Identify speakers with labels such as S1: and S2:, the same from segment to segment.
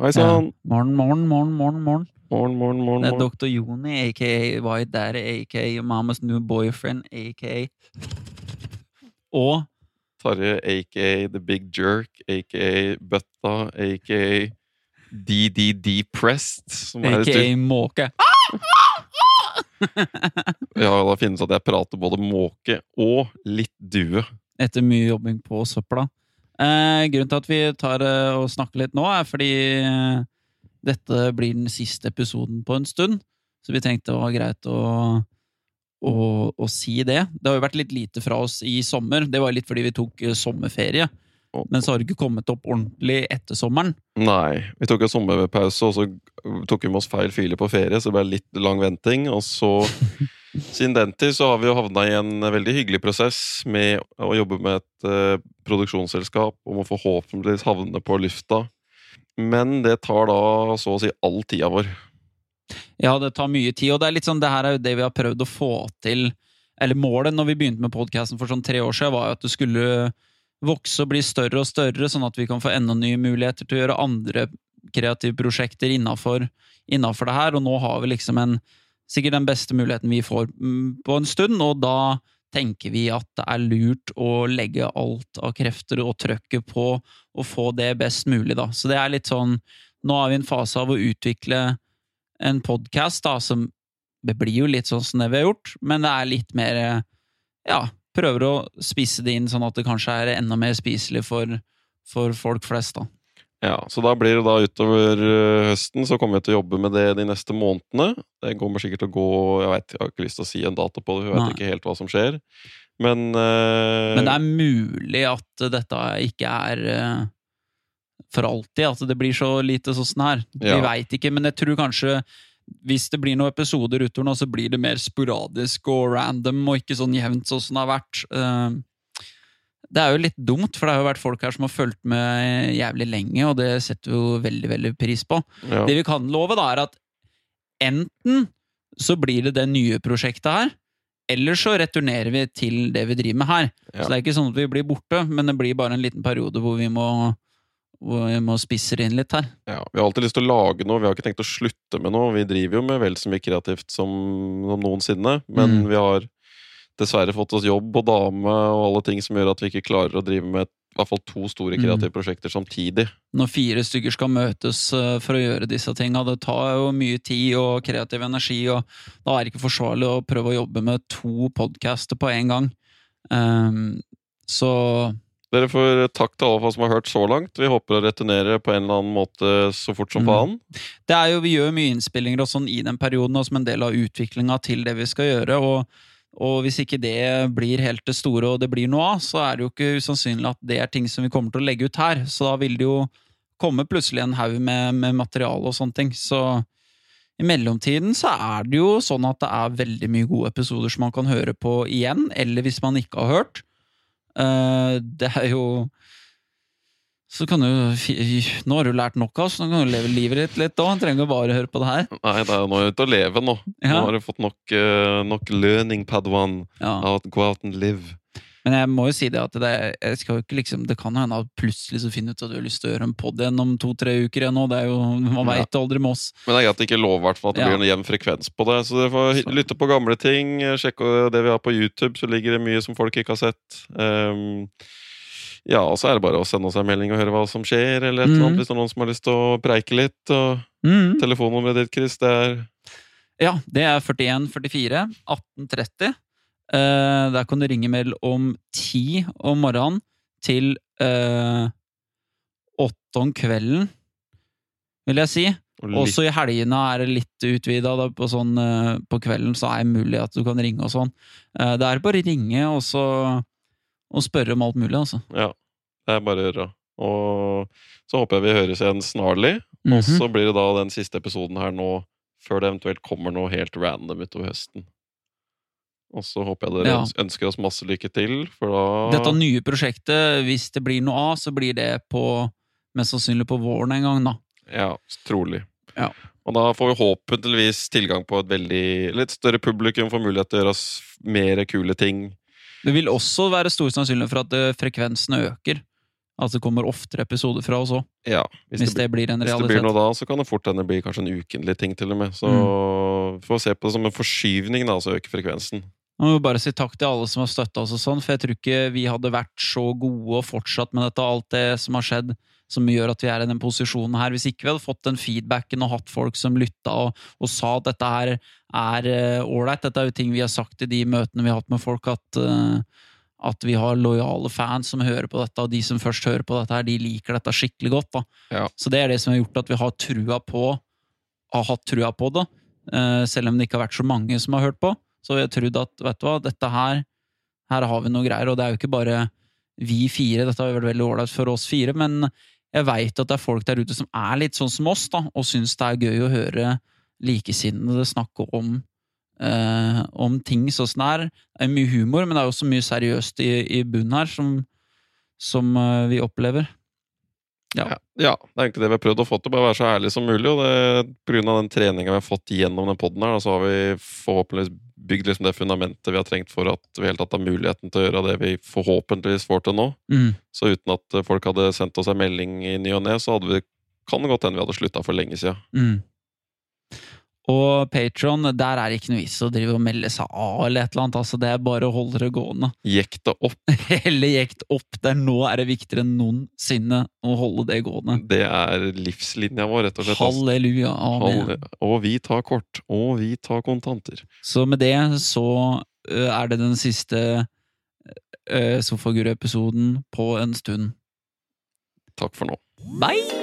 S1: Hei sann!
S2: Morgen, morgen, morgen, morgen, morgen.
S1: Morgen, morgen, morgen.
S2: Det er
S1: morgen.
S2: Dr. Joni, aka White Daddy, aka Mamas New Boyfriend, aka Og
S1: Tarjei, aka The Big Jerk, aka Bøtta, aka DDD Prest. Som er et
S2: aka
S1: styr-
S2: Måke.
S1: ja, da finnes det at jeg prater både måke og litt due.
S2: Etter mye jobbing på søpla. Eh, grunnen til at vi tar eh, og snakker litt nå, er fordi eh, dette blir den siste episoden på en stund. Så vi tenkte det var greit å, å, å si det. Det har jo vært litt lite fra oss i sommer. Det var litt fordi vi tok eh, sommerferie.
S1: Og-
S2: Men så har det ikke kommet opp ordentlig etter sommeren.
S1: Nei. Vi tok en sommerpause, og så tok vi med oss feil fyle på ferie, så det ble litt lang venting. Og så, siden den tid, så har vi jo havna i en veldig hyggelig prosess med å jobbe med et eh, produksjonsselskap om å forhåpentligvis havne på lufta. Men det tar da så å si all tida vår.
S2: Ja, det tar mye tid, og det er litt sånn, det her er jo det vi har prøvd å få til. Eller målet når vi begynte med podkasten for sånn tre år siden, var jo at det skulle vokse og bli større og større, sånn at vi kan få enda nye muligheter til å gjøre andre kreative prosjekter innafor det her. Og nå har vi liksom en, sikkert den beste muligheten vi får mm, på en stund, og da tenker vi at det er lurt å legge alt av krefter og trøkket på å få det best mulig, da. Så det er litt sånn Nå er vi i en fase av å utvikle en podkast som det blir jo litt sånn som det vi har gjort, men det er litt mer eh, Ja, prøver å spisse det inn sånn at det kanskje er enda mer spiselig for, for folk flest, da.
S1: Ja, Så da blir det da utover eh, høsten så kommer jeg til å jobbe med det de neste månedene. Det kommer sikkert til å gå Jeg vet, jeg har ikke lyst til å si en dato på det, for jeg
S2: Nei.
S1: vet ikke helt hva som skjer. Men, eh,
S2: Men det er mulig at dette ikke er eh, for alltid, at det blir så lite sånn som det her.
S1: Ja.
S2: Vi veit ikke, men jeg tror kanskje hvis det blir noen episoder utover nå, så blir det mer sporadisk og random, og ikke sånn jevnt sånn som det har vært. Eh, Det er jo litt dumt, for det har jo vært folk her som har fulgt med jævlig lenge, og det setter vi jo veldig, veldig pris på.
S1: ja.
S2: Det vi kan love, da, er at enten så blir det det nye prosjektet her, eller så returnerer vi til det vi driver med her.
S1: Ja.
S2: Så det er ikke sånn at vi blir borte, men det blir bare en liten periode hvor vi må, hvor vi må spisse det inn litt her.
S1: Ja, Vi har alltid lyst til å lage noe, vi har ikke tenkt å slutte med noe. Vi driver jo med vel så mye kreativt som, som noensinne, men
S2: Mm.
S1: vi har dessverre fått oss jobb og dame og alle ting som gjør at vi ikke klarer å drive med i hvert fall to store
S2: Mm.
S1: kreative prosjekter samtidig.
S2: Når fire stykker skal møtes eh, for å gjøre disse tinga, det tar jo mye tid og kreativ energi, og da er det ikke forsvarlig å prøve å jobbe med to podcaster på en gang. Ehm, så
S1: Dere får takk til alle som har hørt så langt. Vi håper å returnere på en eller annen måte så fort som
S2: Mm.
S1: faen.
S2: det er jo, vi gjør mye innspillinger og sånn i den perioden, og som en del av utviklinga til det vi skal gjøre. og og hvis ikke det blir helt det store og det blir noe av, så er det jo ikke usannsynlig at det er ting som vi kommer til å legge ut her. Så da vil det jo komme plutselig en haug med, med materiale og sånne ting. Så i mellomtiden så er det jo sånn at det er veldig mye gode episoder som man kan høre på igjen, eller hvis man ikke har hørt. Eh, Det er jo så kan du, fi- Nå har du lært nok av oss, nå kan du leve livet ditt litt òg. Trenger ikke bare høre på det her.
S1: Nei, det er jo nå ute å leve nå.
S2: Ja.
S1: Nå har du fått nok, eh, nok learning, Padawan.
S2: Ja.
S1: Out, go out and live.
S2: Men jeg må jo si det at det, er- jeg skal jo ikke liksom, det kan hende at plutselig så finner du ut at du har lyst til å gjøre en pod igjen om to-tre uker igjen nå. Det er jo, man
S1: Ja.
S2: veit aldri med oss.
S1: Men det er greit å ikke love i hvert fall at det
S2: Ja.
S1: blir en jevn frekvens på det. Så dere får hy-
S2: Så.
S1: lytte på gamle ting. eh, Sjekke det vi har på YouTube, så ligger det mye som folk ikke har sett. Ehm, ja, og så er det bare å sende oss en melding og høre hva som skjer, eller et eller annet,
S2: Mhm.
S1: hvis det er noen som har lyst til å preike litt. Og
S2: Mm.
S1: telefonnummeret ditt, Chris, det er
S2: Ja, det er 41 44 1830. Eh, der kan du ringe mellom 10 om morgenen til eh, 8 om kvelden, vil jeg si.
S1: og litt,
S2: Også i helgene er det litt utvida. da, På, sånn, eh, på kvelden så er det mulig at du kan ringe og sånn. Eh, Det er bare å ringe og, så, og spørre om alt mulig, altså.
S1: ja, det er bare å gjøre. Og så håper jeg vi høres igjen snarlig.
S2: Mhm.
S1: Og så blir det da den siste episoden her nå, før det eventuelt kommer noe helt random utover høsten. Og så håper jeg dere
S2: Ja.
S1: øns- ønsker oss masse lykke til, for da
S2: Dette nye prosjektet, hvis det blir noe av, så blir det på, mest sannsynlig på våren en gang, da.
S1: Ja, trolig.
S2: Ja.
S1: Og da får vi håpentligvis tilgang på et veldig litt større publikum, får mulighet til å gjøre oss mer kule ting.
S2: Det vil også være stor sannsynlighet for at eh, frekvensen øker Altså det kommer oftere episoder fra oss òg,
S1: Ja,
S2: hvis det blir en
S1: Hvis det
S2: realitet.
S1: blir noe da, så kan det fort hende bli kanskje en ukentlig ting, til og med. Så
S2: Mm.
S1: vi får se på det som en forskyvning, da, så øker frekvensen.
S2: Jeg må bare si takk til alle som har støtta oss, og sånn, for jeg tror ikke vi hadde vært så gode og fortsatt med dette, alt det som har skjedd, som gjør at vi er i den posisjonen her. Hvis ikke vi hadde fått den feedbacken og hatt folk som lytta og, og sa at dette her er eh, ålreit, dette er jo ting vi har sagt i de møtene vi har hatt med folk, at, eh, at vi har lojale fans som hører på dette, og de som først hører på dette her, de liker dette skikkelig godt. da.
S1: Ja.
S2: Så det er det som har gjort at vi har trua på, har hatt trua på det, eh, selv om det ikke har vært så mange som har hørt på. Så jeg trodde at vet du hva, dette her her har vi noe greier, og det er jo ikke bare vi fire, dette har jo vært veldig ålreit for oss fire, men jeg veit at det er folk der ute som er litt sånn som oss, da, og syns det er gøy å høre likesinnede snakke om eh, om ting sånn som det er. Det er mye humor, men det er også mye seriøst i, i bunnen her, som, som eh, vi opplever. Ja.
S1: Ja. ja, det er egentlig det vi har prøvd å få til. Bare være så ærlig som mulig. Og det, på grunn av den treninga vi har fått gjennom den poden her, da, så har vi forhåpentligvis bygd liksom det fundamentet vi har trengt for at vi i hele tatt har muligheten til å gjøre det vi forhåpentligvis får til nå.
S2: Mm.
S1: Så uten at eh, folk hadde sendt oss en melding i ny og ne, så hadde vi kan det godt hende vi hadde slutta for lenge siden.
S2: Mm. Og Patron, der er det ikke noe vits å drive og melde seg av eller et eller annet. Altså, det er bare å holde det gående.
S1: Jekk det opp.
S2: Hele jekt opp der nå er det viktigere enn noensinne å holde det gående.
S3: Mm,
S1: Det er livslinja vår, rett og slett. ass.
S2: Halleluja. Amen.
S1: Halleluja. Og vi tar kort. Og vi tar kontanter.
S2: Så med det så ø, er det den siste ø, Sofaguru-episoden på en stund.
S1: Takk for nå.
S2: Bye!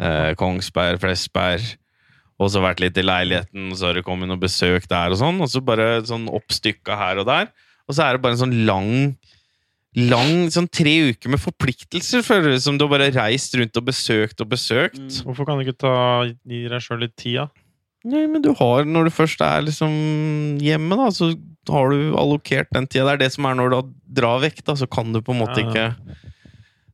S3: eh, Kongsberg, Flesberg, og så vært litt i leiligheten, og så har det kommet noen besøk der og sånn, og så bare sånn oppstykka her og der. Og så er det bare en sånn lang Lang, sånn tre uker med forpliktelser, føler du, som du har bare reist rundt og besøkt og besøkt.
S2: Mm.
S4: Hvorfor kan du ikke ta, gi deg sjøl litt tid, da?
S3: Nei, men du har, når du først er liksom hjemme, da, så har du allokert den tida. Det er det som er når du drar vekk, da, så kan du på en måte
S4: Ja.
S3: ikke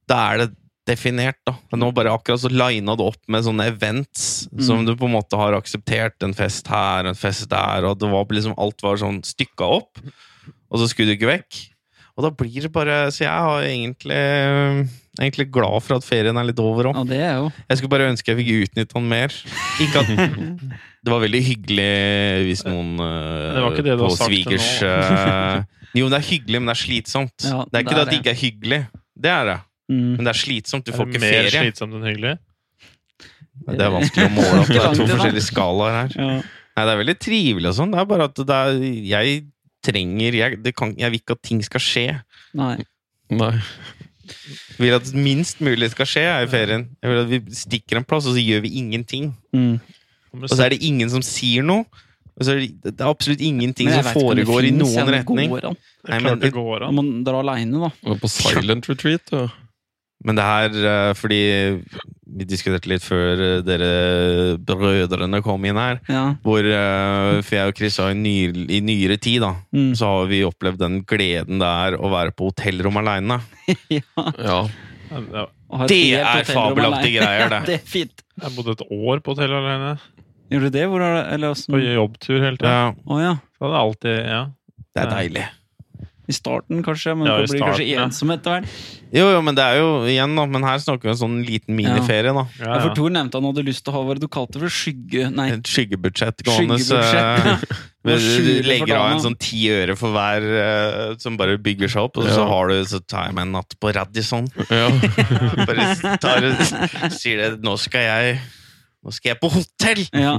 S3: Da er det definert, da. Men Nå bare akkurat så lina det opp med sånne events som du på en måte har akseptert. En fest her, en fest der, og det var liksom, alt var sånn stykka opp. Og så skulle du ikke vekk. Og da blir det bare Så jeg har egentlig, egentlig glad for at ferien er litt over òg.
S2: Ja, det er jo
S3: Jeg skulle bare ønske jeg fikk utnyttet han mer. Ikke at Det var veldig hyggelig hvis noen eh,
S4: Det var ikke det du
S3: på
S4: har sagt til
S3: svigers eh, Jo, det er hyggelig, men det er slitsomt.
S2: Ja,
S3: det er
S2: det
S3: ikke det
S2: er
S3: at det ikke er hyggelig. Det er det.
S2: Mm.
S3: Men det er slitsomt. Du får
S4: Er det
S3: ikke
S4: mer
S3: ferie.
S4: slitsomt enn hyggelig?
S3: Det er vanskelig å måle opp. Det er to
S2: Ikke langt unna.
S3: forskjellige skalaer her.
S2: Ja.
S3: Nei, det er veldig trivelig og sånn. Det er bare at det er, jeg trenger jeg, det kan, jeg vil ikke at ting skal skje.
S2: Nei.
S1: Nei.
S3: Jeg vil at minst mulig skal skje her i ferien. Jeg vil at vi stikker en plass, og så gjør vi ingenting.
S2: Mm.
S4: Om du
S3: Og så er det ingen som sier noe. Og så er det, det er absolutt ingenting
S2: Men jeg
S3: som
S2: vet ikke om det
S3: foregår i
S2: finnes, ja,
S3: noen
S2: men det
S3: retning.
S2: går an.
S4: Det
S3: Nei,
S4: er
S3: men-
S4: klart det går
S2: Om
S4: an.
S2: man drar aleine, da.
S1: Du er på silent retreat, du.
S3: Men det her, eh, fordi vi diskuterte litt før eh, dere brødrene kom inn her,
S2: Ja.
S3: hvor eh, for jeg og Chris har i, nyr, i nyere tid da,
S2: Mm.
S3: så har vi opplevd den gleden det er å være på hotellrom aleine.
S2: ja.
S1: Ja.
S4: Ja,
S2: Og har et
S3: Det
S2: helt
S3: er
S2: hotellrom alene.
S3: fabelaktige greier,
S2: Ja,
S3: det.
S2: det er fint.
S4: Jeg bodde et år på hotell alene.
S2: Gjorde du det? Hvor er det? Eller
S3: Mm.
S4: På
S2: åssen?
S4: jobbtur hele tida.
S3: Ja,
S2: Å ja.
S4: Så hadde jeg alltid Ja.
S3: det er deilig.
S2: I starten, kanskje, men
S4: Ja, i
S2: det blir kanskje
S4: starten, ja.
S2: ensom etter hvert.
S3: Jo, jo, men det er jo igjen, da. Men her snakker vi om en sånn liten miniferie, da.
S4: Ja,
S2: Ja,
S4: ja.
S2: for Tor nevnte han hadde lyst til å ha hva du kalte det for skygge... Nei,
S3: Et skyggebudsjett gående. så-
S2: Skyggebudsjett,
S3: Men
S2: Hvor
S3: Du
S2: skjuler
S3: du legger
S2: for
S3: av
S2: dama.
S3: en sånn ti øre for hver eh, som bare bygger seg opp, og så,
S1: Ja.
S3: har du, så tar jeg meg en natt på Radisson.
S1: Ja.
S3: Bare tar, sier det 'nå skal jeg Nå skal jeg på hotell'!
S2: ja.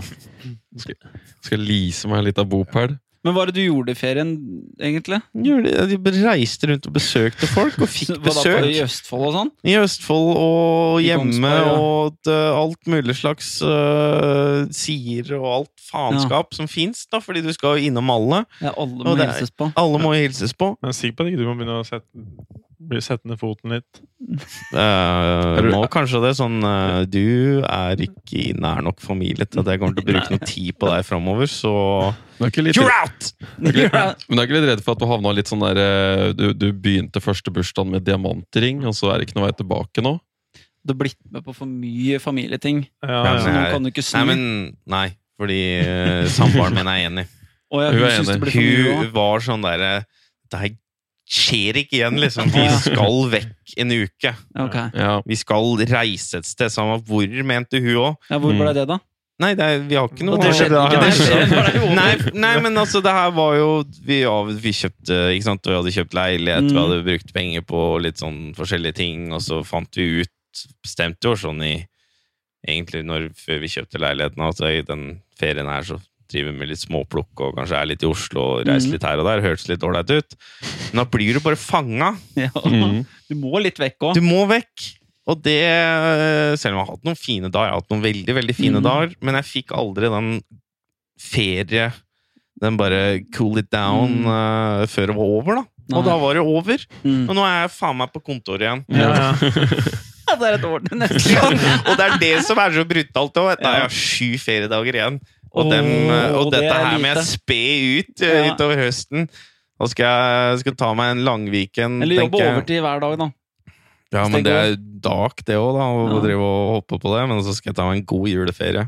S1: Skal lease meg litt av bopel.
S2: Men hva er det du gjorde i ferien, egentlig?
S3: Gjorde det, De reiste rundt og besøkte folk, og fikk
S2: Hva da, på-
S3: besøk.
S2: I Østfold og sånn?
S3: I Østfold og
S2: I
S3: hjemme
S2: Kongsberg, ja.
S3: og d- alt mulig slags øh, sider og alt faenskap som fins, da, fordi du skal jo innom alle.
S2: Ja, alle må
S3: Og det er-
S2: hilses på.
S3: Alle må hilses på.
S4: Men jeg er sikker på at ikke du må begynne å sette, bli sette ned foten litt.
S3: Eh,
S1: du-
S3: nå kanskje det er sånn eh, Du er ikke i nær nok familie til at jeg kommer til å bruke noe tid på deg framover, så
S1: Men er ikke litt,
S3: You're out!
S1: men er ikke litt redd for at du havna litt sånn der eh, du, du begynte første bursdagen med diamantring, og så er det ikke noe vei tilbake nå?
S2: Du har blitt med på for mye familieting.
S4: Ja,
S3: Ja,
S2: Så
S4: ja.
S2: nå
S3: men- Nei.
S2: kan du ikke snu.
S3: Nei, men Nei, fordi eh, samboeren min er enig.
S2: Å ja,
S1: Hun
S2: hun
S1: er
S2: synes
S1: enig.
S2: det blir for mye
S3: Hun
S2: også.
S3: var sånn derre Det her skjer ikke igjen, liksom. Vi skal vekk en uke.
S2: Ja, ok.
S1: Ja.
S3: Vi skal reise et sted sammen. Hvor mente hun òg?
S2: Ja, hvor
S1: Mm.
S2: ble det, da?
S3: Nei, det er, vi har ikke noe
S2: det skjedde
S4: ikke, det
S2: skjedde
S3: nei, nei, men altså, det her var jo Vi, av- vi kjøpte ikke sant? Vi hadde kjøpt leilighet, vi
S2: Mm.
S3: hadde brukt penger på litt sånn forskjellige ting, og så fant vi ut Bestemte jo sånn i Egentlig når, før vi kjøpte leiligheten, at i den ferien her så driver vi med litt småplukk og kanskje er litt i Oslo og reiser
S2: Mm.
S3: litt her og der. Hørtes litt ålreit ut. Men da blir du bare fanga.
S2: Ja.
S1: Mm.
S2: Du må litt vekk òg.
S3: Du må vekk! Og det øh, Selv om jeg har hatt noen fine dager, jeg har hatt noen veldig veldig fine
S2: Mhm.
S3: dager, men jeg fikk aldri den ferie Den bare cool it down øh, før det var over, da. Og da var det over.
S2: Mm.
S3: Og nå er jeg faen meg på kontoret igjen.
S4: Ja, ja.
S2: Ja, det er et år til neste
S3: Ja,
S2: gang.
S3: og det er det som er så brutalt òg. Da har
S2: Ja.
S3: jeg sju feriedager igjen. Og,
S2: Åh,
S3: dem, øh, og
S2: det
S3: dette
S2: er
S3: her må jeg
S2: lite.
S3: spe ut øh,
S2: Ja.
S3: utover høsten. Da skal jeg skal ta meg en langviken.
S2: Eller jobbe
S3: Mm, tenker jeg.
S2: overtid hver dag, da.
S3: Ja,
S2: Så det
S3: men det er dak det òg, da. Å
S2: Ja.
S3: drive og hoppe på det. Men så skal jeg ta meg en god juleferie.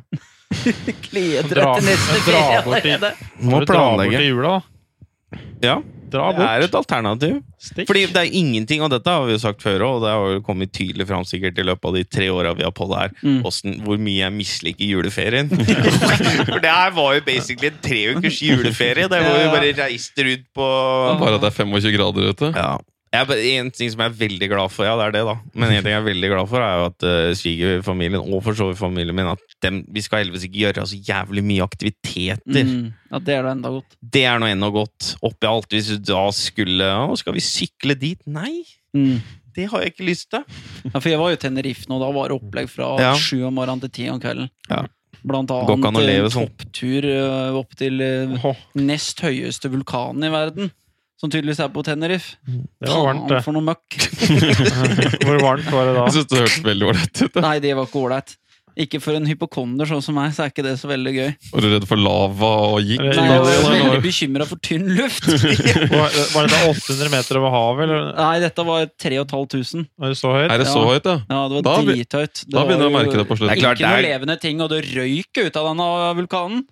S2: Gleder deg
S4: Dra-
S2: til neste
S4: dra
S2: ferie
S4: bort i-
S2: allerede.
S3: Må
S4: Bare Dra bort
S3: planlegge.
S4: i jula, da.
S3: Ja,
S4: Dra
S3: det er
S4: bort.
S3: et alternativ.
S4: Stikk.
S3: Fordi det er ingenting, og dette har vi jo sagt før òg, og det har jo kommet tydelig fram sikkert i løpet av de tre åra vi har på det her,
S2: Mm.
S3: hvordan- hvor mye jeg misliker juleferien. For det her var jo basically en tre ukers juleferie, der hvor vi
S2: Ja, ja.
S3: bare reiste rundt på
S1: Bare at det er 25 grader ute.
S3: Ja. Jeg, er bare- en ting som jeg er veldig glad for, ja, det er det, da. Men en ting jeg er veldig glad for, er jo at uh, svigerfamilien, og for så vidt familien min, at dem, vi skal heldigvis ikke gjøre så jævlig mye aktiviteter.
S2: Mm. Ja, det er da enda godt.
S3: Det er nå ennå godt. Oppi alt, hvis du da skulle Å, skal vi sykle dit? Nei!
S2: Mm.
S3: Det har jeg ikke lyst til.
S2: Ja, for jeg var jo i Tenerife nå, da var det opplegg fra
S3: Ja.
S2: sju om morgenen til ti om kvelden.
S3: Ja.
S2: Blant
S3: Går ikke an å
S2: annet
S3: leve
S2: en
S3: sånn.
S2: topptur ø, opp til ø,
S4: Åh,
S2: nest høyeste vulkanen i verden, som tydeligvis er på Tenerife.
S4: det var
S2: Faen
S4: varmt, det.
S2: for noe møkk.
S4: Hvor varmt var det da?
S1: Jeg synes det hørtes veldig ålreit ut. da.
S2: Nei, det var ikke ålreit. Ikke for en hypokonder sånn som meg, så er ikke det så veldig gøy.
S1: Var du redd for lava og gikk?
S4: Nei,
S2: Nei, jeg var
S4: det-
S2: veldig bekymra for tynn luft.
S4: Var, var det da 800 meter over havet, eller
S2: Nei, dette var 3500.
S4: var det så høyt?
S1: Er det så
S2: Ja.
S1: høyt, ja?
S2: Ja, det var
S1: Da be-
S2: drithøyt. Det
S1: Da
S2: var
S1: begynner jeg å
S2: jo
S1: merke det på
S3: Det
S1: slutten.
S3: er klart,
S2: Ikke noe
S3: det er-
S2: levende ting, og det røyk ut av denne vulkanen.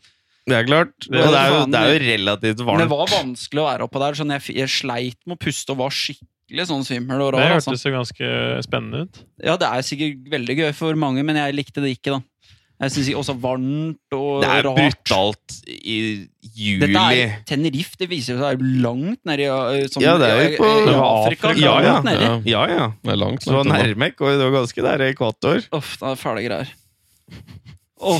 S3: Det er klart. Og
S4: Det
S3: det
S4: er
S3: er jo,
S2: faen
S3: det er jo relativt
S2: Men det
S3: varmt.
S2: var vanskelig å være oppå der. Sånn jeg, f- jeg sleit med å puste og var skikkelig sånn svimmel og
S4: Det
S2: rar. Altså.
S4: hørtes jo ganske spennende ut.
S2: Ja, det er sikkert veldig gøy for mange, men jeg likte det ikke, da. Jeg synes ikke- også varmt og
S3: Det er
S2: rart.
S3: brutalt i juli.
S2: Dette er Tenerife, det viser seg å være langt nedi ø, sånn,
S3: Ja, det
S2: ø,
S3: er jo på-
S2: ø,
S4: det var
S2: Afrika.
S3: Afrika, ja.
S2: langt nedi.
S1: Ja,
S3: Ja, ja.
S1: det er langt.
S3: Så
S1: langt unna.
S3: nærme går det ganske der i ekvator.
S2: Uff, det er fæle greier. Åh,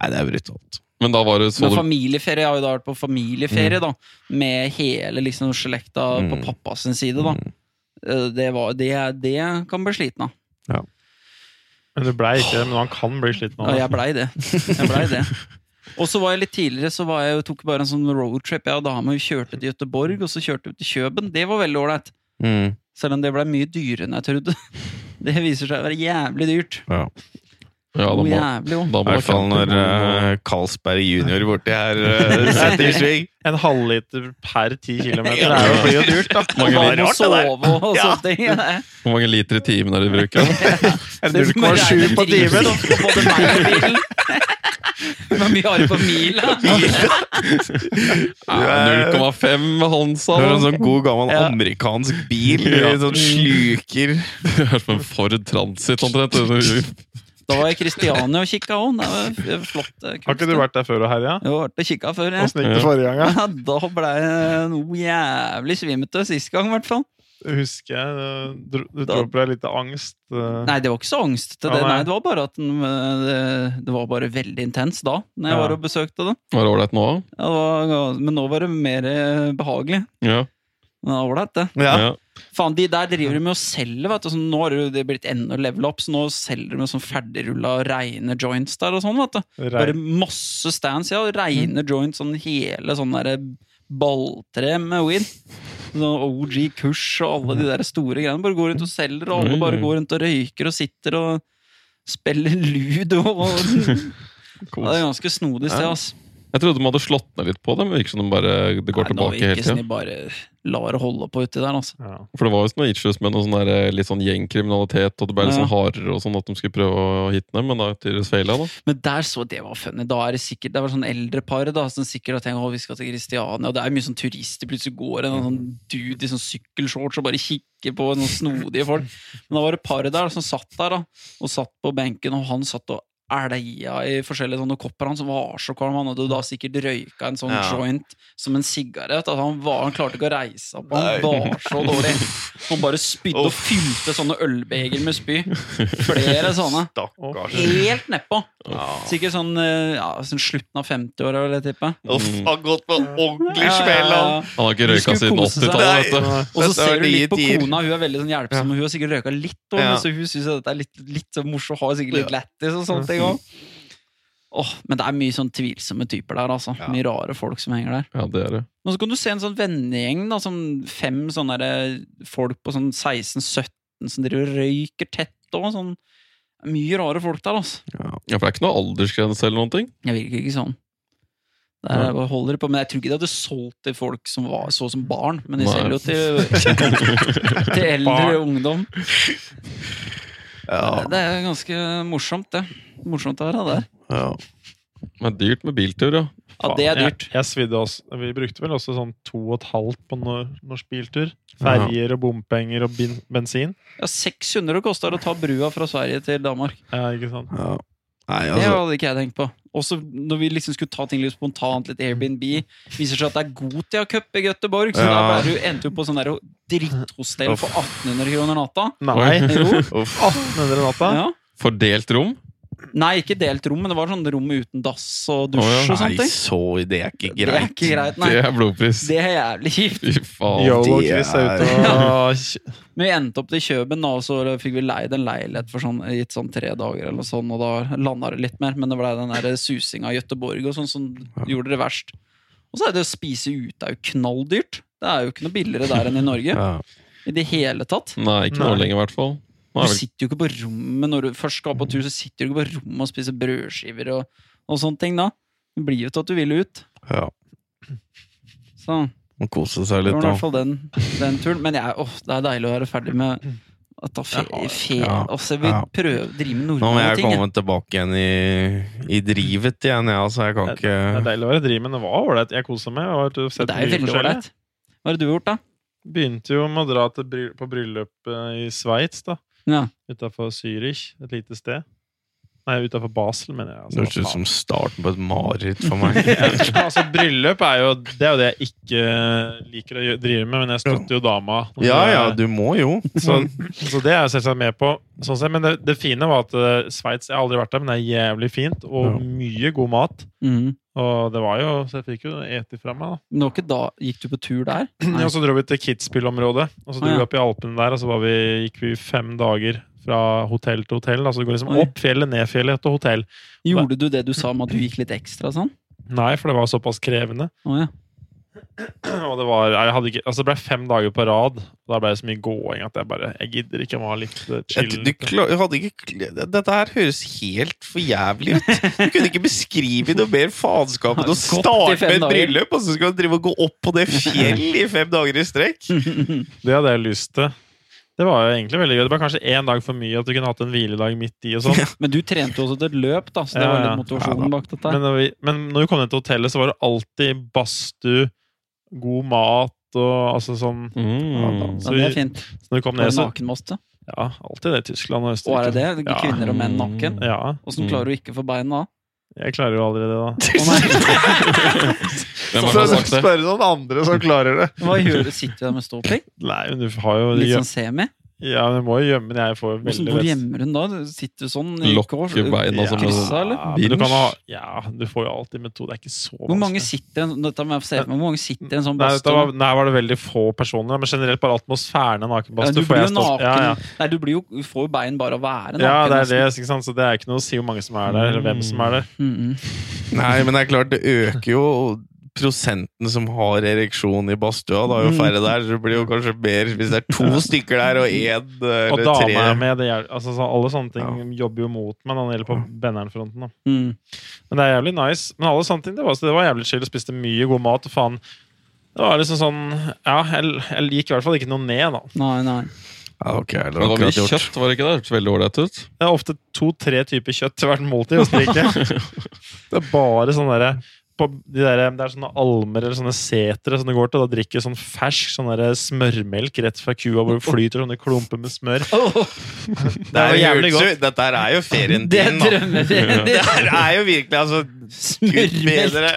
S3: Nei, det er brutalt.
S1: Men da var det så
S2: men
S1: du Mm.
S2: familieferie, jeg har jo da vært på familieferie, da. Med hele liksom slekta på
S3: Mm.
S2: pappa sin side, da.
S1: Mm.
S2: Eh, Det, var, det, det kan bli sliten av.
S4: Men du blei ikke det, men han kan bli sliten av
S2: Ja, jeg
S4: det.
S2: blei det. Jeg blei det. Og så var jeg litt tidligere, så var jeg, tok bare en sånn roadtrip. Jeg og dama vi kjørte til Göteborg, og så kjørte vi til Kjøben. Det var veldig ålreit.
S3: Mm.
S2: Selv om det blei mye dyrere enn jeg trodde. Det viser seg å være jævlig dyrt.
S3: Ja.
S1: Ja, da
S2: Og
S1: må, da
S2: jævlig òg.
S1: må
S3: I hvert fall når
S1: campingvogn og-
S3: eh, Carlsberg junior borti her eh, setter i sving.
S4: En halvliter per ti kilometer, det er jo- blir jo dyrt, da.
S2: Og
S3: Mange
S2: da
S3: litt
S2: må
S3: rart, det
S2: sove
S3: der.
S2: og, og
S3: Ja.
S2: sånne ting.
S1: Hvor mange liter i timen er det du bruker?
S2: Det er som å regne drivstoff på både meg og bilen. Hvor mye har du på mila?
S1: Ja, 0,5 Hansa.
S3: Det er en
S1: da.
S3: sånn god gammel
S2: Ja.
S3: amerikansk bil. i Sånn sluker
S1: Det er som en Ford Transit omtrent.
S2: Da var jeg i Kristiania og kikka òg. Det var det var flott. eh, Kunst.
S4: Har ikke du vært der før og herja?
S2: Jo, vært og kikka før, jeg.
S4: Åssen gikk det forrige gang?
S2: Ja, da ble jeg noe jævlig svimete sist gang, i hvert fall.
S4: da? Husker jeg eh, dro- Du
S2: Da-
S4: dro på deg litt angst. eh,
S2: Nei, det var ikke så angst til
S4: Ja,
S2: det.
S4: nei.
S2: Nei, det var bare at den, eh, det, det var bare veldig intens da, når jeg
S4: Ja.
S2: var og besøkte det.
S1: Var det ålreit nå?
S2: Ja, det var, men nå var det mer eh, behagelig.
S1: Ja.
S2: Men det var Ålreit, det.
S3: Ja.
S1: ja.
S2: Faen, de der driver de med å selge, vet du. Så nå har det jo- det blitt enda level up, så nå selger de med sånn ferdigrulla reine joints der og sånn, vet du. Bare
S4: Rein.
S2: masse stands, ja. og
S1: Mm.
S2: Reine joints, sånn hele sånn derre balltre med weed. Sånn OG Kush og alle de der store greiene. Bare går rundt og selger, og alle
S1: Mm.
S2: bare går rundt og røyker og sitter og spiller ludo. Og, ja, det er ganske snodig sted, ass.
S1: Jeg trodde de hadde slått ned litt på det, men det virker som de bare det går
S2: Nei, nå
S1: tilbake hele
S2: virker det
S1: tida.
S2: som sånn de bare lar det holde på uti der, altså.
S4: Ja.
S1: For det var visst noen issues med noe sånn der, eh, litt sånn gjengkriminalitet, og det ble litt
S2: Ja.
S1: sånn hardere og sånn at de skulle prøve å hitte ned, men da tydeligvis feila, da.
S2: Men der så det var funny. Da er det sikkert Det var sånn eldre par da, som sikkert har tenkt å vi skal til Kristiania. Og det er mye sånn turister. Plutselig går en sånn dude i sånn sykkelshorts og bare kikker på noen snodige folk. Men da var det paret der som satt der da, og satt på benken, og han satt og elja i forskjellige sånne kopper. Han som var så kvalm. Han hadde da sikkert røyka en sånn
S3: Ja.
S2: joint som en sigarett. Altså, han, var, han klarte ikke å reise seg opp. Han var så dårlig. Han bare spydde og fylte sånne ølbeger med spy. Flere sånne.
S3: Stakkars.
S2: Helt nedpå.
S3: Ja.
S2: Sikkert sånn, eh, ja, sånn slutten av 50-åra, vil jeg tippe.
S3: Uff, han gått på en ordentlig
S2: Ja, ja,
S3: smell.
S2: ja.
S3: han.
S1: Han har ikke
S2: De
S1: røyka
S2: skulle
S1: siden
S2: kose seg.
S1: 80-tallet, vet du.
S4: Nei.
S2: Og så
S3: Dette
S2: ser
S3: var
S2: du litt
S3: nye
S2: på
S3: tider.
S2: kona, hun er veldig sånn hjelpsom. og Hun har sikkert røyka litt, også,
S3: Ja.
S2: men så hun syns dette er litt, litt så morsomt. Har sikkert litt lættis og sånne ting òg. men det er mye sånn tvilsomme typer der. altså
S3: Ja.
S2: Mye rare folk som henger der.
S1: Ja, det er det.
S2: Men så kan du se en sånn vennegjeng. da sånn Fem sånne der, folk på sånn 16-17 som driver og røyker tett òg. Sånn. Mye rare folk der. altså
S1: Ja, for det er ikke noe aldersgrense eller noen ting.
S2: Jeg virker ikke sånn. Der er- holder det på, men Jeg tror ikke de hadde solgt til folk som var, så som barn, men de
S1: Nei.
S2: selger jo til, til eldre ungdom.
S3: Ja.
S2: Det er ganske morsomt, det. Morsomt å være der.
S3: Ja.
S1: Men det er dyrt med biltur, ja.
S2: Ja, det er dyrt.
S4: Jeg, jeg svidde oss. Vi brukte vel også sånn to og et halvt på nor norsk biltur. Ferger og bompenger og bin bensin.
S2: Ja, 600 koster det å ta brua fra Sverige til Danmark.
S4: Ja, ikke sant?
S3: Ja. Nei,
S2: Det
S3: altså
S2: hadde ikke jeg tenkt på. Også når vi liksom skulle ta ting litt spontant, litt Airbnb, viser det seg at det er Gotia-cup i Göteborg, så der
S3: Ja.
S2: ble du endte jo på sånn der dritthostell for 1800 kroner natta.
S4: Nei!
S2: Jo.
S3: Uff.
S4: 1800 natta?
S2: Ja.
S1: Fordelt rom.
S2: Nei, ikke delt rom, men det var sånn rom uten dass og dusj
S1: Å, ja.
S2: og sånne
S3: Nei,
S2: ting.
S3: så det er ikke
S2: Det er
S3: greit.
S2: ikke greit, nei.
S1: Det er blodpris.
S2: Det er jævlig kjipt.
S1: Fy faen.
S4: Yolo og
S3: det
S4: Chris er ute og
S2: Men vi endte opp til Kjøben, da, og så fikk vi leid en leilighet for sånn, gitt sånn tre dager, eller sånn, og da landa det litt mer. Men det ble den der susinga i Gøteborg og sånn som gjorde det verst. Og så er det å spise ute er jo knalldyrt. Det er jo ikke noe billigere der enn i Norge.
S3: Ja.
S2: I det hele tatt.
S1: Nei, ikke nå
S4: Nei.
S1: lenger, i hvert fall. Nå
S2: Du
S1: er vel
S2: sitter jo ikke på rommet når du først skal på tur, så sitter du ikke på rommet og spiser brødskiver og, og sånne ting da. Det blir jo til at du vil ut.
S3: Ja.
S2: Så.
S3: Må kose seg
S2: Det
S3: litt
S2: var i
S3: nå.
S2: hvert fall den, den turen. Men jeg, åh, det er deilig å være ferdig med å ta fe, fe
S3: Ja,
S2: altså, Vi
S3: ja.
S2: prøver å drive med
S3: Nå må
S2: nordmenn
S3: jeg
S2: og ting. jeg.
S3: komme tilbake igjen i, i drivet igjen, jeg, altså. Jeg kan
S4: Det er
S3: ikke
S4: deilig å være i driv, men det var ålreit. Jeg kosa meg. Jeg har vært og sett
S2: Det er jo
S4: mye
S2: veldig
S4: forskjellig.
S2: ålreit. Hva har du gjort, da?
S4: Begynte jo med å dra til bry på bryllup eh, i Sveits, da.
S2: Ja.
S4: Utafor Zürich, et lite sted. Nei, utafor Basel, mener jeg.
S3: Det
S4: Altså,
S3: høres ut
S4: faen.
S3: som starten på et mareritt for meg.
S4: Ja, altså, bryllup er jo det, er jo det jeg ikke liker å gjø- drive med, men jeg støtter jo dama.
S3: Ja ja, sånn- du må jo.
S4: så, så det er jeg selvsagt med på. Sånn sett. Men det, det fine var at eh, Sveits Jeg har aldri vært der, men det er jævlig fint, og
S3: Ja.
S4: mye god mat.
S2: Mm.
S4: Og det var jo Så jeg fikk jo ete fra meg, da.
S2: Men det var ikke da Gikk du på tur der? Nei.
S4: Og så dro vi til Kitzbühel-området, og så dro
S2: Ah, ja.
S4: vi opp i Alpene der, og så var vi, gikk vi fem dager fra hotell til hotell. Altså det går liksom
S2: Oi.
S4: opp fjellet, ned fjellet til hotell.
S2: Gjorde du det du sa om at du gikk litt ekstra sånn?
S4: Nei, for det var såpass krevende.
S2: Å, ja.
S4: Og det var, jeg hadde ikke, altså det ble fem dager på rad. Og da ble det så mye gåing at jeg bare Jeg gidder ikke å ha litt eh,
S3: Jeg,
S4: chill.
S3: du kla- hadde ikke, kl- dette her høres helt for jævlig ut. Du kunne ikke beskrive noe mer faenskap enn å
S2: Gått i
S3: starte
S2: fem
S3: med et
S2: dager.
S3: bryllup, og så skal du drive og gå opp på det fjellet i fem dager i strekk!
S4: Det hadde jeg lyst til. Det var jo egentlig veldig gøy. Det var kanskje én dag for mye at du kunne hatt en hviledag midt i. og sånn.
S2: Men du trente jo også til et løp, da, så det
S4: Ja,
S2: var
S4: ja.
S2: litt motivasjonen bak dette.
S4: Men, når vi- men når vi kom ned til hotellet, så var det alltid badstue, god mat og altså sånn
S1: Mm.
S2: så det er fint.
S4: Så når vi kom
S2: Var
S4: ned,
S2: det
S4: så
S2: nakenmaste?
S4: Ja, alltid det i Tyskland og
S2: Og
S4: Østerrike.
S2: er det det?
S4: Ja. Mm.
S2: Kvinner og menn naken?
S4: Ja.
S2: Åssen klarer du ikke for beina da?
S4: Jeg klarer jo aldri det, da.
S2: Å nei,
S1: Hvem har sagt det?
S3: noen andre som klarer det.
S2: Hva gjør du? Sitter du der med ståpikk?
S4: Nei, men du har jo
S2: Litt sånn semi?
S4: Ja, men du må jo gjemme men jeg får
S2: Hvordan,
S4: veldig
S2: hvor
S4: lett-
S2: gjemmer hun da? Sitter du sånn? i kors?
S1: Lokke beina
S4: altså, sånn-
S1: som
S2: kryssa,
S1: en-
S2: eller?
S4: Ja, men du kan ha, ja, du får jo alltid metode. Det er ikke så vanskelig.
S2: Hvor mange sitter i en, dette må jeg få se for meg. Hvor mange sitter i en sånn
S4: Nei, dette var,
S2: badstue?
S4: nei, var det veldig få personer, men generelt bare atmosfæren av
S2: Ja, du
S4: nakenbadstue. får
S2: blir jo
S4: jeg stå-
S2: naken.
S4: Ja, ja.
S2: Nei, du, blir jo, du får jo bein bare av å være naken.
S4: ja, det er det,
S2: nesten.
S4: ikke sant? så det er ikke noe å si hvor mange som er der, eller hvem som er der.
S2: Mm, mm.
S3: Nei, men det er klart, det øker jo prosenten som har ereksjon i badstua. Da er jo færre der, så det blir jo kanskje mer hvis det er to stykker der og én
S4: Og
S3: eller
S4: damer
S3: tre.
S4: er med. Det er, altså, så alle sånne ting jobber jo mot meg når det gjelder på Benneren-fronten. da.
S2: Mm.
S4: Men det er jævlig nice. Men alle sånne ting, det var, så det var jævlig chill. Spiste mye god mat. og faen. Det var liksom sånn Ja, jeg, jeg gikk i hvert fall ikke noe ned, da.
S2: Nei, nei.
S3: Ja, ok,
S1: Det
S3: det har
S1: var mye
S3: akkurat gjort.
S1: kjøtt, var det ikke det? Hørtes veldig ålreit ut.
S4: Det er ofte to-tre typer kjøtt til hvert måltid. hvis det ikke. Det er bare sånn derre på de der, Det er sånne almer eller sånne setre som du går til. Da drikker du sånn fersk sånn derre smørmelk rett fra kua hvor det flyter sånne klumper med smør.
S3: Det er
S4: Det var
S3: jævlig
S4: jævlig
S3: godt. Dette her er jo ferien
S2: Det
S3: din, da.
S2: drømmer vi!
S3: Det her er jo virkelig altså Gud
S2: Smørmelk!
S3: bedre.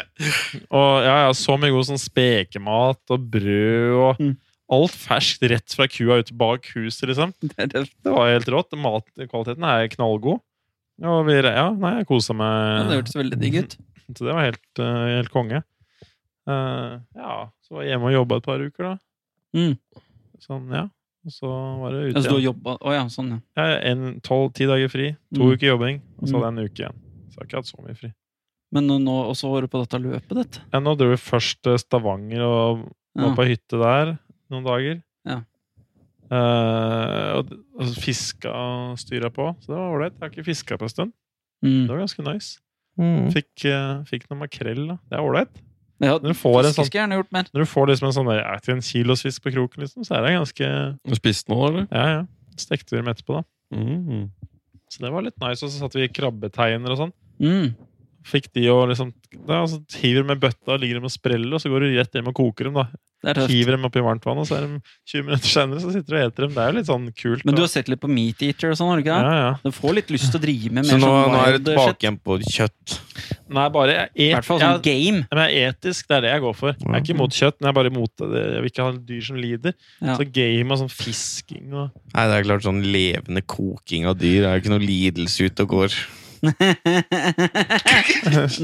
S4: Og ja, ja, så mye god sånn spekemat og brød og
S2: Mm.
S4: alt ferskt rett fra kua ute bak huset, liksom.
S2: Det er det.
S4: Det var helt rått. Matkvaliteten er knallgod. Og vi, ja, nei, jeg kosa
S2: Ja,
S4: meg.
S2: det hørtes veldig digg ut.
S4: Så det var helt, eh, helt konge. Eh, ja, så var jeg hjemme og jobba et par uker, da.
S2: Mm.
S4: Sånn, ja. Og så var det ute
S2: Altså, du har
S4: igjen.
S2: jobba Å ja, sånn, ja.
S4: Ja, en tolv-ti dager fri, to
S2: Mm.
S4: uker jobbing, og så hadde jeg en uke igjen. Så jeg har ikke hatt så mye fri.
S2: Men nå- nå, og så var du på dette løpet ditt.
S4: Ja, nå dro vi først til Stavanger og var
S2: Ja.
S4: på hytte der noen dager.
S2: Ja.
S4: Eh, og, og fiska og styra på, så det var ålreit. Jeg har ikke fiska på en stund. Det
S2: Mm.
S4: var ganske nice. Fikk, eh, fikk noe makrell, da. Det er ålreit.
S2: Ja,
S4: Når du får en
S2: fiske
S4: sånn
S2: skulle jeg gjerne gjort mer.
S4: Når du får liksom en sånn der, ja, til en kilos fisk på kroken, liksom, så er det ganske
S1: Du spiste noe, eller?
S4: Ja, ja. Stekte vi dem etterpå, da.
S1: Mm.
S4: Så det var litt nice. Og så satte vi krabbeteiner og sånn.
S2: Mm.
S4: Fikk de og liksom da, Så hiver de med bøtta, ligger de og spreller, og så går du rett hjem og koker dem, da.
S2: Det er tøft.
S4: Hiver dem oppi varmt vann, og så er de 20 minutter senere, så sitter du og eter dem. Det er jo litt sånn kult.
S2: Men du
S4: da.
S2: har sett litt på Meat Eater og sånn, har du ikke det?
S4: ja, ja.
S2: Du får litt lyst til å drive med
S3: Så
S2: mer
S3: nå,
S2: sånn
S3: nå er
S2: wild shit.
S3: det tilbake igjen på kjøtt.
S4: Nei, bare jeg,
S2: I hvert
S4: et,
S2: fall
S4: jeg,
S2: sånn game.
S4: men jeg er etisk, det er det jeg går for. Jeg er ikke imot kjøtt, men jeg er bare imot det. Jeg vil ikke ha dyr som lider.
S2: Ja.
S4: Så game og sånn fisking og
S3: Nei, det er klart sånn levende koking av dyr er jo ikke noe lidelse ute og går.
S2: Nei,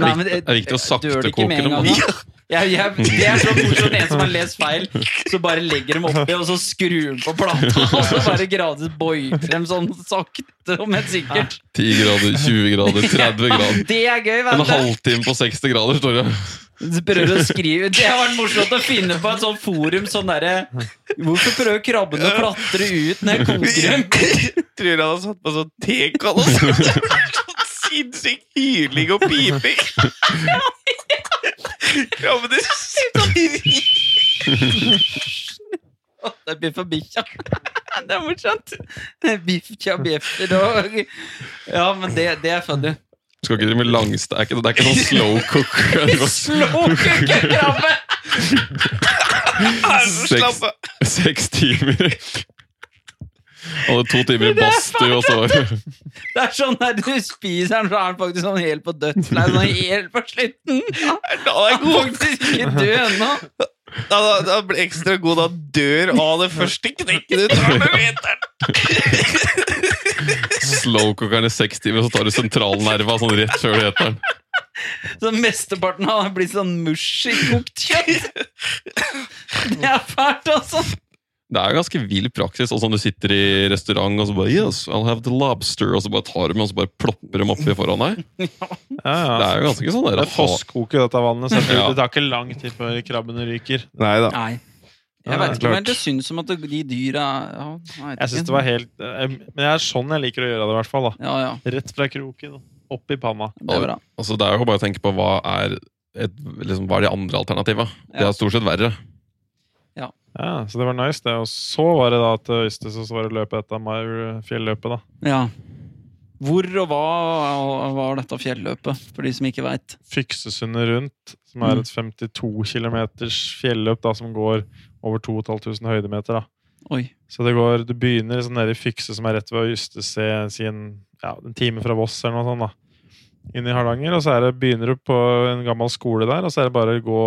S2: men
S1: Det er viktig å sakte
S2: dør det ikke med
S1: koke
S2: en
S1: dem,
S2: gang, da? Jeg, jeg, det er så morsomt. En som har lest feil, så bare legger dem oppi, og så skrur de på plata. Og så bare gradvis boiler dem sånn sakte, men sikkert.
S1: 10 grader, 20 grader, 30 grader.
S2: Det er gøy,
S1: En
S2: vet du.
S1: halvtime på 60 grader, står det.
S2: Så Prøver å skrive Det har vært morsomt å finne på et sånt forum sånn derre Hvorfor prøver krabben å klatre ut når jeg koker dem?
S3: tror jeg hadde satt på sånn tekall og sånn. Sånn Sinnssyk hyling og piping. Krabben din
S2: Å, Det er biff og bikkja. Det er morsomt. Biffkja bjeffer og Ja, men det, det er funny.
S1: Skal ikke drive med langste... Det er ikke, det er ikke sånn slow cook.
S2: Slå kukkekrabbe!
S1: Seks, seks timer. Og to timer i badstue, og så
S2: Det er sånn der du spiser den, så er den faktisk sånn helt på dødsleiet. Sånn helt på slutten.
S3: Da
S2: Han er faktisk ikke død ennå.
S3: blir ekstra god da dør av det første knekken du tar med meteren.
S1: slow cookeren i seks timer, og så tar du sentralnerva sånn rett før du heter den.
S2: Så mesteparten av den blir sånn mush i kokt kjøtt. Det er fælt, altså.
S1: Det er ganske vill praksis. Og sånn du sitter i restaurant og så bare Yes, I'll have the lobster. Og så bare tar du dem og så bare plopper dem oppi foran deg.
S4: Ja, ja.
S1: Det er jo ganske sånn der,
S4: Det fosskoker dette vannet, så
S1: Ja.
S4: det tar ikke lang tid før krabbene ryker.
S3: Nei da.
S2: Nei. Jeg vet ikke, men det syns som at de dyra ja, jeg vet
S4: Jeg synes
S2: ikke.
S4: det var helt eh, Men det er sånn jeg liker å gjøre det, i hvert fall. da
S2: Ja, ja.
S4: Rett fra kroken, opp i panna.
S2: Det er bra.
S1: Altså, det er jo bare å tenke på hva er et, liksom, hva er de andre alternativene. Det
S2: Ja.
S1: er stort sett verre.
S4: Ja, så det var nice, det. Og så var det da til Øystes, og så var det løpet etter meg, fjelløpet, da.
S2: Ja. Hvor og hva var dette fjelløpet, for de som ikke veit?
S4: Fyksesundet rundt, som er et 52 km fjelløp da, som går over 2500 høydemeter. da.
S2: Oi.
S4: Så det går, du begynner liksom nede i Fykse, som er rett ved Øystes, si en, ja, en time fra Voss eller noe sånt. da. Inn i Hardanger, og så er det, begynner du på en gammel skole der, og så er det bare å gå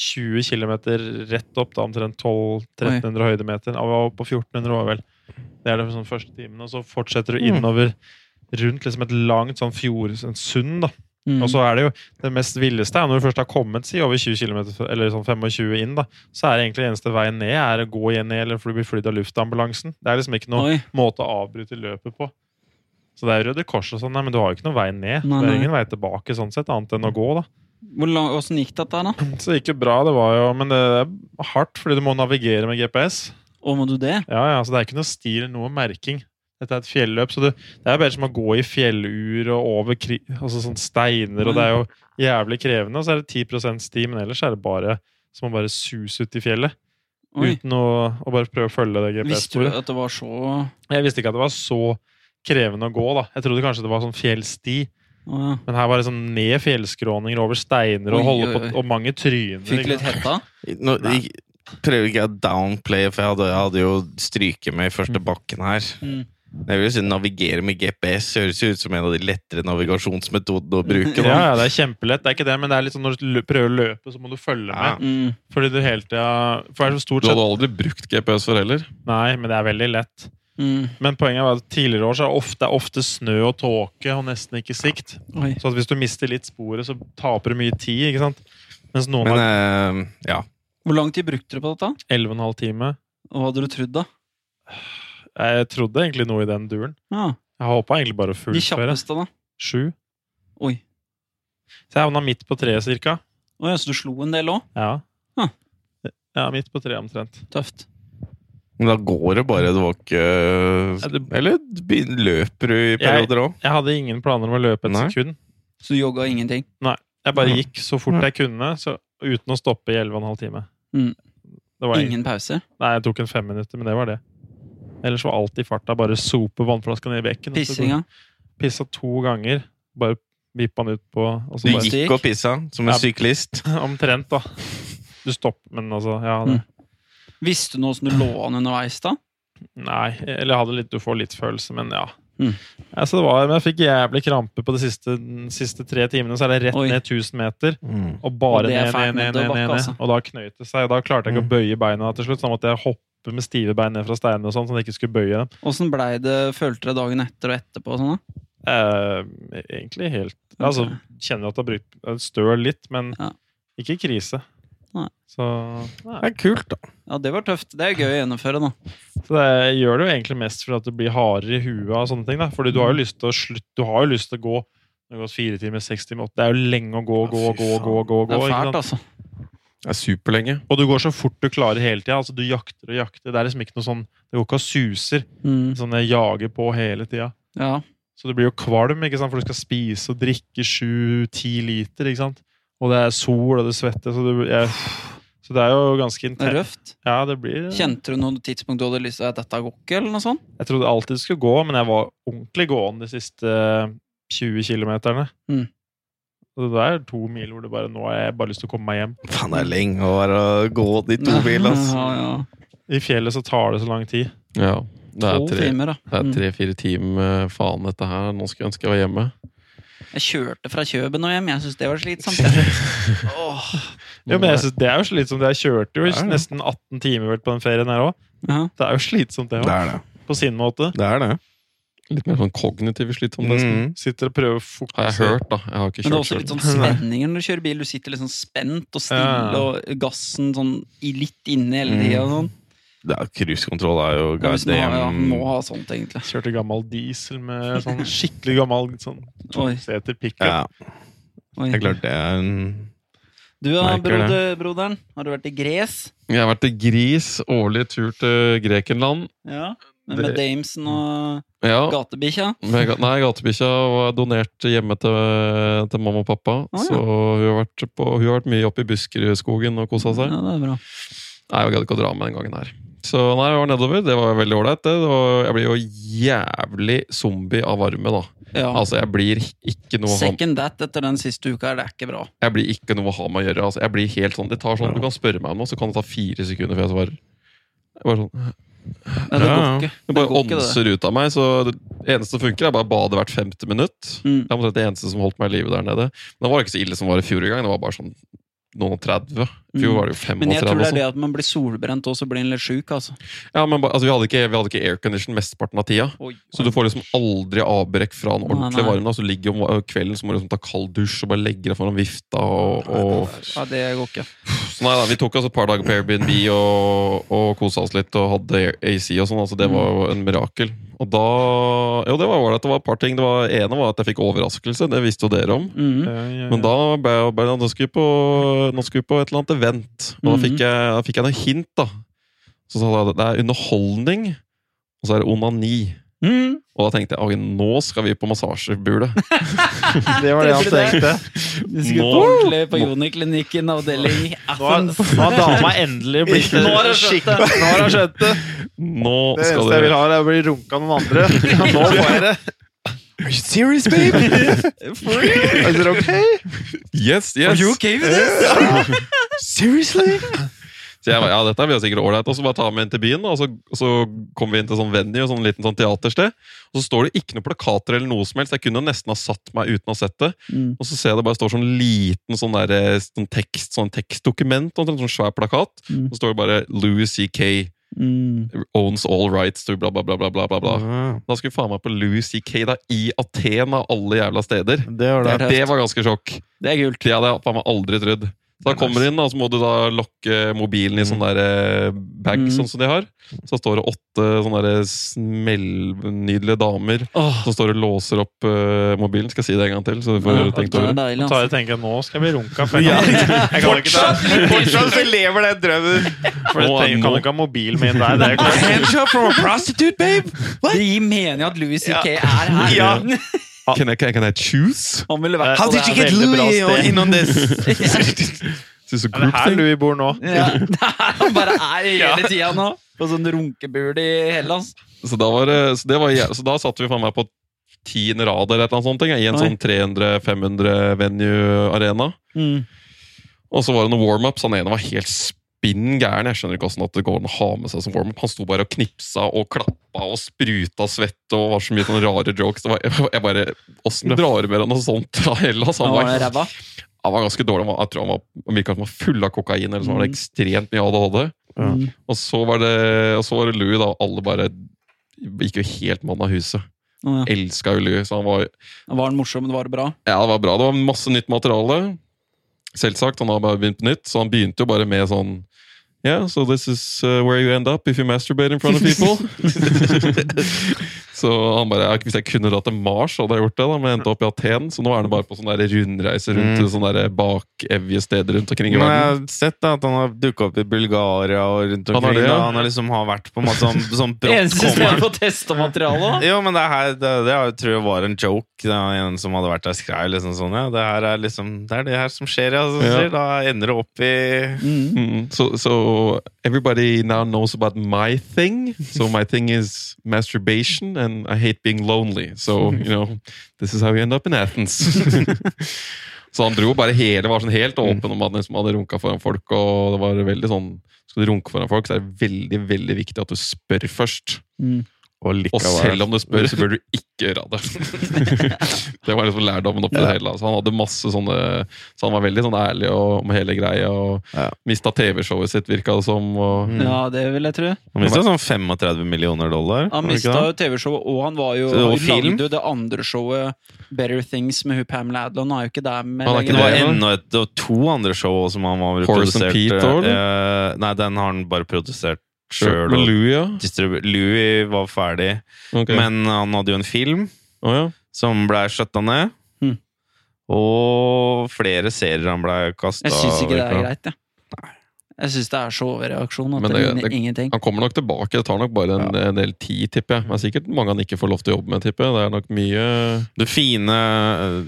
S4: 20 km rett opp, da, omtrent 1200-1300 høydemeter. Ja, vi var oppe på 1400 var vi vel. Det er det for sånn første timen, og så fortsetter du
S3: Mm.
S4: innover rundt liksom et langt sånn fjord, en sund, da.
S2: Mm.
S4: Og så er det jo det mest villeste er når du først har kommet si over 20 km, eller sånn 25 inn, da, så er det egentlig eneste veien ned er å gå igjen ned, eller for du blir flydd av luftambulansen. Det er liksom ikke noen
S2: Oi.
S4: måte å avbryte løpet på. Så det er Røde Kors og sånn, nei, men du har jo ikke noen vei ned.
S2: Nei,
S4: Det er
S2: nei. Mm.
S4: ingen vei tilbake sånn sett, annet enn å gå, da.
S2: Hvor lang, hvordan gikk dette her, da?
S4: Mm, Så det gikk jo bra, det var jo Men det er hardt, fordi du må navigere med GPS.
S2: Å, må du det?
S4: Ja, ja, så det er ikke noe stil, noe merking. Dette er et fjelløp, så det, det er bare som å gå i fjellur og over kri, altså sånn steiner, og det er jo jævlig krevende. Og så er det 10 sti, men ellers er det bare som å bare suse ut i fjellet.
S2: Oi.
S4: Uten å, å bare prøve å følge det
S2: Visste du
S4: GPS-sporet.
S2: at det var så Å
S4: Jeg visste ikke at det var så krevende å gå, da. Jeg trodde kanskje det var sånn fjellsti,
S2: ja.
S4: men her var det sånn ned fjellskråninger, over steiner, og,
S2: Oi,
S4: holde
S2: oi,
S4: på,
S2: oi.
S4: og mange tryner.
S2: Fikk
S4: ikke
S2: litt
S4: sant?
S2: hetta?
S3: Nå jeg prøver ikke jeg å downplaye, for jeg hadde, jeg hadde jo stryket med i første bakken her.
S2: Mm.
S3: Jeg vil jo si Navigere med GPS høres jo ut som en av de lettere navigasjonsmetodene å bruke. Da.
S4: Ja, ja, det er kjempelett. Det er ikke det, men det er litt sånn når du lø- prøver å løpe, så må du følge med.
S3: Ja.
S2: Mm.
S4: Fordi du hele tida For det er så stort
S1: Du
S4: sett
S1: hadde aldri brukt GPS for heller.
S4: Nei, men det er veldig lett.
S2: Mm.
S4: Men poenget var at tidligere år så er det ofte, ofte snø og tåke og nesten ikke sikt.
S2: Oi.
S4: Så at hvis du mister litt sporet, så taper du mye tid. ikke sant? Mens noen
S3: Men
S4: har
S3: eh, ja.
S2: Hvor lang tid brukte du på dette?
S4: 11,5 time.
S2: Og hva hadde du trodd, da?
S4: Jeg trodde egentlig noe i den duren.
S2: Ja.
S4: Jeg håpa egentlig bare å
S2: De
S4: fullføre.
S2: kjappeste, da?
S4: Sju.
S2: Oi.
S4: Så jeg havna midt på treet, cirka.
S2: Oi, så du slo en del òg?
S4: Ja.
S2: Hm.
S4: Ja, midt på treet omtrent.
S2: Tøft.
S3: Men da går det bare. Det var ikke
S4: Ja, det-
S3: Eller begyn- løper du i perioder òg?
S4: Jeg hadde ingen planer om å løpe et
S3: Nei.
S4: sekund.
S2: Så du jogga ingenting?
S4: Jeg bare
S3: Ja.
S4: gikk så fort
S3: Ja.
S4: jeg kunne, så, uten å stoppe i 11,5 time.
S2: Mm.
S4: Det var
S2: Ingen pause?
S4: Nei, jeg tok en fem minutter, men det var det. Ellers var alt i farta. Bare sope vannflaska ned i bekken. og så-
S2: Pissinga?
S4: Pissa to ganger. Bare vippa den ut på og så
S3: Du
S4: bare,
S3: gikk og pissa som en
S4: Ja.
S3: syklist?
S4: Omtrent, da. Du stopper, men altså Ja,
S2: Mm.
S4: det.
S2: Visste du noe som du lå an underveis, da?
S4: Nei. Eller jeg hadde litt, du får litt følelse, men ja.
S2: Mm.
S4: Ja, så det var, men jeg fikk jævlig krampe på de siste, de siste tre timene. Så er det rett
S2: Oi.
S4: ned 1000 meter.
S3: Mm.
S4: Og bare
S2: Og det er
S4: ned,
S2: fælt
S4: ned, ned, ned,
S2: nedoverbakke,
S4: ned, ned.
S2: altså.
S4: Og da knøyt det seg. Og da klarte jeg ikke
S3: Mm.
S4: å bøye beina til slutt. Så da måtte jeg hoppe med stive bein ned fra steinene, og sånn, så jeg ikke skulle bøye dem.
S2: Åssen blei det? Følte dere dagen etter og etterpå? og Sånn, da?
S4: Eh, egentlig helt
S2: Ok.
S4: Altså, kjenner at det har brukt eh, støl litt, men
S2: Ja.
S4: ikke krise.
S2: Nei.
S4: Så,
S3: Det
S4: nei.
S3: er kult, da.
S2: Ja, det var tøft. Det er gøy å gjennomføre, da.
S4: så det gjør det jo egentlig mest for at du blir hardere i huet av sånne ting. Da. Fordi du
S2: Mm.
S4: har jo lyst til å slutte, du har jo lyst til å gå det har gått fire timer, seks timer, åtte Det er jo lenge å gå,
S3: Ja,
S4: gå,
S3: fy
S4: gå,
S3: faen.
S4: gå, gå,
S2: Det
S4: gå.
S2: er
S4: ikke sant?
S2: fælt, altså.
S1: Det er superlenge.
S4: Og du går så fort du klarer hele tida. Altså, du jakter og jakter. Det er liksom ikke noe sånn Det går ikke og suser.
S2: Mm.
S4: Sånn jeg jager på hele tida.
S2: Ja.
S4: Så du blir jo kvalm, ikke sant? for du skal spise og drikke sju-ti liter. ikke sant? Og det er sol, og det svetter, så, du, jeg, så det er jo ganske
S2: Det er
S4: intenst.
S2: røft.
S4: Ja, det blir
S2: Kjente du noe tidspunkt du hadde lyst til at dette går ikke, eller noe sånt?
S4: Jeg trodde alltid det skulle gå, men jeg var ordentlig gåen de siste 20 kilometerne.
S2: Mm.
S4: Og det er to mil hvor det bare nå har jeg bare lyst til å komme meg hjem.
S3: Faen, det er lenge å være å gå de to bilene, altså.
S2: Ja, ja.
S4: I fjellet så tar det så lang tid.
S1: Ja. Det er
S2: Tolv
S1: tre-
S2: timer, da.
S1: det er
S2: Mm.
S1: tre-fire timer. eh, Faen, dette her. Nå skulle jeg ønske jeg var hjemme.
S2: Jeg kjørte fra Kjøben og hjem. Jeg syns det var slitsomt. jeg. Åh.
S4: Jo, men jeg synes Det er jo slitsomt. Jeg kjørte jo
S3: Ja, ja.
S4: nesten 18 timer vel på den ferien her òg.
S2: Ja.
S4: Det er jo slitsomt, det
S3: Det
S4: òg.
S3: er det.
S4: På sin måte.
S3: det, er det.
S1: Litt mer sånn kognitiv slitsom, nesten.
S3: Mm.
S4: Sitter og prøver å
S1: Har
S4: fokusere.
S1: jeg hørt, da. Jeg har ikke
S2: Men det er
S1: kjørt
S2: også litt
S1: selv.
S2: sånn spenninger når du kjører bil. Du sitter liksom spent og stille,
S4: Ja.
S2: og gassen sånn i litt inni hele tida. og Sånn.
S3: Det er- Cruisekontroll er jo
S2: Ja, hvis man har- ja,
S3: goddamn
S2: må ha sånt, egentlig.
S4: Kjørte gammel diesel med sånn skikkelig gammel sånn
S2: Oi,
S4: toseter pickup.
S3: ja, Det er
S2: oi.
S3: klart det er en
S2: Du da,
S3: Merker
S2: broder, broderen. Har du vært i Gres?
S1: Jeg har vært til Gris. Årlig tur til Grekenland.
S2: Ja. Med, med
S1: Det-
S2: Damesen og
S1: Ja.
S2: gatebikkja?
S1: Med, ga- nei, gatebikkja var donert hjemme til, til mamma og pappa.
S2: Å, ja.
S1: Så hun har, vært på, hun har vært mye oppe i Buskerudskogen og kosa
S2: Ja,
S1: seg.
S2: det er bra.
S1: Nei, jeg gadd ikke å dra med den gangen her. Så nei, jeg var nedover. Det var veldig ålreit. det. Det var- Jeg blir jo jævlig zombie av varme, da.
S2: Ja.
S1: Altså, jeg blir ikke noe å ha,
S2: Second that etter den siste uka her, det er ikke bra.
S1: jeg blir ikke noe å ha med å gjøre. Altså, jeg blir helt sånn, det tar sånn, Du kan spørre meg om noe, så kan det ta fire sekunder før jeg svarer. Jeg bare sånn,
S2: Nei, det går
S3: Ja, ja.
S2: ikke.
S1: det
S2: Det
S1: bare
S2: går ikke, det.
S1: ånser ut av meg. Så det eneste som funker, er bare badet hvert femte minutt.
S2: Mm.
S1: Det er omtrent det eneste som holdt meg i live der nede. Men det var ikke så ille som var i fjor engang. Det var bare sånn noen og 30. I fjor
S2: Mm.
S1: var det jo
S2: Men
S1: 35.
S2: jeg tror det er
S1: og
S2: det at man blir solbrent, og så blir en litt sjuk, altså.
S1: sånn. ja, men ba- altså, vi hadde ikke, vi hadde ikke aircondition mesteparten av tida.
S2: Oi.
S1: Så du får liksom aldri avbrekk fra en
S2: Nei,
S1: ordentlig
S2: nei.
S1: varme. Da. Så ligger jo om kvelden så må du liksom ta kald dusj og bare legge deg foran vifta. Og, og...
S2: Ja, det går ikke.
S1: Så nei da, Vi tok altså et par dager på Airbnb og, og kosa oss litt og hadde AC og sånn. altså Det var jo en mirakel. Og da Jo, det var ålreit. Det var et par ting. Det var, ene var at jeg fikk overraskelse. Det visste jo dere om.
S4: Eh,
S2: Mm.
S1: Men da ble jeg ble, jeg- nå skulle vi på, nå skulle vi på et eller annet event, og da
S2: Mhm.
S1: fikk jeg, da fikk jeg noen hint. da. Så sa jeg at det er underholdning, og så er det onani.
S2: Mm.
S1: Og da tenkte jeg ok, nå skal vi på massasjebule.
S4: Det var det han
S2: Treffer
S4: tenkte.
S2: Vi skulle på
S1: Nå-
S2: ordentlig på Joniklinikken, avdeling
S4: Nå har,
S2: Athens.
S4: nå har dama endelig blitt
S2: Nå har jeg skjønt det.
S4: Nå har jeg skjønt det.
S1: Nå
S4: Det
S1: skal
S4: eneste jeg vil
S1: dere
S4: ha, er å bli runka av noen andre. Nå får jeg det. Are you serious, babe? Is it okay?
S1: Yes, yes!
S2: okay with this?
S4: Seriously?
S1: Så jeg var, ja, dette blir jo sikkert ålreit. Og så bare ta med inn til byen, da, og så, og så kom vi inn til sånn venue, sånn liten sånn teatersted. Og så står det ikke noen plakater eller noe som helst. Jeg kunne nesten ha satt meg uten å ha sett det.
S2: Mm.
S1: Og så ser jeg det bare står sånn liten sånn der, eh, sånn tekst, sånn tekstdokument, og en sånn svær plakat.
S2: Mm.
S1: Og så står det bare Louis C.K.
S2: Mm.
S1: owns all rights to bla, bla, bla, bla, bla, bla.
S4: Mm.
S1: bla.
S3: Ah.
S1: Da skulle faen meg på Louis C.K. da, i Aten av alle jævla steder.
S4: Det var
S2: det.
S4: det.
S2: er
S1: Det var ganske sjokk.
S2: Det er kult.
S1: Det hadde jeg faen meg aldri trodd. Så da
S3: Det er
S1: kommer du inn, da, og så må du da lokke mobilen i sånn der eh, bag,
S2: Mm.
S1: sånn som de har. Så står det åtte sånne der eh, smellnydelige damer
S2: Åh,
S1: som står og låser opp eh, mobilen. Skal jeg si det en gang til, så du får
S2: ja,
S1: tenkt
S2: det
S1: over det.
S2: er deilig,
S4: Så
S2: altså.
S4: jeg tenker, nå skal jeg bli runka. For jeg kan, jeg kan ikke ta
S3: Fortsatt, fortsatt så lever den drømmen!
S4: for jeg
S1: Nå er
S4: tenker, kan
S1: nå.
S4: ikke ha mobilen min der. Det er klart.
S3: Handshot from a prostitute, babe!
S2: Det gir mening at Louis C.K.
S3: Ja.
S2: er her.
S3: Ja. Eh,
S1: Can I, can, I- can I choose?
S2: Han ville vært
S4: How did you get
S2: Veldig bra
S4: Louis
S2: sted.
S3: on this?
S1: Synes du
S4: Er det
S1: group
S4: her
S1: thing?
S4: Louis bor nå?
S2: Ja, han bare er hele tida nå. På sånn runkebul i Hellas.
S1: Så da, var, det- så det var, jæ- så da satt vi faen meg på tiende rad eller et eller annet sånt, tenker jeg, i en
S2: Oi.
S1: sånn 300-500 venue-arena.
S3: Mm.
S1: Og så var det noen warm-ups. Han ene var helt spinn gæren. Jeg skjønner ikke hvordan at det går an å ha med seg som warm-up. Han sto bare og knipsa og klappa og spruta svette og var så mye sånne rare jokes. Det var, jeg bare, Åssen drar du med deg noe sånt fra Hellas?
S2: Han
S1: Han
S2: var
S1: var,
S2: ræva.
S1: han var ganske dårlig. Han var- Jeg tror han, var, han virka som han var full av kokain, eller så var det ekstremt mye ADHD.
S4: Ja.
S2: Mm.
S1: Og så var det, og så var det Louis, da. og Alle bare gikk jo helt mann av huset.
S2: Å, ja.
S1: Elska jo Louis. Så han var
S2: Var han morsom, men var det bra?
S1: Ja, det var bra. Det var masse nytt materiale. Selvsagt, han har bare begynt på nytt, så han begynte jo bare med sånn Yeah, so this is uh, where you end up if you masturbate in front of people. så han bare, ja, Hvis jeg kunne dratt til Mars, hadde jeg gjort det, da, men jeg endte opp i Aten. Så nå er han bare på sånne der rundreiser rundt
S3: Mm.
S1: til sånne der bakevje steder rundt omkring i
S3: Men jeg
S1: verden.
S3: har sett da, at han har dukka opp i Bulgaria og rundt
S1: Han har
S3: omkring.
S1: det,
S3: da.
S1: ja.
S3: Han har liksom har vært på en måte sånn, sånn
S2: Eneste
S3: brottkommer.
S2: stedet på testematerialet.
S3: Jo, men det her det, det er jo- tror jeg var en joke. Det er en som hadde vært der skrev liksom sånn, ja. Det her er liksom Det er det her som skjer, ja. Så,
S1: Ja.
S3: sier, Da ender det opp i
S2: Mm.
S1: Mm, so, so everybody now knows about my thing. So my thing is masturbation, and I hate being lonely. So you know, this is how you end up in Athens. Så han dro bare hele, var sånn helt åpen om at han liksom hadde runka foran folk. og det var veldig sånn, Skal du runke foran folk, så er det veldig veldig viktig at du spør først.
S2: Mm.
S3: Og,
S1: Og selv om du spør, så bør du ikke gjøre det. det var liksom lærdommen oppi det hele. Altså, han hadde masse sånne Så han var veldig sånn ærlig og, om hele greia. Og
S3: Ja.
S1: mista TV-showet sitt, virka det som. Og,
S3: Mm.
S2: Ja, det vil jeg tro.
S3: Han mista sånn 35 millioner
S2: Han
S3: dollar. var det ikke
S2: mista
S3: det?
S2: jo TV-showet, og han var jo
S3: Så det var
S2: han
S3: film?
S2: lagde jo det andre showet, Better Things, med hun Pamela Adlon. Han er jo ikke der med
S1: Han er ikke
S3: Det
S2: lenger.
S3: var
S1: det, ja.
S3: enda et, det var to andre show også som han var
S1: Horace and Pete også,
S3: Eh, nei, den har han bare produsert sjøl.
S1: Men Louis, ja.
S3: Louis var ferdig,
S1: Ok.
S3: men han hadde jo en film
S1: Å, ja.
S3: som blei skjøtta ned.
S1: Hmm.
S2: Mm.
S3: Og flere serier han blei kasta
S2: Jeg syns ikke det er greit, jeg. Jeg syns det er så overreaksjon at
S1: Men
S2: det
S1: det-
S2: ligner
S1: det-
S2: ingenting.
S1: Han kommer nok tilbake. Det tar nok bare en, en del tid, tipper jeg. Men sikkert mange han ikke får lov til å jobbe med, tipper jeg. Det er nok mye
S3: Det fine eh,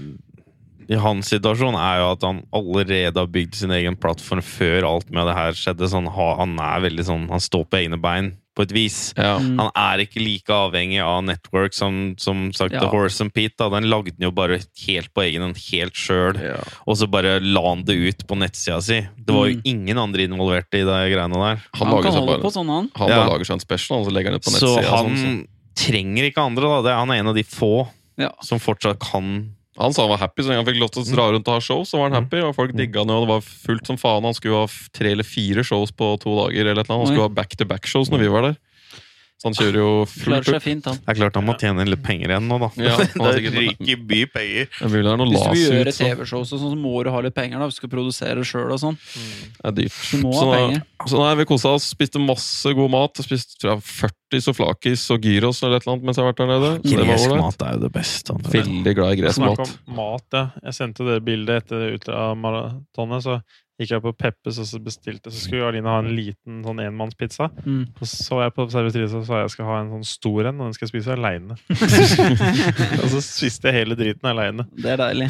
S3: i hans situasjon er jo at han allerede har bygd sin egen plattform før alt med det her skjedde. Så han, har, han er veldig sånn Han står på egne bein, på et vis.
S1: Ja.
S2: Mm.
S3: Han er ikke like avhengig av Network som, som sagt
S2: Ja.
S3: The Horse and Pete. Da. Den lagde den jo bare helt på egen hånd, helt sjøl.
S1: Ja.
S3: Og så bare la han det ut på nettsida si. Det var jo
S2: Mm.
S3: ingen andre involvert i de greiene der.
S1: Han,
S2: Han
S1: lager
S2: kan
S1: seg
S2: holde
S1: bare
S2: på sånn, han.
S1: Han
S3: Ja.
S1: bare lager seg en special og så legger han ut på
S3: Så
S1: nettsida.
S3: han
S1: sånn, sånn.
S3: trenger ikke andre, da. Det er, han er en av de få
S2: Ja.
S3: som fortsatt kan
S1: Han sa han var happy, så lenge han fikk lov til å dra rundt og ha show,
S2: Mm.
S1: så var han happy. Og folk digga han jo, og det var fullt som faen. Han skulle ha f- tre eller fire shows på to dager. eller et eller annet. Han
S2: Oi.
S1: skulle ha back-to-back-shows når vi var der. Så han kjører jo fullt
S2: Klarer
S1: ut.
S2: seg fint, han.
S3: Det er klart han må tjene litt penger igjen nå, da.
S1: Ja, han har
S3: det
S1: sikkert-
S3: ryker mye penger.
S1: Det er mulig det er noe
S2: Hvis du vil
S1: las
S2: gjøre
S1: ut, så
S2: TV-show, så, sånn, så må du ha litt penger. da, Hvis du skal produsere sjøl og sånn.
S1: det er dyrt.
S2: Du må ha
S1: Så,
S2: penger.
S1: så nei, vi kosa oss, spiste masse god mat. Spiste tror jeg, 40 soflakis og gyros eller et eller annet mens jeg har vært der nede. Så det var
S3: Gresk
S1: ålreit.
S3: mat er jo det beste. André.
S1: Veldig glad i gresk
S4: Snakk
S1: mat.
S4: om mat, ja. Jeg sendte det bildet etter det ut av maratonet. Så gikk jeg på Peppes og så bestilte. Så skulle Aline ha en liten sånn enmannspizza.
S2: Mm.
S4: Og så var jeg på servitriset og sa jeg skal ha en sånn stor en, og den skal jeg spise aleine. og så spiste jeg hele driten aleine.
S2: Det er deilig.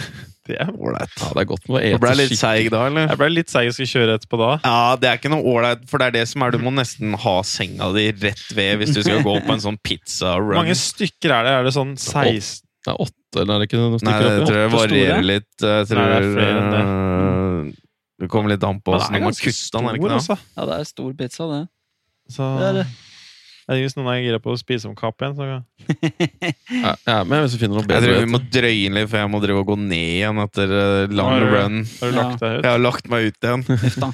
S4: Det er
S3: Ålreit.
S1: Ja, det er godt med å
S3: Du
S1: ete
S3: ble litt
S1: skikkelig.
S3: seig da, eller?
S4: Jeg ble litt seig og skulle kjøre etterpå da.
S3: Ja, det er ikke noe ålreit, for det er det som er Du må nesten ha senga di rett ved hvis du skal gå på en sånn
S4: Hvor
S3: pizza-run.
S4: mange stykker er det? Er det sånn 16
S1: Det er åtte, eller er det ikke noe
S3: Nei,
S1: stykker
S3: det
S1: oppi?
S3: tror jeg
S2: Åtte store?
S3: varierer litt. Jeg tror
S4: Nei, det er flere enn det.
S3: eh, Det kommer litt an på
S4: Men
S3: åssen man kutter den. er det ikke det?
S4: altså.
S2: Ja, det er stor pizza, det.
S4: Så
S2: Det er det.
S4: Jeg, hvis noen er gira på å spise om kapp igjen, så
S1: Ja, Jeg er med hvis vi finner noe
S3: Jeg
S1: bedre.
S3: tror vi må drøye inn litt, for jeg må drive og gå ned igjen etter eh, lang
S4: Har du-
S3: run.
S4: har du
S2: Ja.
S4: lagt deg
S3: Jeg
S4: ut.
S3: har lagt meg ut
S1: Ah.
S3: igjen.
S2: Uff da.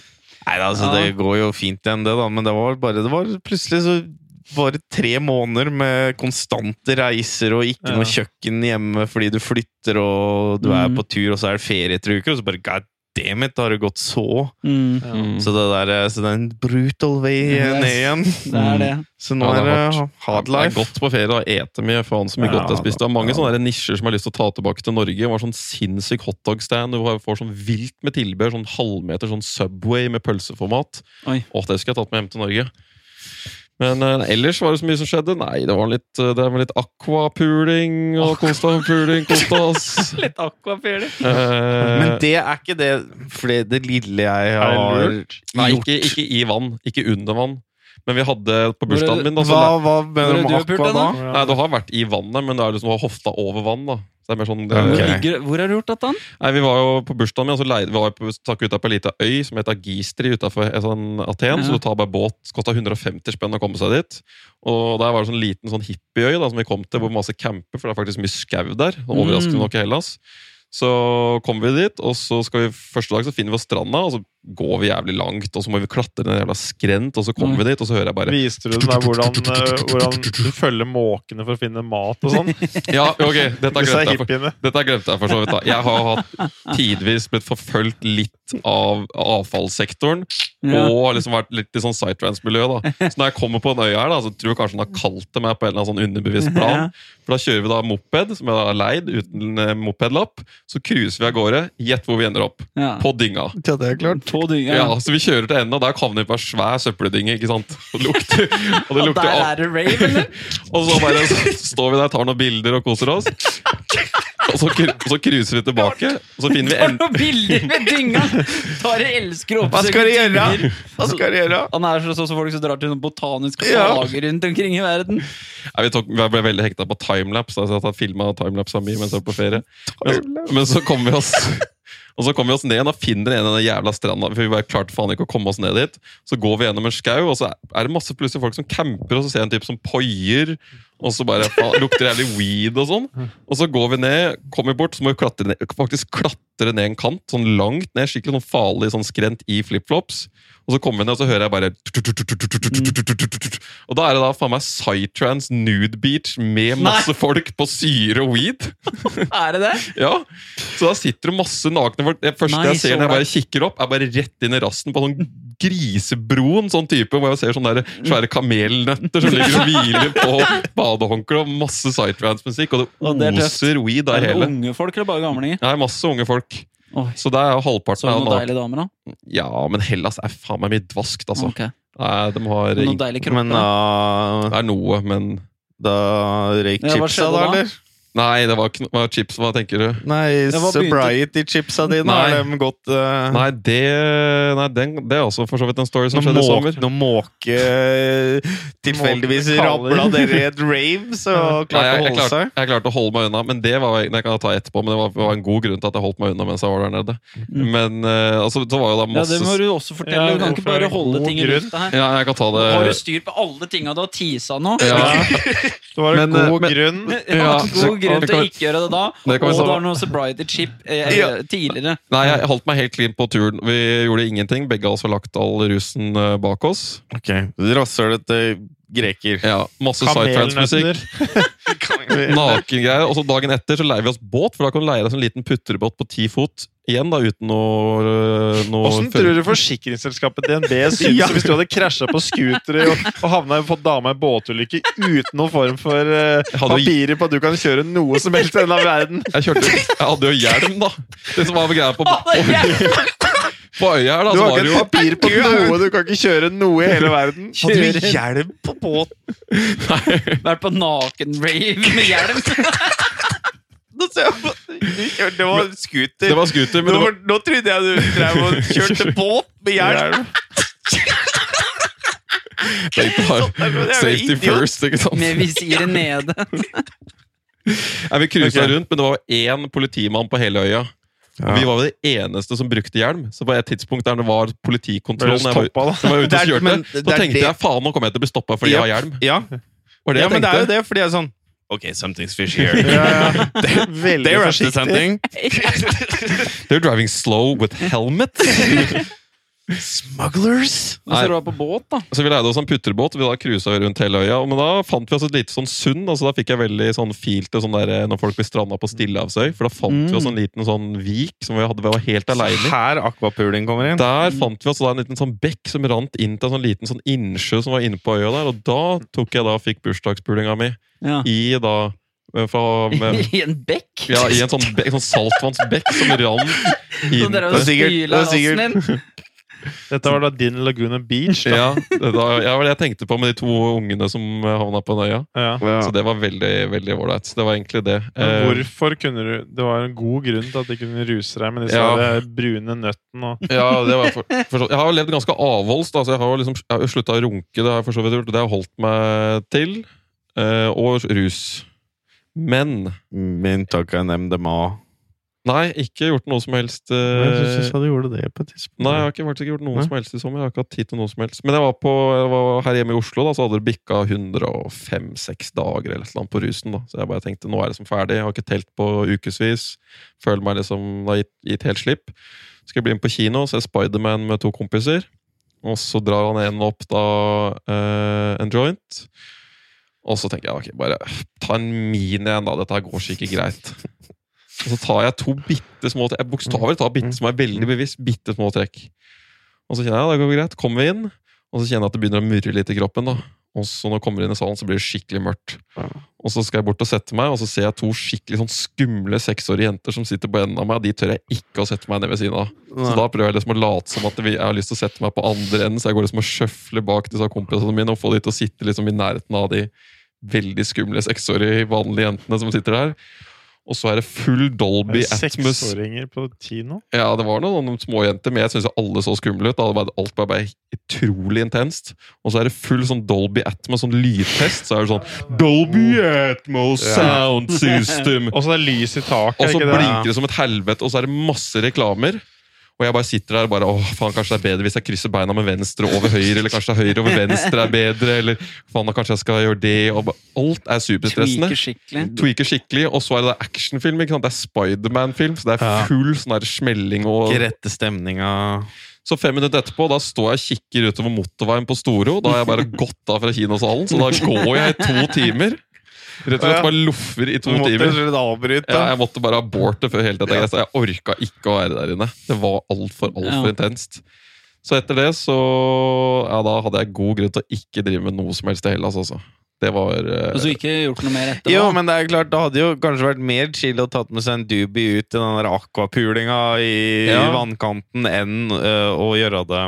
S3: Nei, altså,
S2: Ja.
S3: det går jo fint igjen, det, da. Men det var bare det var Plutselig så var det tre måneder med konstante reiser og ikke
S4: Ja.
S3: noe kjøkken hjemme fordi du flytter og du er
S2: Mm.
S3: på tur, og så er det ferie etter uker, og så bare god damn it, da har det gått så.
S2: Mm.
S4: Ja.
S1: Mm.
S3: Så det der eh, så det er en brutal vei eh,
S2: Yes.
S3: ned igjen.
S2: Det er
S1: Mm.
S2: det.
S3: Så nå
S1: Ja, det
S3: er
S1: er
S3: det
S1: hardt.
S3: hard
S1: Det er
S3: life.
S1: godt på ferie. da, Ete mye. Faen så mye
S3: Ja,
S1: godt jeg spiste. Det er mange
S3: ja.
S1: sånne der nisjer som jeg har lyst til å ta tilbake til Norge. Det var sånn sinnssyk hotdog-stand hvor jeg får sånn vilt med tilbehør. Sånn halvmeter sånn Subway med pølseformat.
S2: Oi.
S1: Åh, det skulle jeg tatt med hjem til Norge. Men eh, ellers var det så mye som skjedde. Nei, det var litt, eh, det var litt aquapuling og kosta-puling, kosta oss.
S2: Litt aquapuling.
S3: Men
S1: Eh,
S3: det er ikke det Fordi det lille jeg
S4: Er det
S3: har
S4: lurt?
S1: nei, ikke, ikke i vann. Ikke under vann. Men vi hadde på
S2: Hvor er
S1: bursdagen
S2: det-
S1: min da, så
S3: Hva, hva mener
S2: Hvor
S3: du
S2: er
S3: om
S2: det du har
S3: Aqua
S2: pult
S3: da?
S2: den,
S4: Hvordan-
S1: Nei, du har vært i vannet, men det er liksom å ha hofta over vann. da. Så det er mer sånn...
S3: Ja,
S2: Hvor,
S3: Ok.
S2: ligger, hvor har du gjort dette? han?
S1: Nei, Vi var jo på bursdagen min, og så leide, vi var jo på, stakk ut av på en liten øy som heter Gistri utenfor eh, sånn, Aten.
S2: Ja.
S1: Så du tar bare båt. Det kosta 150 spenn å komme seg dit. Og der var det sånn liten sånn hippieøy da, som vi kom til, hvor masse camper, for det er faktisk mye skau der. og Overraskende
S2: Mm.
S1: nok i Hellas. Så kommer vi dit, og så skal vi, første dag så finner vi oss stranda, og så går vi jævlig langt, og så må vi klatre ned en jævla skrent, og så kommer vi
S2: Oi.
S1: dit, og så hører jeg bare
S4: Viste du den der hvordan, eh, hvordan du følger måkene for å finne mat og sånn?
S1: Ja, ok, dette er
S4: Disse
S1: greit.
S4: er
S1: derfor.
S4: hippiene.
S1: Dette glemte jeg for så vidt. da. Jeg har hatt tidvis blitt forfulgt litt av avfallssektoren.
S2: Ja.
S1: Og har liksom vært litt i sånn sightrans-miljø. da. Så når jeg kommer på en øy her, da, så tror jeg kanskje den har kalt det meg på en eller annen sånn underbevisst plan. For da kjører vi da moped, som jeg da har leid uten eh, mopedlapp. Så cruiser vi av gårde. Gjett hvor vi ender opp.
S2: Ja.
S1: På dynga.
S3: Ja, det er klart.
S2: På dynga.
S1: Ja, Så vi kjører til enden, og der havner vi på ei svær søppeldynge. ikke sant? Og det lukter, og det lukter
S2: Der er det rave, eller?
S1: og så bare så står vi der, tar noen bilder og koser oss. Og så, kru- og så cruiser vi tilbake, og så finner vi
S2: Tar
S1: en,
S2: noen bilder med dynga! Tar og elsker å
S3: Hva skal
S2: oppsøke
S3: de gjøre?
S2: dynger.
S3: Hva skal de gjøre?
S2: Han er så- sånn som folk som drar til noen botaniske
S3: Ja.
S2: hager rundt omkring i verden.
S1: Nei, vi tok, jeg ble veldig hekta på timelapse. Altså jeg har filma timelapsa mi mens jeg var på ferie. Men, men så kom vi oss Og så kom vi oss ned igjen og finner en av den jævla stranda. For vi bare klarte faen ikke å komme oss ned dit Så går vi gjennom en skau, og så er det masse plutselig folk som camper, og så ser jeg en type som poier. Og så bare faen, lukter det jævlig weed og sånn. Og så går vi ned, kommer bort, så må vi klatre ned, faktisk klatre ned en kant. Sånn langt ned, skikkelig sånn farlig sånn skrent i flipflops. Og så kommer vi ned, og så hører jeg bare Og da er det da faen meg Psytrance nude beach med masse folk på syre og weed.
S2: Er det det?
S1: Ja, Så da sitter det masse nakne folk. Det første
S2: Nei,
S1: jeg ser
S2: så
S1: når jeg
S2: bra.
S1: bare kikker opp, er bare rett inn i rassen på sånn grisebroen, sånn type, hvor jeg ser sånne der svære kamelnøtter som ligger og hviler på badehåndkle, og masse psytrance-musikk, og
S2: Og
S1: det
S2: det er tøft.
S1: oser weed der
S2: Er det
S1: hele.
S2: unge folk eller bare gamlinger?
S1: Nei, masse unge folk.
S2: Oi,
S1: Så det er jo halvparten
S2: så
S1: av
S2: noen
S1: naken-
S2: deilige damer, da.
S1: Ja, men Hellas er faen meg mye dvaskt, altså.
S2: Ok.
S1: Nei, de har Det
S2: Noen deilige
S3: Men
S2: kropper. da.
S3: da,
S1: er noe, men
S3: da røyk
S2: Ja, hva
S3: chipsa,
S2: skjedde
S3: da,
S2: da?
S3: eller?
S1: Nei, det var ikke noe hva er chips. Hva tenker du?
S3: Nei,
S2: Det var
S3: sobriety-chipsa dine
S1: Nei.
S3: har dem gått eh,
S1: Nei, det, nei den, det er også for så vidt en story som
S3: Når
S1: skjedde i
S3: måke,
S1: sommer.
S3: når måke eh, tilfeldigvis
S4: Måke kaller.
S3: rabla dere i et rave, så
S1: Nei, jeg,
S3: klarte å
S1: jeg,
S3: holde
S1: klarte,
S3: seg.
S1: jeg klarte å holde meg unna, men det var, det kan jeg ta etterpå, men det var, var en god grunn til at jeg holdt meg unna mens jeg var der nede.
S2: Mm.
S1: Men eh, altså, så var jo da
S2: Ja,
S1: masse
S2: det må du også fortelle. du
S4: Ja,
S2: kan ikke
S4: hvorfor er
S2: bare
S4: det
S2: holde
S4: god
S2: ting i
S4: grunn?
S2: lufta her.
S1: Ja, jeg kan ta det
S2: Har du styr på alle tinga du har tisa nå?
S1: ja,
S4: Det var
S1: Men,
S4: en
S1: eh,
S4: god
S1: men-
S4: grunn.
S1: Ja,
S2: God grunn
S1: det
S2: til
S1: kan-
S2: å ikke gjøre det da.
S1: det kan vi
S2: og
S1: ta-
S2: du har noe sobriety chip eh,
S3: Ja.
S2: tidligere.
S1: Nei, jeg holdt meg helt clean på turen. Vi gjorde ingenting. Begge av oss har lagt all rusen eh, bak oss.
S3: Okay. Rasshølete eh, greker.
S1: Ja, Masse sidetrans-musikk.
S4: Kamelnøtter.
S1: Nakengreier. Og så dagen etter så leier vi oss båt, for da kan du leie deg en sånn liten putrebåt på ti fot igjen, da, uten noe, eh, noe
S4: Åssen tror du forsikringsselskapet DNB syns
S3: Ja.
S4: hvis du hadde krasja på scootere og, og havna i- fått dama i en båtulykke uten noen form for eh,
S1: hadde jo-
S4: papirer på at du kan kjøre noe som helst i denne verden?
S1: Jeg, kjørte, jeg hadde jo hjelm, da! Det som var greia på,
S2: Ah, det er jævlig.
S1: på øya her, da,
S4: Du
S1: så
S4: har
S1: var det
S4: ikke
S1: jo
S4: et papir på noe, du kan ikke kjøre noe i hele verden.
S3: Hadde du hjelm på båten?
S2: Vært på naken-rave med hjelm.
S3: Nå ser jeg på- Du kjørte- Det var scooter.
S1: Det var scooter, men det
S3: nå,
S1: var
S3: var- nå trodde jeg du drev og kjørte båt med hjelm!
S1: Tenkte
S3: Sånn, men
S1: bare
S3: jeg er jo
S1: safety
S3: idiot.
S1: first, ikke sant?
S2: Med visiret nede.
S1: Nei, vi cruisa
S4: Ok.
S1: rundt, men det var én politimann på hele øya. Og vi var jo de eneste som brukte hjelm. Så på et tidspunkt der det var
S4: Ble
S1: politikontroll
S4: du
S1: når jeg var,
S4: stoppa, da?
S1: når jeg var ute
S3: Det
S1: og
S3: er-
S1: kjørte,
S3: men det
S1: så
S3: er
S1: tenkte
S3: det-
S1: jeg faen, nå kommer jeg til å bli stoppa fordi jeg har hjelm.
S3: Ja,
S1: Var det
S3: ja
S1: jeg
S3: men det
S1: tenkte.
S3: er jo det, fordi jeg er sånn Ok, something's fish here.
S4: Ja, ja. Veldig
S3: They're up to
S4: forsiktig.
S3: something.
S1: They're driving slow with helmet.
S3: Smugglers?
S2: Og så du var på båt, da.
S1: så vi leide oss en putrebåt, vi da cruisa rundt hele øya. Men da fant vi oss et lite sånn sund. Altså, da fikk jeg veldig sånn feel til sånn der, når folk blir stranda på Stillehavsøy. For da fant vi oss
S3: Mm.
S1: en liten sånn vik som vi hadde, vi var helt aleine i.
S3: Her aquapooling kommer inn.
S1: Der fant vi også da en liten sånn bekk som rant inn til en sånn liten sånn innsjø som var inne på øya der, og da tok jeg da, fikk bursdagspulinga mi
S2: Ja.
S1: i da eh, fra, med,
S2: I en bekk.
S1: ja, I en sånn, bekk, sånn saltvannsbekk som rant
S2: Så
S1: inn
S2: dere
S1: til
S2: har
S3: Det er sikkert-
S2: spyla
S3: det er sikkert-
S2: rassen din.
S4: Dette var da din Laguna Beach. Da.
S1: ja, det var- ja, det var det jeg tenkte på med de to ungene som eh, havna på den øya.
S4: Ja.
S1: Så det var veldig veldig ålreit. Så Det var egentlig det.
S4: Men
S1: Eh,
S4: Hvorfor kunne du Det var en god grunn til at de kunne ruse deg med disse
S1: Ja.
S4: der brune nøttene og
S1: ja, det var for, for så, jeg har jo levd ganske avholds. Da, så jeg har jo liksom, jeg har jo slutta å runke. Det har jeg for så vidt gjort, og det har jeg holdt meg til. Eh, og rus. Men
S3: Min takk er MDMA.
S1: Nei, ikke gjort noe som helst. eh,
S3: du gjorde det på et tidspunkt.
S1: Nei, jeg har ikke, faktisk ikke gjort noe
S3: Nei.
S1: som helst i sommer. Jeg har ikke hatt tid til noe som helst. Men jeg var, på, jeg var her hjemme i Oslo, da, så hadde det bikka 105-6 dager eller et eller annet på rusen. da. Så jeg bare tenkte nå er det som ferdig. Jeg har ikke telt på ukevis. Føler meg liksom det har gitt, gitt helt slipp. Skal jeg bli med på kino, se Spiderman med to kompiser. Og så drar han en opp da eh, en joint. Og så tenker jeg ok, bare ta en mini en, da. Dette her går så ikke greit. Og så tar jeg to bitte små trekk. Jeg bokstavelig tar bitte små, jeg er veldig bevisst bitte små trekk. Og så kjenner jeg ja, det går greit. Kommer vi inn, og så kjenner jeg at det begynner å murre litt i kroppen. da. Og så når jeg kommer inn i salen, så blir det skikkelig mørkt. Og så skal jeg bort og sette meg, og så ser jeg to skikkelig sånn skumle seksårige jenter som sitter på enden av meg, og de tør jeg ikke å sette meg ned ved siden av. Så da prøver jeg liksom å late som at vi- jeg har lyst til å sette meg på andre enden, så jeg går liksom og sjøfler bak disse kompisene mine og får de til å sitte liksom i nærheten av de veldig skumle seksårige vanlige jentene som sitter der. Og så er det full Dolby Atmos.
S4: eh, seksåringer på Tino.
S1: Ja, det var noen, noen småjenter, men jeg syns alle så skumle ut. Da. Det var- Alt var bare utrolig intenst. Og så er det full sånn Dolby Atmos, sånn lydtest. Så er det sånn Dolby Atmos Sound System.
S4: Og så er det lys i taket.
S1: Og så
S4: er ikke det?
S1: blinker det som et helvete, og så er det masse reklamer. Og jeg bare sitter der og bare Åh, faen, kanskje det er bedre hvis jeg krysser beina med venstre over høyre, eller kanskje høyre over venstre er bedre, eller faen, da kanskje jeg skal gjøre det og bare, Alt er superstressende.
S2: Tweaker skikkelig.
S1: Tweaker skikkelig, og så er det da actionfilm. ikke sant? Det er Spiderman-film, så det
S4: Ja.
S1: er full sånn der smelling og
S3: Ikke rette stemninga.
S1: Så fem minutter etterpå, da står jeg og kikker utover motorveien på Storo. Da har jeg bare gått av fra kinosalen, så da går jeg i to timer. Rett og slett bare loffer i to timer.
S3: avbryte.
S1: Ja, jeg måtte bare aborte før hele dette. greiet, så Jeg orka ikke å være der inne. Det var altfor alt for
S2: Ja.
S1: intenst. Så etter det så Ja, da hadde jeg god grunn til å ikke drive med noe som helst i Hellas, altså. Det var eh,
S2: Og så ikke gjort noe mer etterpå.
S3: Jo, men det er klart, det hadde jo kanskje vært mer chill å tatt med seg en doobie ut i den der aquapulinga i
S1: Ja.
S3: vannkanten enn øh, å gjøre det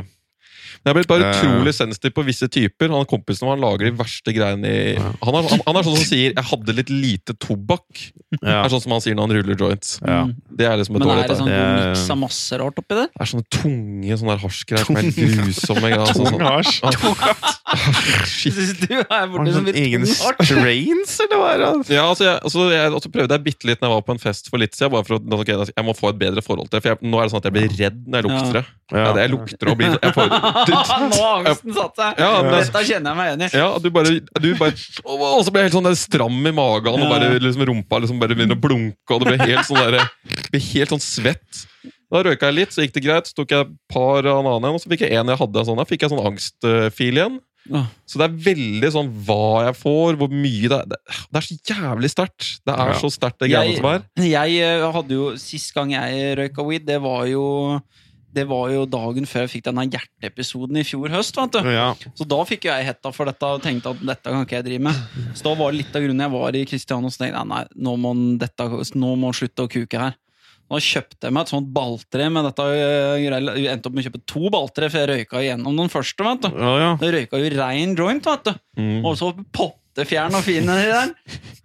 S1: Jeg er blitt bare
S3: Eh.
S1: utrolig sensitiv på visse typer. Han Kompisen vår han lager de verste greiene i han er, han, han er sånn som sier 'jeg hadde litt lite tobakk'.
S3: Ja.
S1: Det er sånn som han sier når han ruller joints.
S3: Ja.
S2: Mm.
S1: Det er liksom et
S2: Men er
S1: dårlig
S2: det
S1: tegn.
S2: sånn
S3: Det
S2: god
S3: er-
S2: miks av masse rart oppi der?
S1: Det er sånne tunge sånne der hasjgreier som er helt grusomme. greier, altså, sånn.
S4: Asj.
S2: Jeg synes du er
S3: Var
S2: borte
S3: det
S2: som
S3: sånn
S2: litt
S3: egen
S2: art.
S3: strains, eller hva er det?
S1: Ja, altså jeg, altså jeg altså prøvde jeg bitte litt når jeg var på en fest for litt siden. Bare for å, ok, jeg må få et bedre forhold til det. For jeg, nå er det sånn at jeg blir redd når jeg lukter det. Ja, det jeg lukter og blir jeg får,
S2: Ah, Nå har angsten satt seg!
S1: Ja, men-
S2: Dette kjenner jeg meg igjen i.
S1: Ja, du bare, du bare Og så ble jeg helt sånn der stram i magen, og bare liksom rumpa liksom bare begynner å blunke, og det ble helt sånn der, ble helt sånn svett. Da røyka jeg litt, så gikk det greit. Så tok jeg et par av en annen igjen, og så fikk jeg en jeg hadde. Sånn, da fikk jeg sånn angstfil igjen.
S2: Ah.
S1: Så det er veldig sånn hva jeg får, hvor mye det er. Det, det er så jævlig sterkt. Det er
S3: Ja.
S1: så sterkt, det greiene
S2: Jeg-
S1: som er.
S2: Jeg eh, hadde jo, Sist gang jeg røyka weed, det var jo det var jo dagen før jeg fikk denne hjerteepisoden i fjor høst. vet du.
S3: Ja.
S2: Så da fikk jo jeg hetta for dette og tenkte at dette kan ikke jeg drive med. Så da var det litt av grunnen jeg var i Kristiania. Så tenkte jeg nei, nå må, den- dette, nå må han slutte å kuke her. Da kjøpte jeg meg et sånt balltre med dette. eh, greia. Jeg endte opp med å kjøpe to balltre, for jeg røyka igjennom den første. vet du.
S3: Ja, ja.
S2: Det røyka jo rein joint, vet du.
S1: Mm.
S2: Og så pottefjern og fin i der.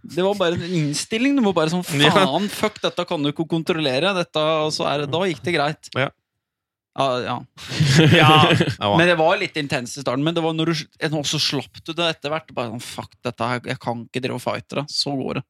S2: Det var bare en innstilling. Du må bare sånn
S3: Ja.
S2: faen, fuck, dette kan du ikke kontrollere. Dette, og så er det, da gikk det greit.
S3: Ja.
S2: Ja, ja.
S3: Ja.
S2: Men det var litt intenst i starten. Men det var når du, eh, nå så slapp du det etter hvert. Bare sånn, fuck, dette her, jeg kan ikke drive og fighte det. Så går det.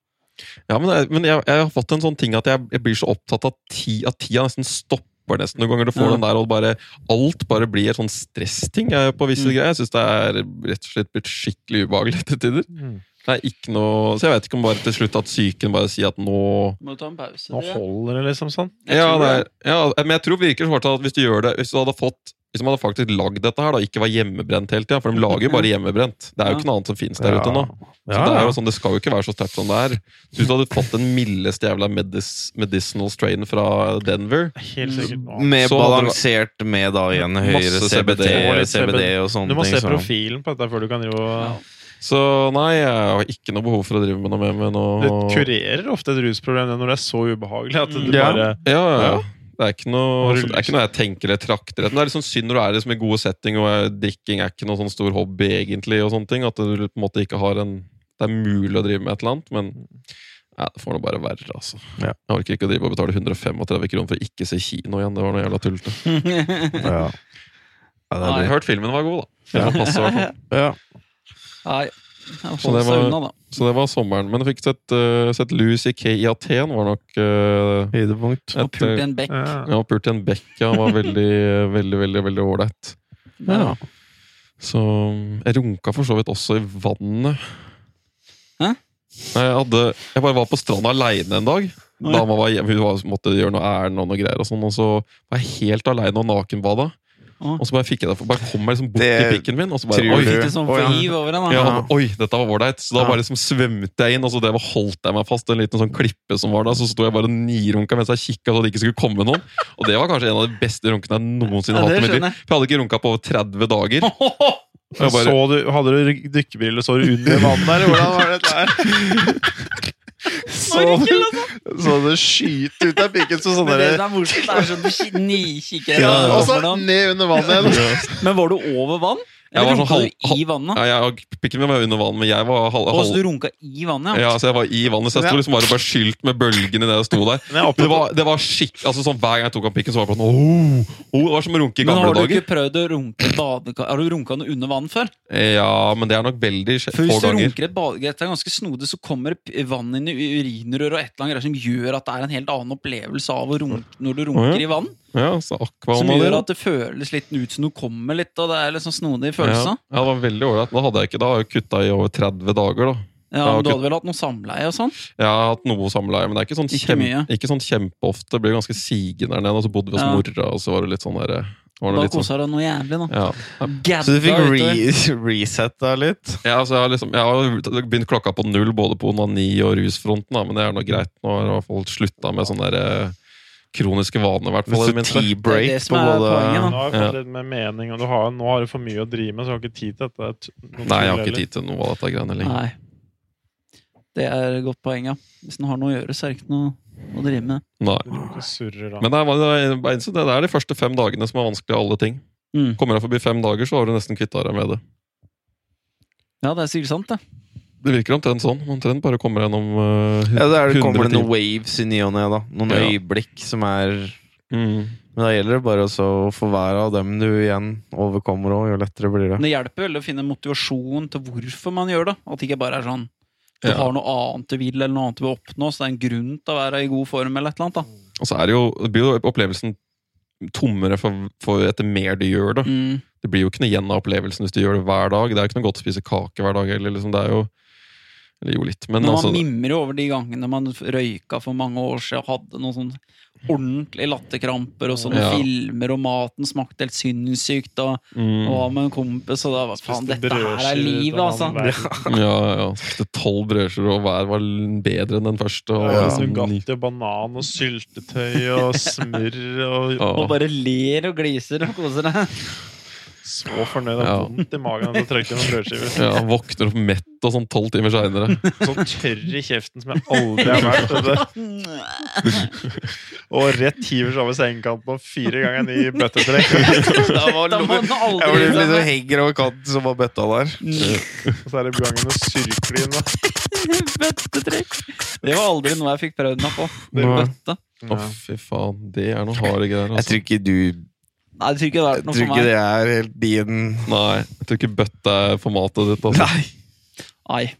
S1: Ja, men, jeg, men jeg, jeg har fått en sånn ting at jeg, jeg blir så opptatt av ti, at tida nesten stopper nesten noen ganger. Du får
S2: Ja.
S1: den der, og bare, alt bare blir en sånn stressting eh, på visse
S2: Mm.
S1: greier. Jeg syns det er rett og slett blitt skikkelig ubehagelig til tider.
S4: Mm.
S1: Det er ikke noe, så jeg vet ikke om bare til slutt at psyken bare sier at nå
S2: Må du ta en pause?
S4: Nå
S2: dere?
S4: holder det, liksom sånn.
S2: Jeg
S1: ja,
S2: tror
S1: det
S2: det.
S1: er, ja, men jeg tror det virker svart at hvis du gjør det Hvis du hadde fått hvis man hadde faktisk lagd dette her, da, ikke var hjemmebrent hele tida. For de lager jo bare hjemmebrent. Det er jo
S2: Mm. Ja.
S1: ikke noe annet som finnes der ute nå. Så
S4: Ja,
S1: det, er
S4: ja.
S1: jo sånn, det skal jo ikke være så sterkt som det er. Så Hvis du hadde fått den mildeste jævla medis, medicinal strain fra Denver
S4: Helt sikkert.
S3: Med
S1: Så hadde det
S3: balansert med da igjen høyere
S1: Masse
S3: CBD,
S1: CBD,
S3: og
S4: litt
S3: CBD og sånne
S4: Du må se
S3: ting. så-
S4: profilen på dette før du kan jo
S2: Ja.
S1: Så nei, jeg har ikke noe behov for å drive med noe mer med
S4: Det
S1: noe
S4: kurerer ofte et rusproblem det når det er så ubehagelig at du
S3: Ja.
S4: bare
S1: Ja, ja, ja. Det er, ikke noe,
S4: Har du
S1: det er
S4: lyst?
S1: ikke noe jeg tenker eller trakter etter. Det er liksom synd når du er liksom i gode setting og eh, drikking er ikke noe sånn stor hobby egentlig, og sånne ting, at du på en måte ikke har en Det er mulig å drive med et eller annet, men nei, det får nå bare være, altså.
S3: Ja.
S1: Jeg orker ikke å drive og betale 135 kroner for å ikke se kino igjen. Det var noe jævla tullete.
S3: Ja. Ja, det
S1: Jeg
S3: er
S1: har
S3: det.
S1: hørt filmen var god, da. Det får passe, i hvert fall.
S3: Ja.
S2: Nei,
S1: Så
S2: hold
S1: det
S2: seg
S1: var-
S2: unna, da.
S1: Så det var sommeren. Men jeg fikk sett, uh, sett Louis C.K. i Aten var nok eh,
S3: Høydepunkt.
S2: Og
S1: et,
S2: pult i en bekk.
S4: ja.
S1: ja, pult i en bekk. ja. Han var veldig, veldig, veldig veldig ålreit.
S3: Ja.
S1: Så mm, jeg runka for så vidt også i vannet.
S2: Hæ?
S1: Nei, jeg, hadde, jeg bare var på stranda aleine en dag.
S2: Oi.
S1: Dama var hjemme, hun var, måtte gjøre noe ærend og noe greier. Og sånn, og så var jeg helt aleine og nakenbada.
S2: Oi.
S1: Og så bare fikk jeg det, bare kom jeg liksom bort
S3: Det
S1: i pikken min, og så bare
S3: tror
S1: Oi!
S3: du-
S2: Litt sånn
S3: Å, ja.
S2: veiv over den, da.
S1: Ja, og, oi, dette var ålreit. Så da
S3: Ja.
S1: bare liksom svømte jeg inn, og så drev og holdt jeg meg fast en liten sånn klippe som var der. Så sto jeg bare og nirunka mens jeg kikka så det ikke skulle komme noen. Og det var kanskje en av de beste runkene jeg noensinne har
S2: Ja,
S1: hatt.
S2: det
S1: i mitt liv.
S2: skjønner jeg.
S1: For jeg hadde ikke runka på over 30 dager. Jeg bare,
S4: så du, Hadde du dykkebriller, så du under vannet der? Hvordan var dette her? Så du, så du skyte ut av pikken som sånn
S2: Men det
S4: derre
S2: som er morsomt, det er sånn du ki- nikikker
S4: ja,
S2: etter
S4: Og
S3: Altså,
S4: så
S2: hvordan-
S4: ned under vannet igjen.
S2: Men var du over vann?
S1: Jeg
S2: Eller
S1: var sånn
S2: runka
S1: halv-
S2: du i vannet?
S1: Ja, jeg, pikken min var under vann, men jeg var halv...
S2: Og så
S1: halv
S2: du runka i vannet,
S1: ja,
S2: ja?
S1: så jeg var i vannet, så jeg sto liksom bare bare skylt med bølgen i det jeg sto der.
S4: Men jeg
S1: Det
S4: opplevde
S1: var, det var skikk, altså sånn Hver gang jeg tok av pikken, så var det bare sånn oh, oh, Det var som å runke i
S2: Men
S1: gamle
S2: har du ikke
S1: dager.
S2: prøvd å runke i badekar? Har du runka noe under vann før?
S1: Ja, men det er nok veldig sj-
S2: For
S1: få
S2: hvis du
S1: ganger.
S2: runker i et badekar, det er ganske snodig, så kommer p- vann inn i urinrør og et eller annet greier som gjør at det er en helt annen opplevelse av å runke når du runker
S1: Mm. Å,
S2: i vann.
S1: Ja, så aqua
S2: Som
S1: og det,
S2: gjør
S1: da.
S2: at det føles litt ut som du kommer litt, og det er litt sånn snodig
S1: Ja.
S2: følelse.
S1: ja, det var veldig ålreit. Da hadde jeg ikke, da har jeg kutta i over 30 dager, da.
S2: Ja,
S1: Ja,
S2: men Du
S1: ok.
S2: hadde vel hatt noe samleie og sånn?
S1: Jeg har hatt noe samleie, men det er ikke sånn,
S2: Ikke
S1: kjem,
S2: mye.
S1: ikke sånn kjempeofte. Det ble ganske sigende der nede, og så bodde vi hos
S2: Ja.
S1: mora, og så var det litt sånn der, var det
S2: Da
S1: litt sånn
S2: kosa du deg noe jævlig, da.
S1: ja.
S3: Så du fikk
S2: Gadda utover.
S3: re resetta litt?
S1: Ja, altså, jeg har liksom Jeg har begynt klokka på null både på onani og rusfronten, da, men det er nå greit. Nå har jeg i hvert fall slutta med sånne der, eh, kroniske vaner, i hvert fall. i det
S3: Hvis du
S1: minste.
S2: Det er det
S3: tea-break
S2: som
S3: på
S2: er
S3: både
S2: poenget, da.
S4: Nå har jeg fått litt mer mening, og du har, nå har du for mye å drive med, så du har ikke tid til dette.
S1: Nei, jeg har ikke tid til noe av dette greiene lenger.
S2: Nei. Det er et godt poeng, ja. Hvis den har noe å gjøre, så er det ikke noe å drive med.
S1: Nei.
S4: Surrer, da.
S1: Men det er, det er, det er de første fem dagene som er vanskelig av alle ting.
S2: Mm.
S1: Kommer deg forbi fem dager, så har du nesten kvitta deg med det.
S2: Ja, det er sikkert sant, det.
S1: Det virker omtrent sånn. Omtrent bare kommer deg gjennom eh,
S3: Ja, der kommer
S1: 100
S3: det noen
S1: timer.
S3: waves i ny og ne, da. Noen
S1: Ja.
S3: øyeblikk som er
S1: Mm.
S3: Men da gjelder det bare også å få hver av dem du igjen overkommer, og jo lettere blir det.
S2: Men det hjelper veldig å finne motivasjon til hvorfor man gjør det. At det ikke bare er sånn du
S1: Ja.
S2: har noe annet du vil, eller noe annet du vil oppnå, så det er en grunn til å være i god form, eller et eller annet. da.
S1: Og så er det jo, det blir jo opplevelsen tommere for, for etter mer du gjør det.
S2: Mm.
S1: Det blir jo ikke noe igjen av opplevelsen hvis du gjør det hver dag. Det er jo ikke noe godt å spise kake hver dag heller. Liksom. Det er jo Eller jo litt, men
S2: Men man
S1: altså
S2: mimrer jo over de gangene man røyka for mange år siden og hadde noen sånn ordentlige latterkramper og sånne
S1: Ja.
S2: filmer, og maten smakte helt sinnssykt, og, og
S1: mm,
S2: var med en kompis, og da var faen,
S4: Spiste
S2: dette her
S4: brødskiver
S2: er livet,
S4: uten
S2: altså.
S4: annen verden.
S1: Ja, ja. Spiste tolv brødskiver, og hver var l- bedre enn den første. Og,
S4: Ja,
S1: liksom, ni-
S4: Nugatti og banan og syltetøy og smør og
S1: Ja.
S2: Og bare ler og gliser og koser deg.
S4: Så fornøyd. Det er
S1: Ja.
S4: vondt i magen av å trykke noen brødskiver.
S1: ja, våkner opp mett og sånn tolv timer seinere.
S4: Så tørr i kjeften som jeg aldri har vært. vet du. Og rett hiver seg over sengekanten og fire ganger ny bøttetrekk.
S2: Da må den
S3: Jeg
S2: aldri Mm.
S3: blir liksom henger over kanten som var bøtta der.
S4: Og så er det gangen og surkler inn. da.
S2: Bøttetrekk! Det var aldri noe jeg fikk prøvd meg på.
S3: Det var-
S2: Bøtte.
S1: Å, fy faen. Det er noen harde greier.
S3: Jeg
S1: Altså.
S3: tror ikke du
S2: Nei, det tror ikke det har vært
S3: Jeg
S2: noe
S3: tror
S2: for
S3: ikke
S2: meg.
S3: det er helt din
S1: Nei, jeg tror ikke bøtte er formatet ditt. Altså.
S3: Nei.
S2: Nei.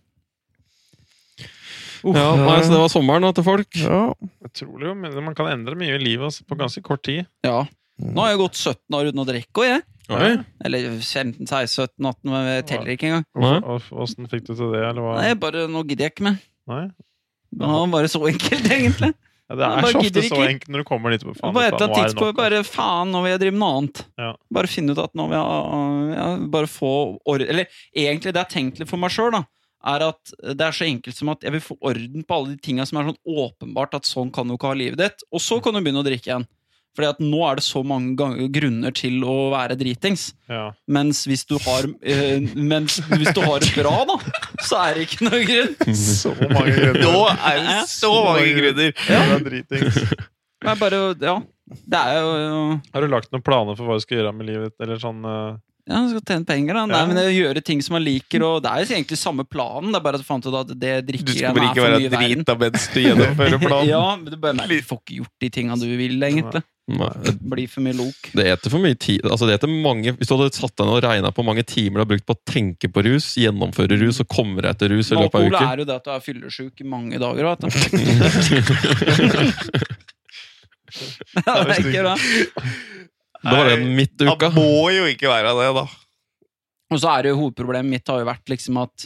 S1: Ja, nei, så det var sommeren da, til folk.
S3: Ja.
S4: Utrolig, jo, men man kan endre mye i livet altså, på ganske kort tid.
S2: Ja.
S3: Mm.
S2: Nå har jeg gått 17 år uten å drikke òg, jeg.
S1: Oi.
S2: Eller 15, 16, 17, 18, men jeg teller ikke engang.
S1: Nei.
S4: Og- Åssen fikk du til det, eller hva?
S2: Nei, bare nå gidder jeg ikke mer.
S4: Nei?
S2: Det var bare så enkelt, egentlig.
S4: Ja, det
S2: Bare
S4: er så ofte
S2: gidder
S4: så
S2: ikke.
S4: enkelt når du kommer dit. på,
S2: Og
S4: Faen,
S2: på et eller
S4: dette-
S2: annet
S4: nå er det
S2: tidspunkt
S4: nok. altså.
S2: bare faen, nå vil jeg drive med noe annet.
S4: Ja.
S2: Bare finne ut at nå vil jeg ja, bare få orden Eller egentlig det jeg har tenkt litt for meg sjøl, da, er at det er så enkelt som at jeg vil få orden på alle de tinga som er sånn åpenbart at sånn kan du ikke ha livet ditt. Og så kan du begynne å drikke igjen. Fordi at nå er det så mange gang- grunner til å være dritings.
S4: Ja.
S2: Mens hvis du har eh, Mens hvis du har det bra, da, så er det ikke noe grunn.
S4: Så mange grunner.
S3: Nå er det så mange grunner!
S4: Ja. Det er dritings.
S2: Det er bare Ja. Det er jo
S4: Har du lagt noen planer for hva du skal gjøre med livet? Eller sånn, eh,
S2: Ja, du skal tjene penger, da. Nei,
S4: Ja.
S2: men det er å gjøre ting som man liker, og det er jo egentlig samme planen. Det er bare at du fant ut at det
S3: Du
S2: drikkegreiene
S3: skal
S2: er
S3: bare ikke
S2: for
S3: være
S2: mye i verden.
S3: drita mens du gjennomfører planen.
S2: Ja, men du bare nei, du får ikke gjort de tinga du vil, egentlig.
S1: Nei.
S2: Det blir for mye lok.
S1: Det eter for mye tid. Altså det eter mange, hvis du hadde satt deg ned og regna på hvor mange timer du har brukt på å tenke på rus, gjennomføre rus og komme deg etter rus i løpet av
S2: Alkohol
S1: uken
S2: er jo det at du er fyllesyk i mange dager. Vet du. ja, det er ikke bra.
S1: Det var den midt i uka.
S3: Han må jo ikke være det, da.
S2: Og så er det jo hovedproblemet mitt har jo vært liksom at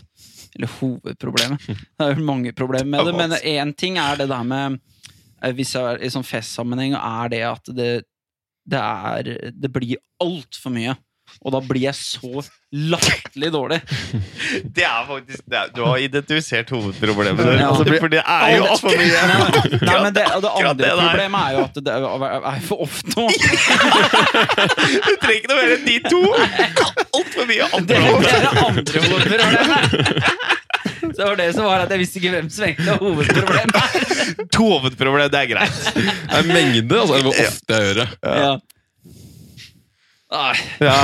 S2: Eller hovedproblemet. Det er jo mange problemer med det, men én ting er det der med eh, Hvis jeg er i sånn festsammenheng, er det at det, det er Det blir altfor mye. Og da blir jeg så latterlig dårlig.
S3: Det er faktisk det er, Du har identifisert hovedproblemet.
S2: Ja.
S3: ditt, For det er jo
S2: Alt
S3: altfor mye.
S2: Nei, nei, men det, og det
S3: akkurat
S2: andre
S3: det der.
S2: problemet er jo at det er er for ofte nå.
S3: Du trenger ikke noe mer enn de to! Altfor mye
S2: Det,
S3: andre
S2: det er det andre hovedproblemet. Så det var det som var at jeg visste ikke hvem som egentlig var hovedproblemet.
S3: To hovedproblemer, det er greit.
S1: Det er mengde, altså. Hvor ofte jeg gjør det.
S2: Ja. Nei.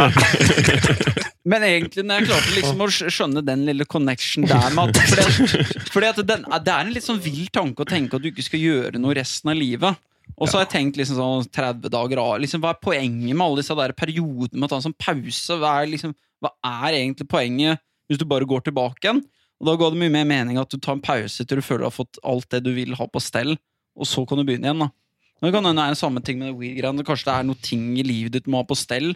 S2: Men egentlig, når jeg klarte liksom å skj- skjønne den lille connection der med at Fordi, at- fordi at den, det er en litt sånn vill tanke å tenke at du ikke skal gjøre noe resten av livet. Og så har jeg tenkt liksom sånn 30 dager av liksom, Hva er poenget med alle disse der periodene med å ta en sånn pause? Hva er, liksom, hva er egentlig poenget hvis du bare går tilbake igjen? Og Da ga det mye mer mening at du tar en pause til du føler du har fått alt det du vil ha på stell, og så kan du begynne igjen. da det kan hende det er en samme ting med det weed-greiene. Kanskje det er noe ting i livet ditt du må ha på stell.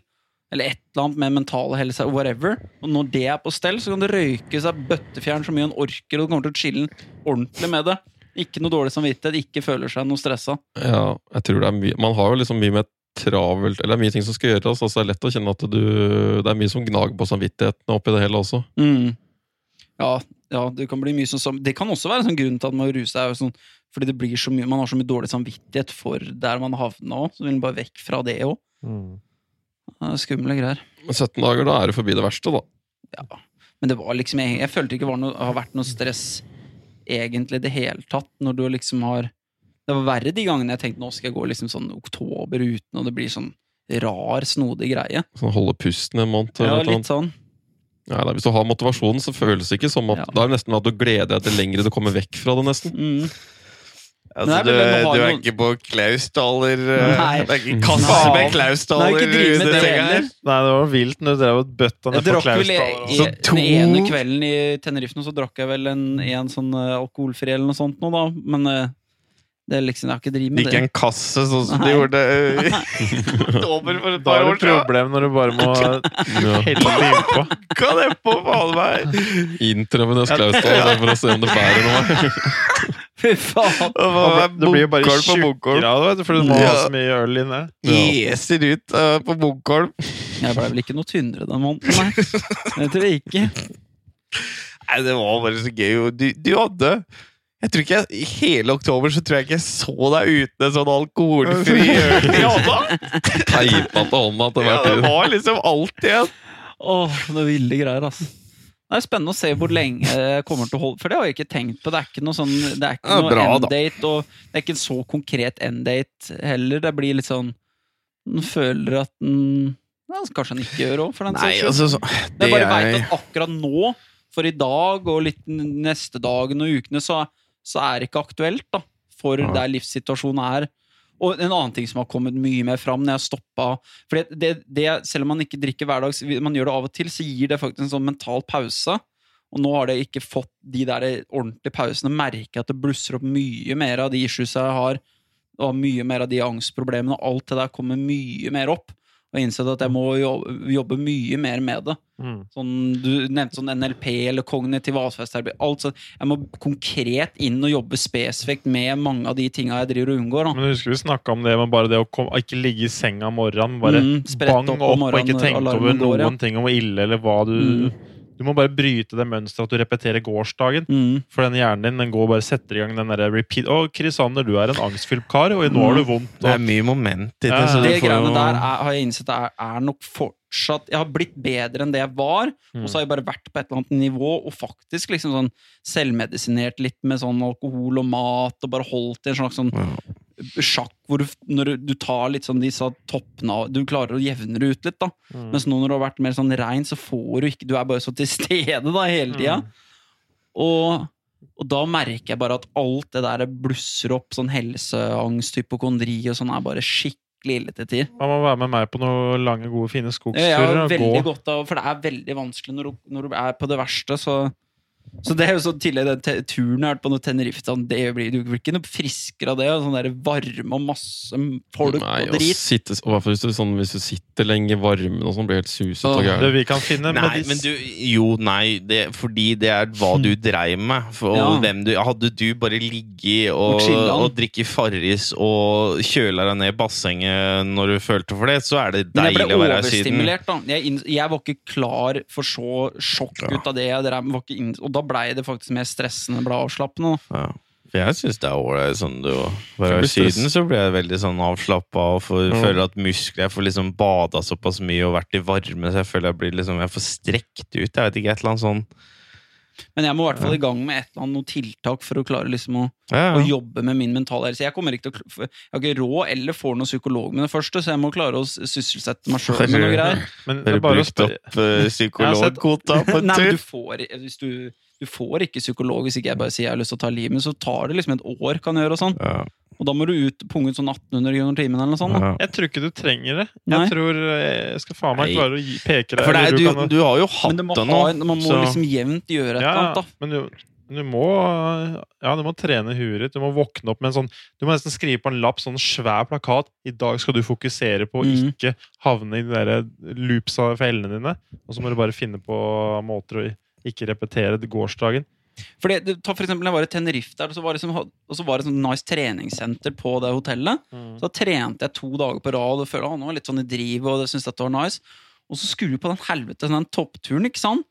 S2: Eller et eller annet med mental helse, whatever. Og når det er på stell, så kan det røyke seg bøttefjern så mye en orker, og du kommer til å chille ordentlig med det. Ikke noe dårlig samvittighet, ikke føler seg noe stressa.
S1: Ja, jeg tror det er mye Man har jo liksom mye mer travelt Eller det er mye ting som skal gjøres. Altså, det er lett å kjenne at du Det er mye som gnager på samvittigheten oppi det hele også.
S2: Mm. Ja, ja, det kan bli mye sånn sam- Det kan også være en sånn grunn til at man ruser seg. er jo Sånn, fordi det blir så mye, man har så mye dårlig samvittighet for der man havna òg. Så vil man bare vekk fra det òg.
S1: Mm.
S2: Skumle greier.
S1: Men 17 dager, da er det forbi det verste, da.
S2: Men det var liksom, jeg, jeg følte ikke det var noe, har vært noe stress egentlig i det hele tatt. Når du liksom har Det var verre de gangene jeg tenkte nå skal jeg gå liksom sånn oktober uten, og det blir sånn rar, snodig greie.
S1: Sånn holde pusten en måned.
S2: Ja,
S1: eller noe
S2: litt
S1: annet.
S2: sånn.
S1: Nei, nei, hvis du har motivasjonen, så føles det ikke som at
S2: Ja.
S1: Da er det nesten at du gleder deg til lengre du kommer vekk fra det, nesten.
S2: Mm.
S3: Altså,
S2: Nei,
S3: du,
S2: men den har
S3: du er
S2: jo-
S3: ikke på Klausdaler eh,
S2: Nei.
S3: Det er ikke
S4: Nei.
S3: kasse med
S2: Nei,
S3: Klausdaler
S2: ikke drive med
S3: under
S2: det
S3: senga her.
S2: heller.
S4: Nei, det var vilt når du drev og bøtta
S2: Jeg
S4: ned på
S2: drakk vel i,
S4: Klausdal.
S2: i,
S4: altså.
S2: Den ene kvelden i Tenerife nå, så drakk jeg vel en, en sånn eh, alkoholfri eller noe sånt nå, da. Men eh, det er liksom, jeg har ikke driv med
S3: Ikke
S2: det.
S3: en kasse, sånn som de
S2: Nei.
S3: gjorde eh, i Dover for et
S4: Da
S3: par
S4: er
S3: år
S4: det et
S3: siden.
S4: problem når du bare må helle det innpå.
S3: Hva er det på faen meg?
S1: Intravenøs Klausdal der for å se om det bærer noe.
S2: Fy faen!
S3: Det
S4: Det
S3: var
S4: blir- det blir jo bare
S3: Munkholm på Munkholm.
S4: tjukkegrader, vet du, fordi du må ha
S3: Ja.
S4: så mye øl inne.
S3: Eser ut eh, på Munkholm.
S2: Jeg ble vel ikke noe tynnere den måneden, nei. Det tror jeg ikke.
S3: Nei, det var bare så gøy. og Du, du hadde jeg tror ikke jeg, I hele oktober så tror jeg ikke jeg så deg uten en sånn alkoholfri øl i hånda!
S1: Teipa til hånda til
S3: Ja,
S1: hver
S3: det
S1: tid.
S3: var liksom alltid en
S2: Åh, det er ville greier, altså. Det er spennende å se hvor lenge jeg kommer til å holde For det har jeg ikke tenkt på. Det er ikke noe sånn Det er ikke
S3: Ja,
S2: noe
S3: bra, da.
S2: enddate, og det er ikke en så konkret enddate heller. Det blir litt sånn Den føler at den ja, Kanskje den ikke gjør òg, for den
S3: Nei,
S2: saks skyld.
S3: altså så,
S2: Jeg bare
S3: er-
S2: vet at akkurat nå, for i dag og litt n- neste dagen og ukene, så, så er det ikke aktuelt da, for
S3: Nei.
S2: der livssituasjonen er. Og en annen ting som har kommet mye mer fram når jeg har stoppa For det, det, det, selv om man ikke drikker hver dag, så vi- man gjør det av og til, så gir det faktisk en sånn mental pause. Og nå har det ikke fått de der ordentlige pausene. Merker jeg at det blusser opp mye mer av de issues jeg har, og mye mer av de angstproblemene. og Alt det der kommer mye mer opp. Og jeg har innsett at jeg må jobbe, jobbe mye mer med det.
S4: Mm.
S2: Sånn, du nevnte sånn NLP eller kognitiv atferdsterapi. Alt sånn. Jeg må konkret inn og jobbe spesifikt med mange av de tinga jeg driver og unngår. Da.
S4: Men husker vi snakka om det med bare det å kom, ikke ligge i senga om morgenen. Bare
S2: Mm, sprette
S4: bang
S2: opp
S4: opp,
S2: om morgenen
S4: og ikke
S2: når
S4: tenke over
S2: alarmen går, ja.
S4: noen ting om hvor ille eller hva du
S2: Mm.
S4: Du må bare bryte det mønsteret at du repeterer gårsdagen.
S2: Mm.
S4: For den hjernen din den går og bare setter i gang den derre repeat Å, Chris Sander, du er en angstfylt kar, og nå har
S2: Mm.
S4: du vondt.
S3: Det er
S4: Og,
S3: mye moment i det.
S4: Ja,
S3: Så du
S2: Det
S3: får jo
S2: greiene der er, har jeg innsett er, er nok fortsatt Jeg har blitt bedre enn det jeg var, og så har jeg bare vært på et eller annet nivå og faktisk liksom sånn selvmedisinert litt med sånn alkohol og mat og bare holdt i en slags sånn sjakk hvor du, når du, du tar litt sånn disse toppene av Du klarer å jevne det ut litt, da. Mens nå når du har vært mer sånn rein, så får du ikke Du er bare så til stede da hele tida.
S4: Mm.
S2: Og, og da merker jeg bare at alt det der blusser opp, sånn helseangst, hypokondri og sånn, er bare skikkelig ille til tider.
S4: Man må være med meg på noen lange, gode, fine
S2: Eh, Jeg
S4: skogsturer.
S2: har
S4: og
S2: veldig
S4: gå.
S2: godt av For det er veldig vanskelig når du, når du er på det verste, så så det er jo sånn tidligere, den te- turen jeg har vært på noe Tenerife sånn, det blir, Du blir ikke noe friskere av det. og Sånn der varme og masse folk
S1: Nei,
S2: og
S1: og
S2: drit.
S1: sitte, og hvertfall hvis, du, sånn, hvis du sitter lenge i varmen og sånn, blir helt suset
S2: Åh,
S1: og
S4: Det
S1: gæren.
S4: vi kan finne
S3: Nei,
S4: medis-
S3: men du, jo, nei, det, fordi det er hva du dreiv med. For, og
S2: Ja.
S3: hvem du, hadde du bare ligget og,
S2: Og chillet.
S3: og drikket Farris og kjøla deg ned i bassenget når du følte for det, så er det
S2: Men jeg
S3: deilig
S2: ble
S3: å være i Syden.
S2: overstimulert, da. Jeg, inns- jeg var ikke klar for så sjokk ut av det jeg drev med. Var ikke inns- Og da blei det faktisk mer stressende enn det ble avslappende. da.
S3: Ja. For jeg syns det er ålreit sånn du Bare i
S1: blir stress.
S3: Syden så blir jeg veldig sånn avslappa og får,
S1: Ja.
S3: føler at muskler Jeg får liksom bada såpass mye og vært i varme, så jeg føler jeg blir liksom Jeg får strekt ut. Jeg vet ikke, et eller annet sånn
S2: Men jeg må i hvert fall i gang med et eller annet noe tiltak for å klare liksom å,
S3: ja,
S2: å
S3: ja.
S2: jobbe med min mentale helse. Jeg kommer ikke til å, kl- jeg har ikke råd eller får noen psykolog med det første, så jeg må klare å s- sysselsette meg sjøl med noe greier.
S4: men det
S3: Dere
S4: er bare å
S3: brukt
S4: spørre.
S3: opp eh, psykologkvota på en
S2: Nei, men
S3: tur.
S2: du får, hvis du, du får ikke psykolog hvis ikke jeg bare sier jeg har lyst til å ta livet, men så tar det liksom et år, kan jeg gjøre, og sånn.
S3: Ja,
S2: Og da må du ut punge ut sånn 1800 kroner timen eller noe sånt. da.
S3: ja.
S4: Jeg tror ikke du trenger det.
S2: Nei.
S4: Jeg tror eh, jeg skal faen meg
S3: Nei.
S4: klare å gi, peke deg.
S3: For det er,
S4: eller
S3: du,
S4: kan-
S3: du har jo
S2: Men
S3: hatt
S2: det må
S3: det nå.
S2: ha en, man må
S3: så-
S2: liksom jevnt gjøre et eller
S4: ja,
S2: annet,
S4: ja.
S2: da.
S4: men du, du må Ja, du må trene huet ditt. Du må våkne opp med en sånn Du må nesten skrive på en lapp sånn svær plakat. I dag skal du fokusere på å
S2: Mhm.
S4: ikke havne i de der eh, loopsa for hellene dine. Og så må du bare finne på måter å ikke repetere det gårsdagen.
S2: Fordi, du, ta for eksempel, jeg var i Tenerife der, og så var det, som, og så var det sånn nice treningssenter på det hotellet. Så da trente jeg to dager på rad og følte at nå var jeg litt sånn i drivet, og jeg syntes dette var nice. Og så skulle vi på den helvete, den toppturen, ikke sant?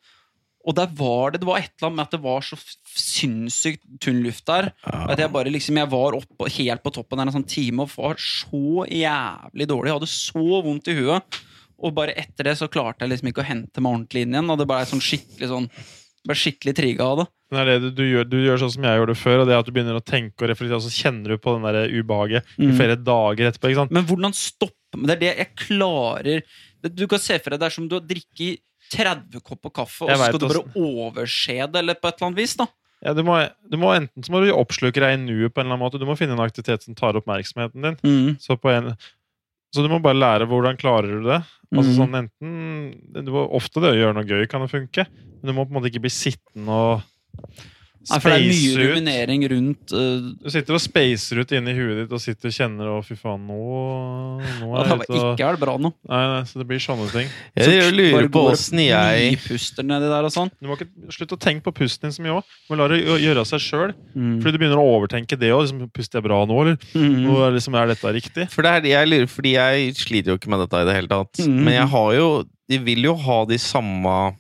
S2: Og der var det, det var et eller annet med at det var så f- sinnssykt tynn luft der. At jeg bare liksom, jeg var oppe, helt på toppen der en sånn time og var så jævlig dårlig. Jeg hadde så vondt i huet. Og bare etter det så klarte jeg liksom ikke å hente meg ordentlig inn igjen. Og det ble sånn skikkelig sånn, ble skikkelig trigga av det.
S4: Men det er det du, du, gjør, du gjør sånn som jeg gjorde før, og det er at du begynner å tenke og reflektere, og så kjenner du på den det ubehaget i
S2: Mm.
S4: flere dager etterpå. ikke sant?
S2: Men hvordan stopper Men det er det jeg klarer det, Du kan se for deg det er som du har drikket 30 kopper kaffe, og
S4: Jeg
S2: så
S4: vet
S2: skal du bare overse det eller på et eller annet vis. da
S4: Ja, du, må, du må Enten så må du oppsluke deg i nuet, på en eller annen måte. du må finne en aktivitet som tar oppmerksomheten din. Så, på en, så du må bare lære hvordan klarer du det. Altså
S2: Mhm.
S4: sånn enten, du må, Ofte det å gjøre noe gøy kan jo funke, men du må på en måte ikke bli sittende og
S2: Nei, for det er mye
S4: space ut.
S2: ruminering rundt eh,
S4: Du sitter og spacer ut inni huet ditt og sitter og kjenner å fy faen, nå, nå
S2: at
S4: er
S2: det
S4: jeg ute og
S2: ikke er det bra nå.
S4: nei, nei, Så det blir sånne ting.
S3: Jeg lurer på åssen jeg
S2: Nypuster nedi der og sånn.
S4: Du må ikke slutte å tenke på pusten din så mye òg. Du må la det gjø- gjøre seg sjøl.
S2: Mm.
S4: Fordi du begynner å overtenke det òg. Liksom, puster jeg bra nå, eller?
S2: Mhm.
S4: Nå er liksom, er dette riktig?
S3: For det er, jeg lurer, fordi jeg sliter jo ikke med dette i det hele tatt.
S2: Mhm.
S3: Men jeg har jo De vil jo ha de samme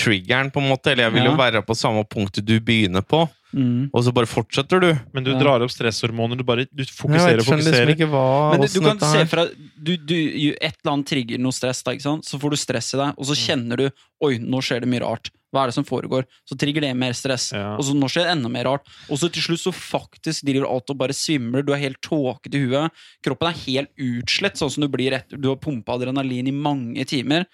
S3: triggeren, på en måte. Eller jeg vil jo
S2: Ja.
S3: være på samme punktet du begynner på,
S2: Mhm.
S3: og så bare fortsetter du.
S4: Men du
S2: Ja.
S4: drar opp stresshormoner. Du bare du fokuserer og
S2: liksom
S4: fokuserer.
S3: ikke hva
S2: Men du, du kan se fra du, du, Et eller annet trigger noe stress, da, ikke sant? så får du stress i deg, og så kjenner du Oi, nå skjer det mye rart. Hva er det som foregår? Så trigger det mer stress.
S4: Ja.
S2: Og så nå skjer det enda mer rart. Og så til slutt så faktisk driver alt og bare svimler. Du er helt tåket i huet. Kroppen er helt utslett, sånn som du blir etter du har pumpa adrenalin i mange timer.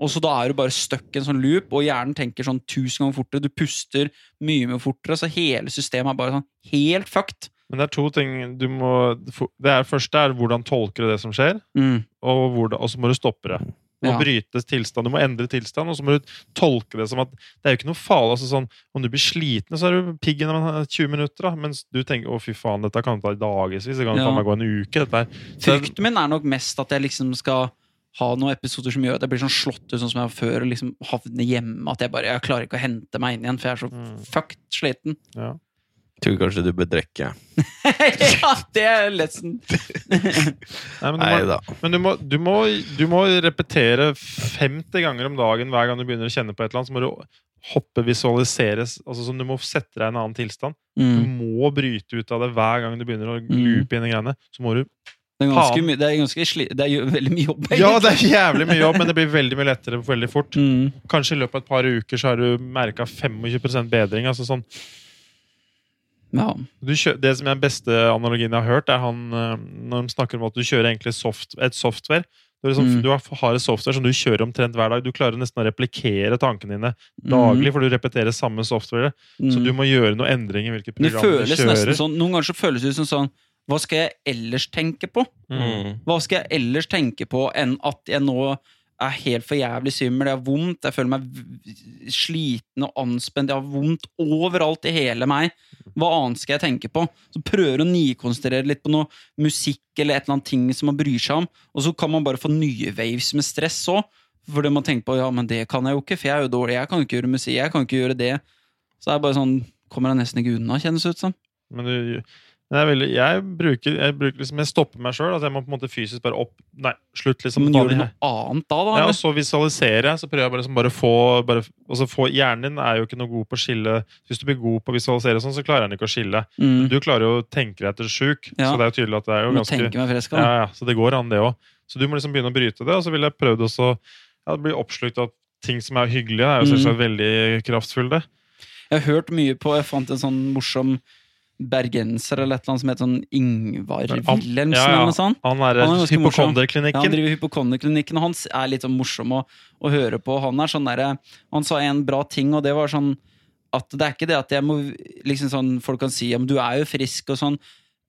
S2: Og så da er du bare stuck i en sånn loop, og hjernen tenker sånn tusen ganger fortere. Du puster mye mye fortere, så hele systemet er bare sånn helt fucked.
S4: Men det er to ting du må Det er, første er hvordan tolker du det som skjer,
S2: Mm.
S4: og, hvordan, og så må du stoppe det. Du må
S2: Ja.
S4: bryte tilstand, du må endre tilstand, og så må du tolke det som at det er jo ikke noe farlig. altså sånn, Om du blir sliten, så er du pigg innen 20 minutter, da, mens du tenker 'å, fy faen, dette kan ta dagevis', det kan
S2: Ja.
S4: faen meg gå en uke', dette her. Så det-
S2: Frykten min er nok mest at jeg liksom skal ha noen episoder som gjør at jeg blir sånn slått ut sånn som jeg var før, og liksom havner hjemme. At jeg bare jeg klarer ikke å hente meg inn igjen, for jeg er så
S4: Mm.
S2: fucked sliten.
S4: Ja.
S3: Tror kanskje du bør drikke.
S2: ja, det er lesson.
S4: Nei, men du
S3: Nei
S4: må-
S3: da.
S4: Men du må, du, må, du må repetere 50 ganger om dagen hver gang du begynner å kjenne på et eller annet. Så må du hoppe, visualiseres. Altså sånn, Du må sette deg i en annen tilstand. Du
S2: Mm.
S4: må bryte ut av det hver gang du begynner å loope inn i greiene. Så må du
S2: Det er ganske,
S4: Faen.
S2: mye- det er ganske sli, det er jo veldig mye jobb.
S4: Ja, det er jævlig mye jobb, men det blir veldig mye lettere veldig fort.
S2: Mm.
S4: Kanskje i løpet av et par uker så har du merka 25 bedring. altså sånn
S2: Ja.
S4: du kjø det som er den beste analogien jeg har hørt, er han eh, når de snakker om at du kjører egentlig soft et software. Du, liksom,
S2: Mm.
S4: du har har et software som du kjører omtrent hver dag. Du klarer nesten å replikere tankene dine
S2: Mm.
S4: daglig, for du repeterer samme software. Så
S2: Mm.
S4: du må gjøre noen endringer i hvilket
S2: Men det
S4: program du
S2: føles nesten
S4: kjører.
S2: sånn, Noen ganger så føles det ut som sånn Hva skal jeg ellers tenke på?
S4: Mm.
S2: Hva skal jeg ellers tenke på enn at jeg nå er helt for jævlig svimmel, jeg har vondt, jeg føler meg v- sliten og anspent, jeg har vondt overalt i hele meg. Hva annet skal jeg tenke på? Så prøver å nikonsentrere litt på noe musikk eller et eller annet ting som man bryr seg om, og så kan man bare få nye waves med stress òg. Fordi man tenker på ja, men det kan jeg jo ikke, for jeg er jo dårlig, jeg kan jo ikke gjøre musikk, jeg kan ikke gjøre det. Så er det bare sånn, kommer jeg nesten ikke unna, kjennes det ut som.
S4: Men du, men det er veldig, jeg bruker, jeg bruker liksom, jeg stopper meg sjøl. Altså jeg må på en måte fysisk bare opp Nei, slutt, liksom.
S2: Men
S4: ta
S2: gjør
S4: det
S2: du
S4: her.
S2: noe annet da, da?
S4: Ja, altså, og
S2: eller?
S4: så visualiserer jeg, så prøver jeg bare, liksom bare å få, bare, altså få Hjernen din er jo ikke noe god på å skille Hvis du blir god på å visualisere og sånn, så klarer den ikke å skille.
S2: Mm.
S4: Du klarer jo å tenke deg til sjuk,
S2: Ja.
S4: så det er jo tydelig at det er jo
S2: Må
S4: ganske
S2: tenke meg frisk,
S4: ja,
S2: da.
S4: ja, Så det går an, det òg. Så du må liksom begynne å bryte det, og så vil jeg prøvd også ja, bli oppslukt av ting som er hyggelige. Det er
S2: Mm.
S4: jo selvsagt veldig kraftfulle.
S2: Jeg har hørt mye på Jeg fant en sånn morsom bergenser eller et eller annet som heter sånn Ingvar
S4: Men han-
S2: Wilhelmsen
S4: ja, ja.
S2: eller noe sånt.
S4: Han er
S2: Han er ganske morsom. Ja, han
S4: hypokonderklinikken.
S2: driver hypokonderklinikken, og han s- er litt sånn morsom å, å høre på. Han, er sånn derre- han sa en bra ting, og det var sånn at det er ikke det at jeg må liksom sånn, Folk kan si om du er jo frisk og sånn.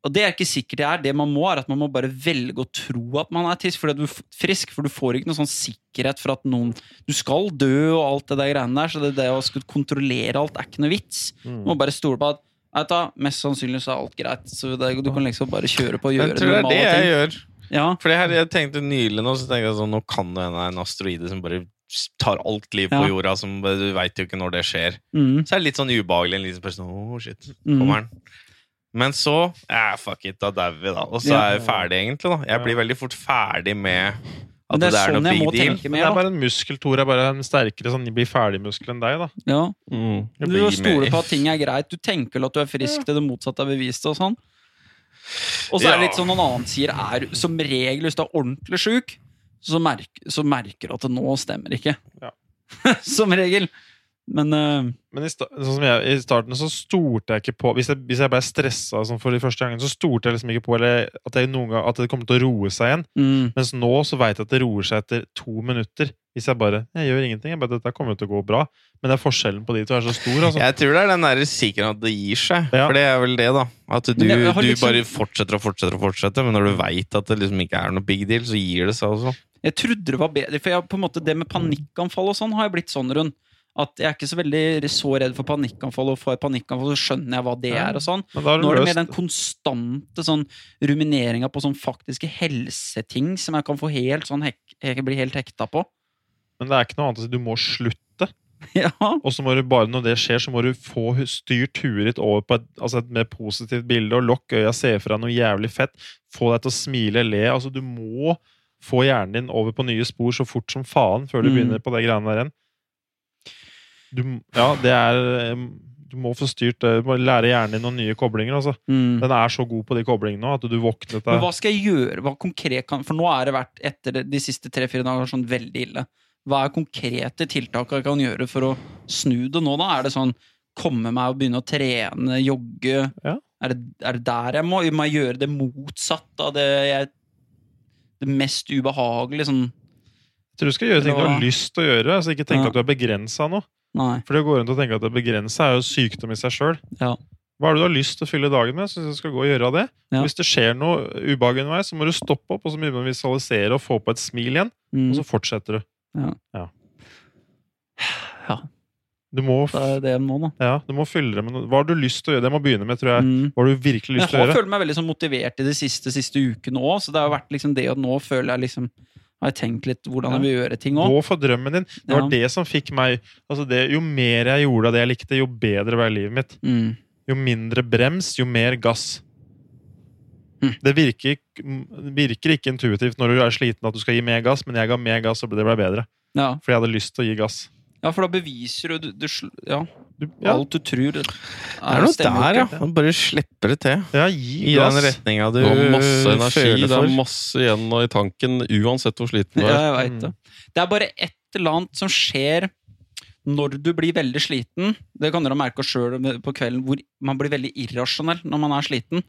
S2: Og det er ikke sikkert det er. Det man må, er at man må bare velge å tro at man er tis- fordi at du er f- frisk. For du får ikke noe sånn sikkerhet for at noen Du skal dø og alt det der greiene der, så det, det å skulle kontrollere alt er ikke noe vits. Du må
S4: Mm.
S2: bare stole på at Vet du, hva, Mest sannsynlig så er alt greit. Så det, du kan liksom bare kjøre på og
S3: Jeg
S2: gjøre
S3: tror det er det
S2: normale
S3: jeg
S2: ting.
S3: gjør.
S2: Ja.
S3: For det her, jeg tenkte nylig nå, så tenkte jeg sånn, nå kan det hende det er en asteroide som bare tar alt liv på
S2: Ja.
S3: jorda, som bare- du veit jo ikke når det skjer.
S2: Mm,
S3: Så er det litt sånn ubehagelig. En liten person, oh shit,
S2: mm.
S3: kommer den. Men så eh, fuck it, da dauer vi, da. Og så
S2: Ja.
S3: er jeg ferdig, egentlig. da. Jeg blir veldig fort ferdig med
S2: Men
S3: at det,
S2: det er
S3: er
S2: sånn
S3: noe
S2: jeg må
S3: big deal.
S2: tenke
S4: Men
S2: mer.
S4: det er
S2: da.
S4: bare en muskel, Tor. er bare en sterkere sånn blir ferdigmuskel enn deg, da.
S2: Ja.
S1: Mm.
S3: Jeg
S2: Du
S3: blir
S2: stoler
S3: mer-
S2: på at ting er greit. Du tenker vel at du er frisk til det motsatte er bevist. Og sånn Og så er det
S3: Ja.
S2: litt sånn noen annen sier er som regel hvis du er ordentlig sjuk, så, merk, så merker du at det nå stemmer ikke.
S4: Ja.
S2: som regel. Men eh,
S4: Men i, sta sånn som jeg, i starten så stolte jeg ikke på Hvis jeg, hvis jeg ble stressa sånn for de første gangene, så stolte jeg liksom ikke på eller at, jeg noen gang, at det kommer til å roe seg igjen.
S2: mm,
S4: Mens nå så veit jeg at det roer seg etter to minutter. Hvis jeg bare Jeg gjør ingenting. jeg bare, Dette kommer jo til å gå bra. Men det er forskjellen på de to er så stor. altså.
S3: Jeg tror det er den der sikkerheten at det gir seg.
S4: Ja.
S3: For det er vel det, da. At du,
S2: Men jeg- jeg har
S3: du
S2: liksom-
S3: bare fortsetter og fortsetter og fortsetter, men når du veit at det liksom ikke er noe big deal, så gir det seg også.
S2: Jeg trodde det var bedre, for jeg, har på en måte, det med panikkanfall og sånn har jeg blitt sånn rundt. At jeg er ikke så veldig så redd for panikkanfall, og får jeg panikkanfall, så skjønner jeg hva det
S4: Ja.
S2: er. og sånn.
S4: Men da har
S2: Nå
S4: du
S2: er det
S4: løst
S2: mer den konstante sånn rumineringa på sånn faktiske helseting som jeg kan få helt sånn hek, jeg blir helt hekta på.
S4: Men det er ikke noe annet å si. Du må slutte.
S2: ja.
S4: Og så må du bare, når det skjer, så må du få hu- styrt huet ditt over på et, altså et mer positivt bilde, og lokk øya, se fra noe jævlig fett, få deg til å smile, le. Altså, du må få hjernen din over på nye spor så fort som faen før du
S2: Mm.
S4: begynner på de greiene der igjen. Du, m- ja, det er eh, Du må få styrt det. Du må lære hjernen din noen nye koblinger. Altså.
S2: Mm.
S4: Den er så god på de koblingene nå at du våknet
S2: Men
S4: deg
S2: hva skal jeg gjøre? Hva konkret kan, for nå er det vært etter det- de siste tre-fire dagene sånn veldig ille. Hva er konkrete tiltak jeg kan gjøre for å snu det nå, da? Er det sånn komme meg og begynne å trene, jogge?
S4: Ja.
S2: Er, det, er det der jeg må? Må jeg gjøre det motsatt av det jeg Det mest ubehagelige? Sånn
S4: Jeg tror du skal gjøre ting du
S2: Eller hva?
S4: har lyst til å gjøre. Altså, ikke tenke
S2: Ja.
S4: at du er begrensa av noe.
S2: Nei.
S4: For det å gå rundt og tenke at det er begrensa, er jo sykdom i seg sjøl.
S2: Ja.
S4: Hva er det du har lyst til å fylle dagen med? Syns du skal gå og gjøre det?
S2: Ja.
S4: Hvis det skjer noe ubehag underveis, så må du stoppe opp og så begynne å visualisere og få på et smil igjen, og
S2: Mm.
S4: så fortsetter du.
S2: Ja,
S4: Du må,
S2: det er det jeg må, da.
S4: ja, du må fylle det med noe. Hva har du lyst til å gjøre? Det må begynne med, tror jeg.
S2: Mm.
S4: Hva har du virkelig lyst
S2: Jeg
S4: til å
S2: har
S4: gjøre?
S2: følt meg veldig sånn motivert i de siste, siste ukene òg, så det har vært liksom det at nå føler jeg liksom Har jeg tenkt litt hvordan jeg vil gjøre ting òg?
S4: Gå for drømmen din. Det var
S2: Ja.
S4: det som fikk meg altså det, Jo mer jeg gjorde av det jeg likte, jo bedre ble livet mitt.
S2: Mm.
S4: Jo mindre brems, jo mer gass.
S2: Mm.
S4: Det virker, det virker ikke intuitivt når du er sliten at du skal gi mer gass, men jeg ga mer gass, og det ble bedre.
S2: Ja.
S4: Fordi jeg hadde lyst til å gi gass.
S2: ja, for da beviser du, du, du sl- ja,
S4: Du, ja,
S2: alt du tror. Det
S3: Det er noe
S2: stemmer jo
S3: der, ja.
S2: ikke.
S3: Man bare slipper det til.
S4: ja, gi
S3: I den
S4: gass.
S3: retninga du
S1: Du har masse energi,
S3: føler
S1: det
S3: for.
S1: er masse igjen i tanken, uansett hvor sliten du
S2: Ja,
S1: er.
S2: jeg
S3: Mm.
S2: vet det. Det er bare et eller annet som skjer når du blir veldig sliten. Det kan dere merke sjøl på kvelden, hvor man blir veldig irrasjonell når man er sliten.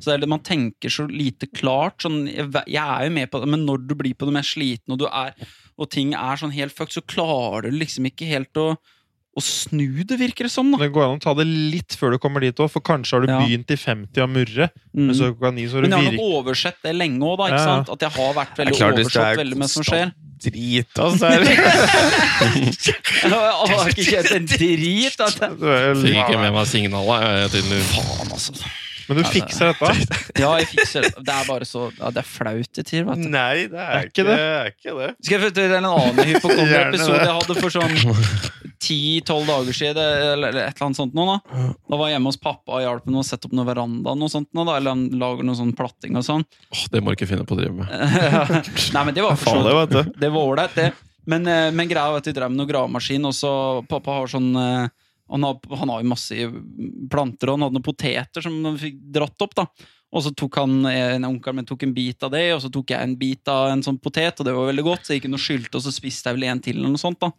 S2: Så det er det Man tenker så lite klart. Sånn, jeg ve- jeg er jo med på det, men når du blir på det mest sliten, og, du er, og ting er sånn helt fucked, så klarer du liksom ikke helt å, å snu det, virker det som. Da.
S4: Det går an å ta det litt før du kommer dit òg, for kanskje har du
S2: Ja. Mm.
S4: begynt i 50 og murre, men så klokka ni så har
S2: Men
S4: du
S2: jeg har
S4: virket.
S2: nok oversett det lenge òg, da. Ikke
S4: Ja, ja.
S2: sant? At jeg har vært
S3: Det
S2: veldig
S3: er klart, hvis det
S2: oversett
S3: er
S2: veldig med som
S3: konstant
S2: skjer.
S3: Drit, altså. er det-
S2: Jeg har ikke kjent en drit. da. Det-
S4: Du er jo-
S1: Fikk ikke med meg signalet, jeg, tydeligvis.
S2: Faen, altså.
S4: Men du fikser dette.
S2: Ja, jeg fikser det. Det er bare så ja, Det er flaut til tider, vet du.
S3: Nei, det er,
S4: ikke
S3: ikke det. er ikke det.
S2: Skal jeg fortelle en annen hypokonder-episode
S4: Gjerne det.
S2: jeg hadde for sånn 10-12 dager siden? det- Eller eller et eller annet sånt nå, da. Da var jeg hjemme hos pappa og hjalp ham å sette opp noe veranda. Noe sånt, nå, da. Eller han lager noe sånn platting og sånn.
S1: Åh, det må du ikke finne på å drive med.
S2: Nei, men det var for
S3: Faen,
S2: så
S3: det, vet du.
S2: Det var ålreit, det. Men, eh, men greia var at de drev med noe gravemaskin, og så pappa har sånn eh, han har, han har jo masse planter, og han hadde noen poteter som han fikk dratt opp. da. Og så tok han, eh, en onkelen min tok en bit av det, og så tok jeg en bit av en sånn potet, og det var veldig godt, så jeg gikk inn og skylte, og så spiste jeg vel en til, eller noe sånt. da.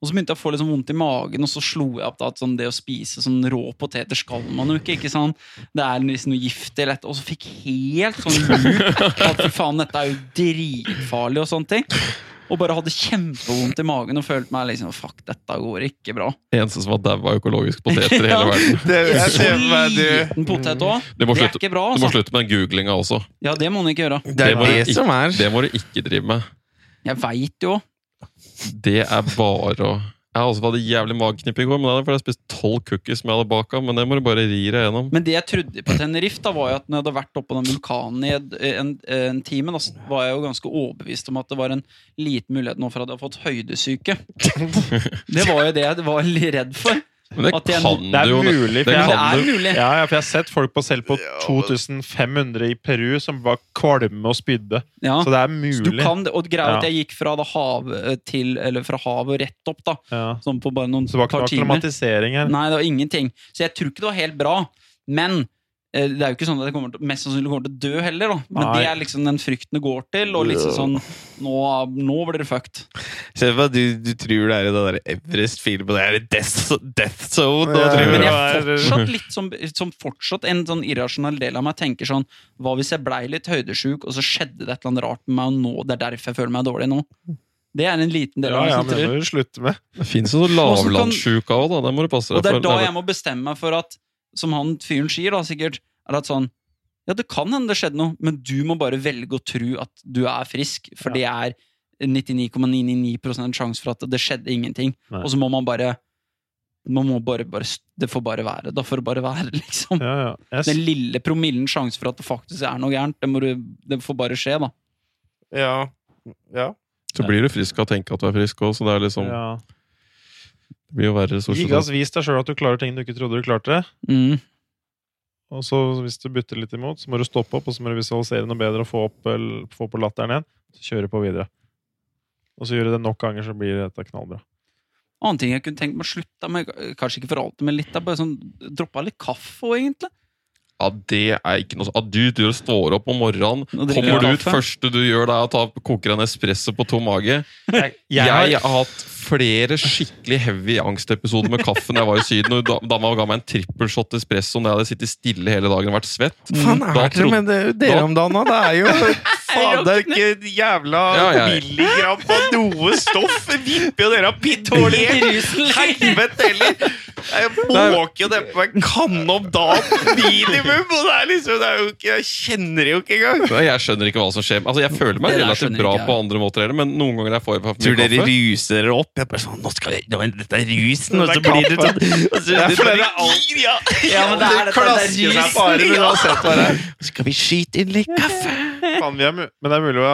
S2: Og så begynte jeg å få litt sånn vondt i magen, og så slo jeg opp da, at sånn det å spise sånn rå poteter skal man jo ikke. ikke sant? Det er liksom noe giftig eller et Og så fikk jeg helt sånn loop at fy faen, dette er jo dritfarlig og sånne ting. Og bare hadde kjempevondt i magen og følte meg liksom Fuck, dette går ikke bra.
S1: Eneste som var daua økologisk poteter i hele
S2: Ja.
S1: verden.
S3: det jeg
S2: Så
S3: ser for meg du
S2: liten potet òg.
S1: Du må
S2: Det er
S1: slutte,
S2: ikke bra,
S1: du må
S2: altså.
S1: slutte med den googlinga også.
S2: Ja, det må man ikke gjøre.
S3: Det er
S1: må du
S3: det som er
S1: Det må du ikke drive med.
S2: Jeg veit jo.
S1: Det er bare å Jeg har også hatt jævlig mageknipp i går, men det er fordi jeg spiste tolv cookies som jeg hadde baka. Men det må du bare ri deg gjennom.
S2: Men det jeg trodde på Tenerife, da, var jo at når jeg hadde vært oppå den vulkanen i en, en, eh, en time, da, så var jeg jo ganske overbevist om at det var en liten mulighet nå for at jeg hadde fått høydesyke. Det var jo det jeg var litt redd for.
S1: Men det
S2: At jeg-
S1: kan
S4: Det
S1: du jo
S4: er mulig. For
S1: Det
S2: Men
S4: jeg,
S2: det
S1: kan
S2: er
S1: du.
S2: mulig.
S4: ja, ja, for jeg har sett folk på selv på 2500 i Peru som var kvalme og spydde.
S2: Ja.
S4: Så det er
S2: Så du
S4: mulig.
S2: kan det, og greia er at
S4: Ja.
S2: jeg gikk fra da hav til, eller fra havet rett opp, da.
S4: Ja.
S2: Sånn på bare noen
S4: Så det var
S2: par
S4: ikke
S2: timer.
S4: noe klimatisering her.
S2: Nei, det var ingenting. Så jeg tror ikke det var helt bra. Men eh, Det er jo ikke sånn at jeg kommer til, mest sannsynlig kommer til å dø heller, da. Men
S4: Nei.
S2: det er liksom den frykten det går til, og liksom sånn Nå, nå blir det fucked.
S3: Se for deg at du, du tror det er i det der Everest-filen på det her Death, death Zone. og
S4: Ja.
S3: tror
S2: Men
S3: det
S2: jeg er
S3: var-
S4: er-
S2: fortsatt litt som, som fortsatt en sånn irrasjonell del av meg tenker sånn Hva hvis jeg blei litt høydesjuk, og så skjedde det et eller annet rart med meg, og nå, det er derfor jeg føler meg dårlig nå? Det er en liten del
S4: Ja,
S2: av meg
S4: ja,
S2: som
S4: men det
S2: tror.
S4: må du slutte med.
S1: Det fins jo sånn
S2: Hvordan kan-
S1: lavlandssjuke òg, da. Det må du passe deg
S2: Og det er
S1: for.
S2: da
S1: Nei,
S2: jeg må bestemme meg for at, som han fyren sier, da sikkert, er at sånn Ja, det kan hende det skjedde noe, men du må bare velge å tro at du er frisk, for det er 99,999 sjanse for at det skjedde ingenting.
S4: Nei.
S2: Og så må man bare man må bare, bare Det får bare være. Da får det bare være, liksom.
S4: Ja, ja. Jeg,
S2: Den
S4: s-
S2: lille promillen sjanse for at det faktisk er noe gærent, det, må du, det får bare skje, da.
S3: Ja. ja.
S1: Så blir du frisk av å tenke at du er frisk òg, så det er liksom,
S4: ja.
S1: det blir jo verre. Stort
S4: Gi
S1: sett.
S4: gass, vis deg sjøl at du klarer ting du ikke trodde du klarte.
S2: Mm.
S4: Og så hvis du butter litt imot, så må du stoppe opp, og så må du visualisere noe bedre og få, opp, eller få på latteren igjen. Så kjøre på videre. Og så gjør du det nok ganger, så blir dette knallbra.
S2: Annen ting jeg kunne tenkt meg å slutte med, kanskje ikke for alltid, men litt av bare sånn droppa litt kaffe òg, egentlig.
S1: Ja, det er ikke noe sånn. At du, du står opp om morgenen,
S2: Og drikker
S1: kommer du ut,
S2: kaffe.
S1: første du gjør, det er å ta, koker en espresso på tom mage. Jeg, har hatt flere skikkelig heavy angstepisoder med kaffe når jeg var i Syden. og da- Dama ga meg en trippelshot espresso når jeg hadde sittet stille hele dagen og vært svett.
S3: Faen
S1: Da
S3: er det
S1: trodde-
S3: med det- dere
S1: da-
S3: om dagen, da? Det er jo faen, det er ikke en jævla
S1: Ja, jeg-
S3: milligram på noe stoff! Vipper jo dere av
S2: Dårlig
S3: pitthålet!
S2: rusen!
S3: Helvete heller! Jeg måker jo dem på en kanne om dagen, minimum! Og det er liksom, det er jo ikke, jeg kjenner det jo ikke engang!
S1: Nei, Jeg skjønner ikke hva som skjer. Altså, jeg føler meg
S2: Det der
S1: relativt
S2: skjønner
S1: bra
S2: ikke jeg.
S1: på andre måter heller, men noen ganger jeg får for
S3: Tror
S1: mye
S3: dere
S1: kaffe
S3: ruser dere opp? Jeg bare sånn, nå skal vi, nå, Dette er rusen, og
S4: Det
S3: så
S4: er
S3: blir det
S4: kaffe.
S3: sånn og så-
S4: Jeg føler det
S3: gir, ja.
S2: Ja, men det er dette,
S3: Det
S2: det er
S3: klasker seg
S2: rusen,
S3: bare, men
S2: ja.
S3: uansett hva det er. Skal vi skyte inn litt kaffe?
S4: Faen, vi er mu- men det er mulig å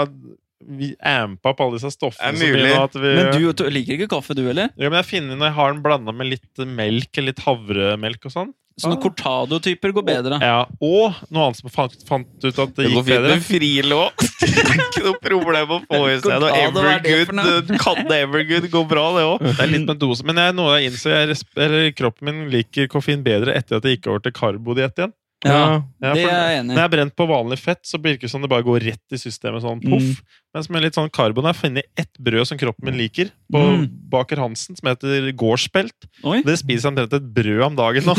S4: vi ampe opp alle disse stoffene.
S3: Det er
S4: så mye
S3: mulig.
S4: nå at vi,
S2: Men du du liker ikke kaffe, du heller?
S4: ja, men jeg finner når jeg har den blanda med litt melk, litt havremelk og sånn.
S2: Sånne
S4: Ah.
S2: cortado-typer går bedre.
S4: Ja, og noe annet som jeg fant, fant ut at det
S3: Det går
S4: gikk
S3: fint
S4: bedre.
S3: med frilå. Ikke noe problem å få i seg noe
S2: Cortado, hva er det for noe?
S3: Evergood. Kan Evergood gå bra, det òg?
S4: Det er litt med dose, men jeg, noe jeg innså jeg, resp- eller, Kroppen min liker koffein bedre etter at jeg gikk over til karbodiett igjen.
S2: Ja,
S4: Ja,
S2: Det
S4: for-
S2: er jeg enig
S4: Når
S2: i.
S4: jeg er brent på vanlig fett, så virker det som det bare går rett i systemet.
S2: Mm.
S4: sånn poff. Mens med litt sånn karbon har jeg funnet ett brød som kroppen min liker, på
S2: Mm.
S4: Baker Hansen, som heter gårdsspelt.
S2: Oi.
S4: Det spiser jeg omtrent et brød om dagen nå.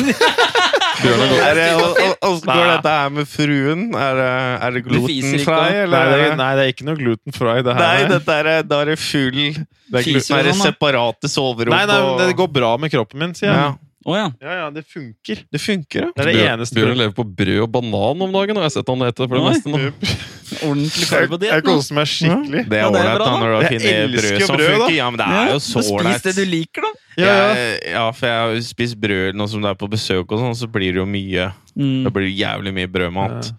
S3: Er det, og, og, og så går
S4: Nei.
S3: dette her med fruen? Er det, er det
S2: Du fiser ikke,
S3: glutenfri,
S4: Nei,
S3: eller? er
S4: det, er-
S3: det-
S4: nei, det er ikke noe gluten fry, det her.
S3: Nei, dette er, da er det full
S4: det er gluten.
S2: Fiser
S3: Nå er det
S2: du sånn, da?
S3: separate soverom
S4: Nei, nei,
S3: og-
S4: men det går bra med kroppen min, sier jeg.
S3: ja.
S4: Ja,
S2: Å ja.
S4: ja, det funker.
S3: Det funker, ja.
S4: Det er det
S1: Bjørn,
S4: eneste
S1: Bjørn lever på brød og banan om dagen, har jeg sett han heter. For det
S2: Oi.
S1: meste nå.
S2: Ordentlig
S4: Jeg, jeg
S2: karbodiett. nå.
S4: koser meg skikkelig.
S3: Mm. Det er
S2: Ja, det er
S3: ålreit
S2: bra, da.
S3: da, når du har
S4: Jeg
S3: funnet brød
S4: elsker
S3: som
S4: brød, da.
S3: funker. Ja, men det er
S2: Ja,
S3: jo så
S2: men Spis det du
S3: ålreit.
S2: liker, da.
S4: Ja, ja.
S3: Jeg- ja, for jeg har jo spist brød nå som du er på besøk, og sånn, så blir det jo mye.
S2: Mm.
S3: Det blir jo jævlig mye brødmat.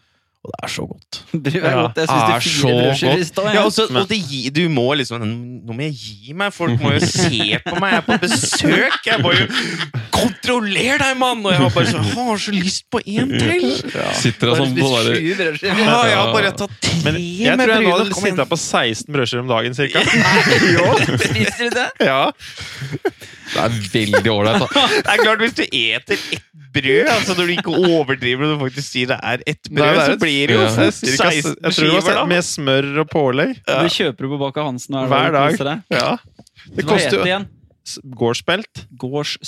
S3: Og det er så godt.
S2: Brød er
S4: Ja.
S2: godt. Jeg
S3: Ah,
S2: spiste
S3: så
S2: fire brødskiver i
S3: godt.
S2: stad. jeg.
S3: Ja, altså, og så- og det gi, du må liksom Nå må jeg gi meg! Folk må jo se på meg! Jeg er på besøk! Jeg må jo Kontroller deg, mann! Og jeg har bare så, har så lyst på en
S4: Mm.
S3: til!
S1: Sitter jeg sånn på
S2: Bare
S1: der,
S2: sju brødskiver.
S3: Ja, jeg har bare tatt tre
S4: Men jeg
S3: med
S4: tror jeg nå
S3: brød.
S4: hadde sittet på 16 brødskiver om dagen, cirka.
S2: Spiser du det?
S4: Ja.
S1: Det er veldig ålreit. da.
S3: Det er klart, hvis du eter ett brød, altså når du ikke overdriver og du faktisk sier det er ett brød,
S4: Nei, det er
S3: så blir det jo
S1: ja.
S4: Det er
S3: fort
S4: Cirka,
S3: 16
S4: jeg tror det
S3: skiver,
S4: var
S3: da.
S4: med smør og pålegg.
S2: Du kjøper på Baker Hansen og
S4: Hver dag.
S2: koser deg.
S4: Ja.
S2: Hva
S4: Det
S2: heter
S4: koster
S2: det
S4: jo
S2: igjen?
S4: s- gårdsspelt.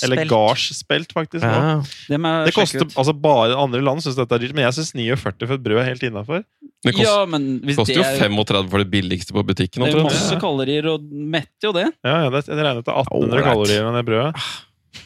S4: Eller
S2: Gårdsspelt.
S4: gardsspelt, faktisk. nå.
S3: Ja.
S2: Det må jeg
S4: Det
S2: sjekke
S4: koster,
S2: ut.
S4: altså bare Andre land syns dette er dyrt, men jeg syns 49 for et brød er helt innafor.
S1: Det kost,
S2: Ja, men hvis
S1: koster jo
S2: det er-
S1: 35 for det billigste på butikken.
S2: det er
S1: omtrent.
S2: masse kalorier, og metter jo det.
S4: Ja, ja, det- jeg regnet til 1800
S3: Ålreit.
S4: kalorier med det brødet.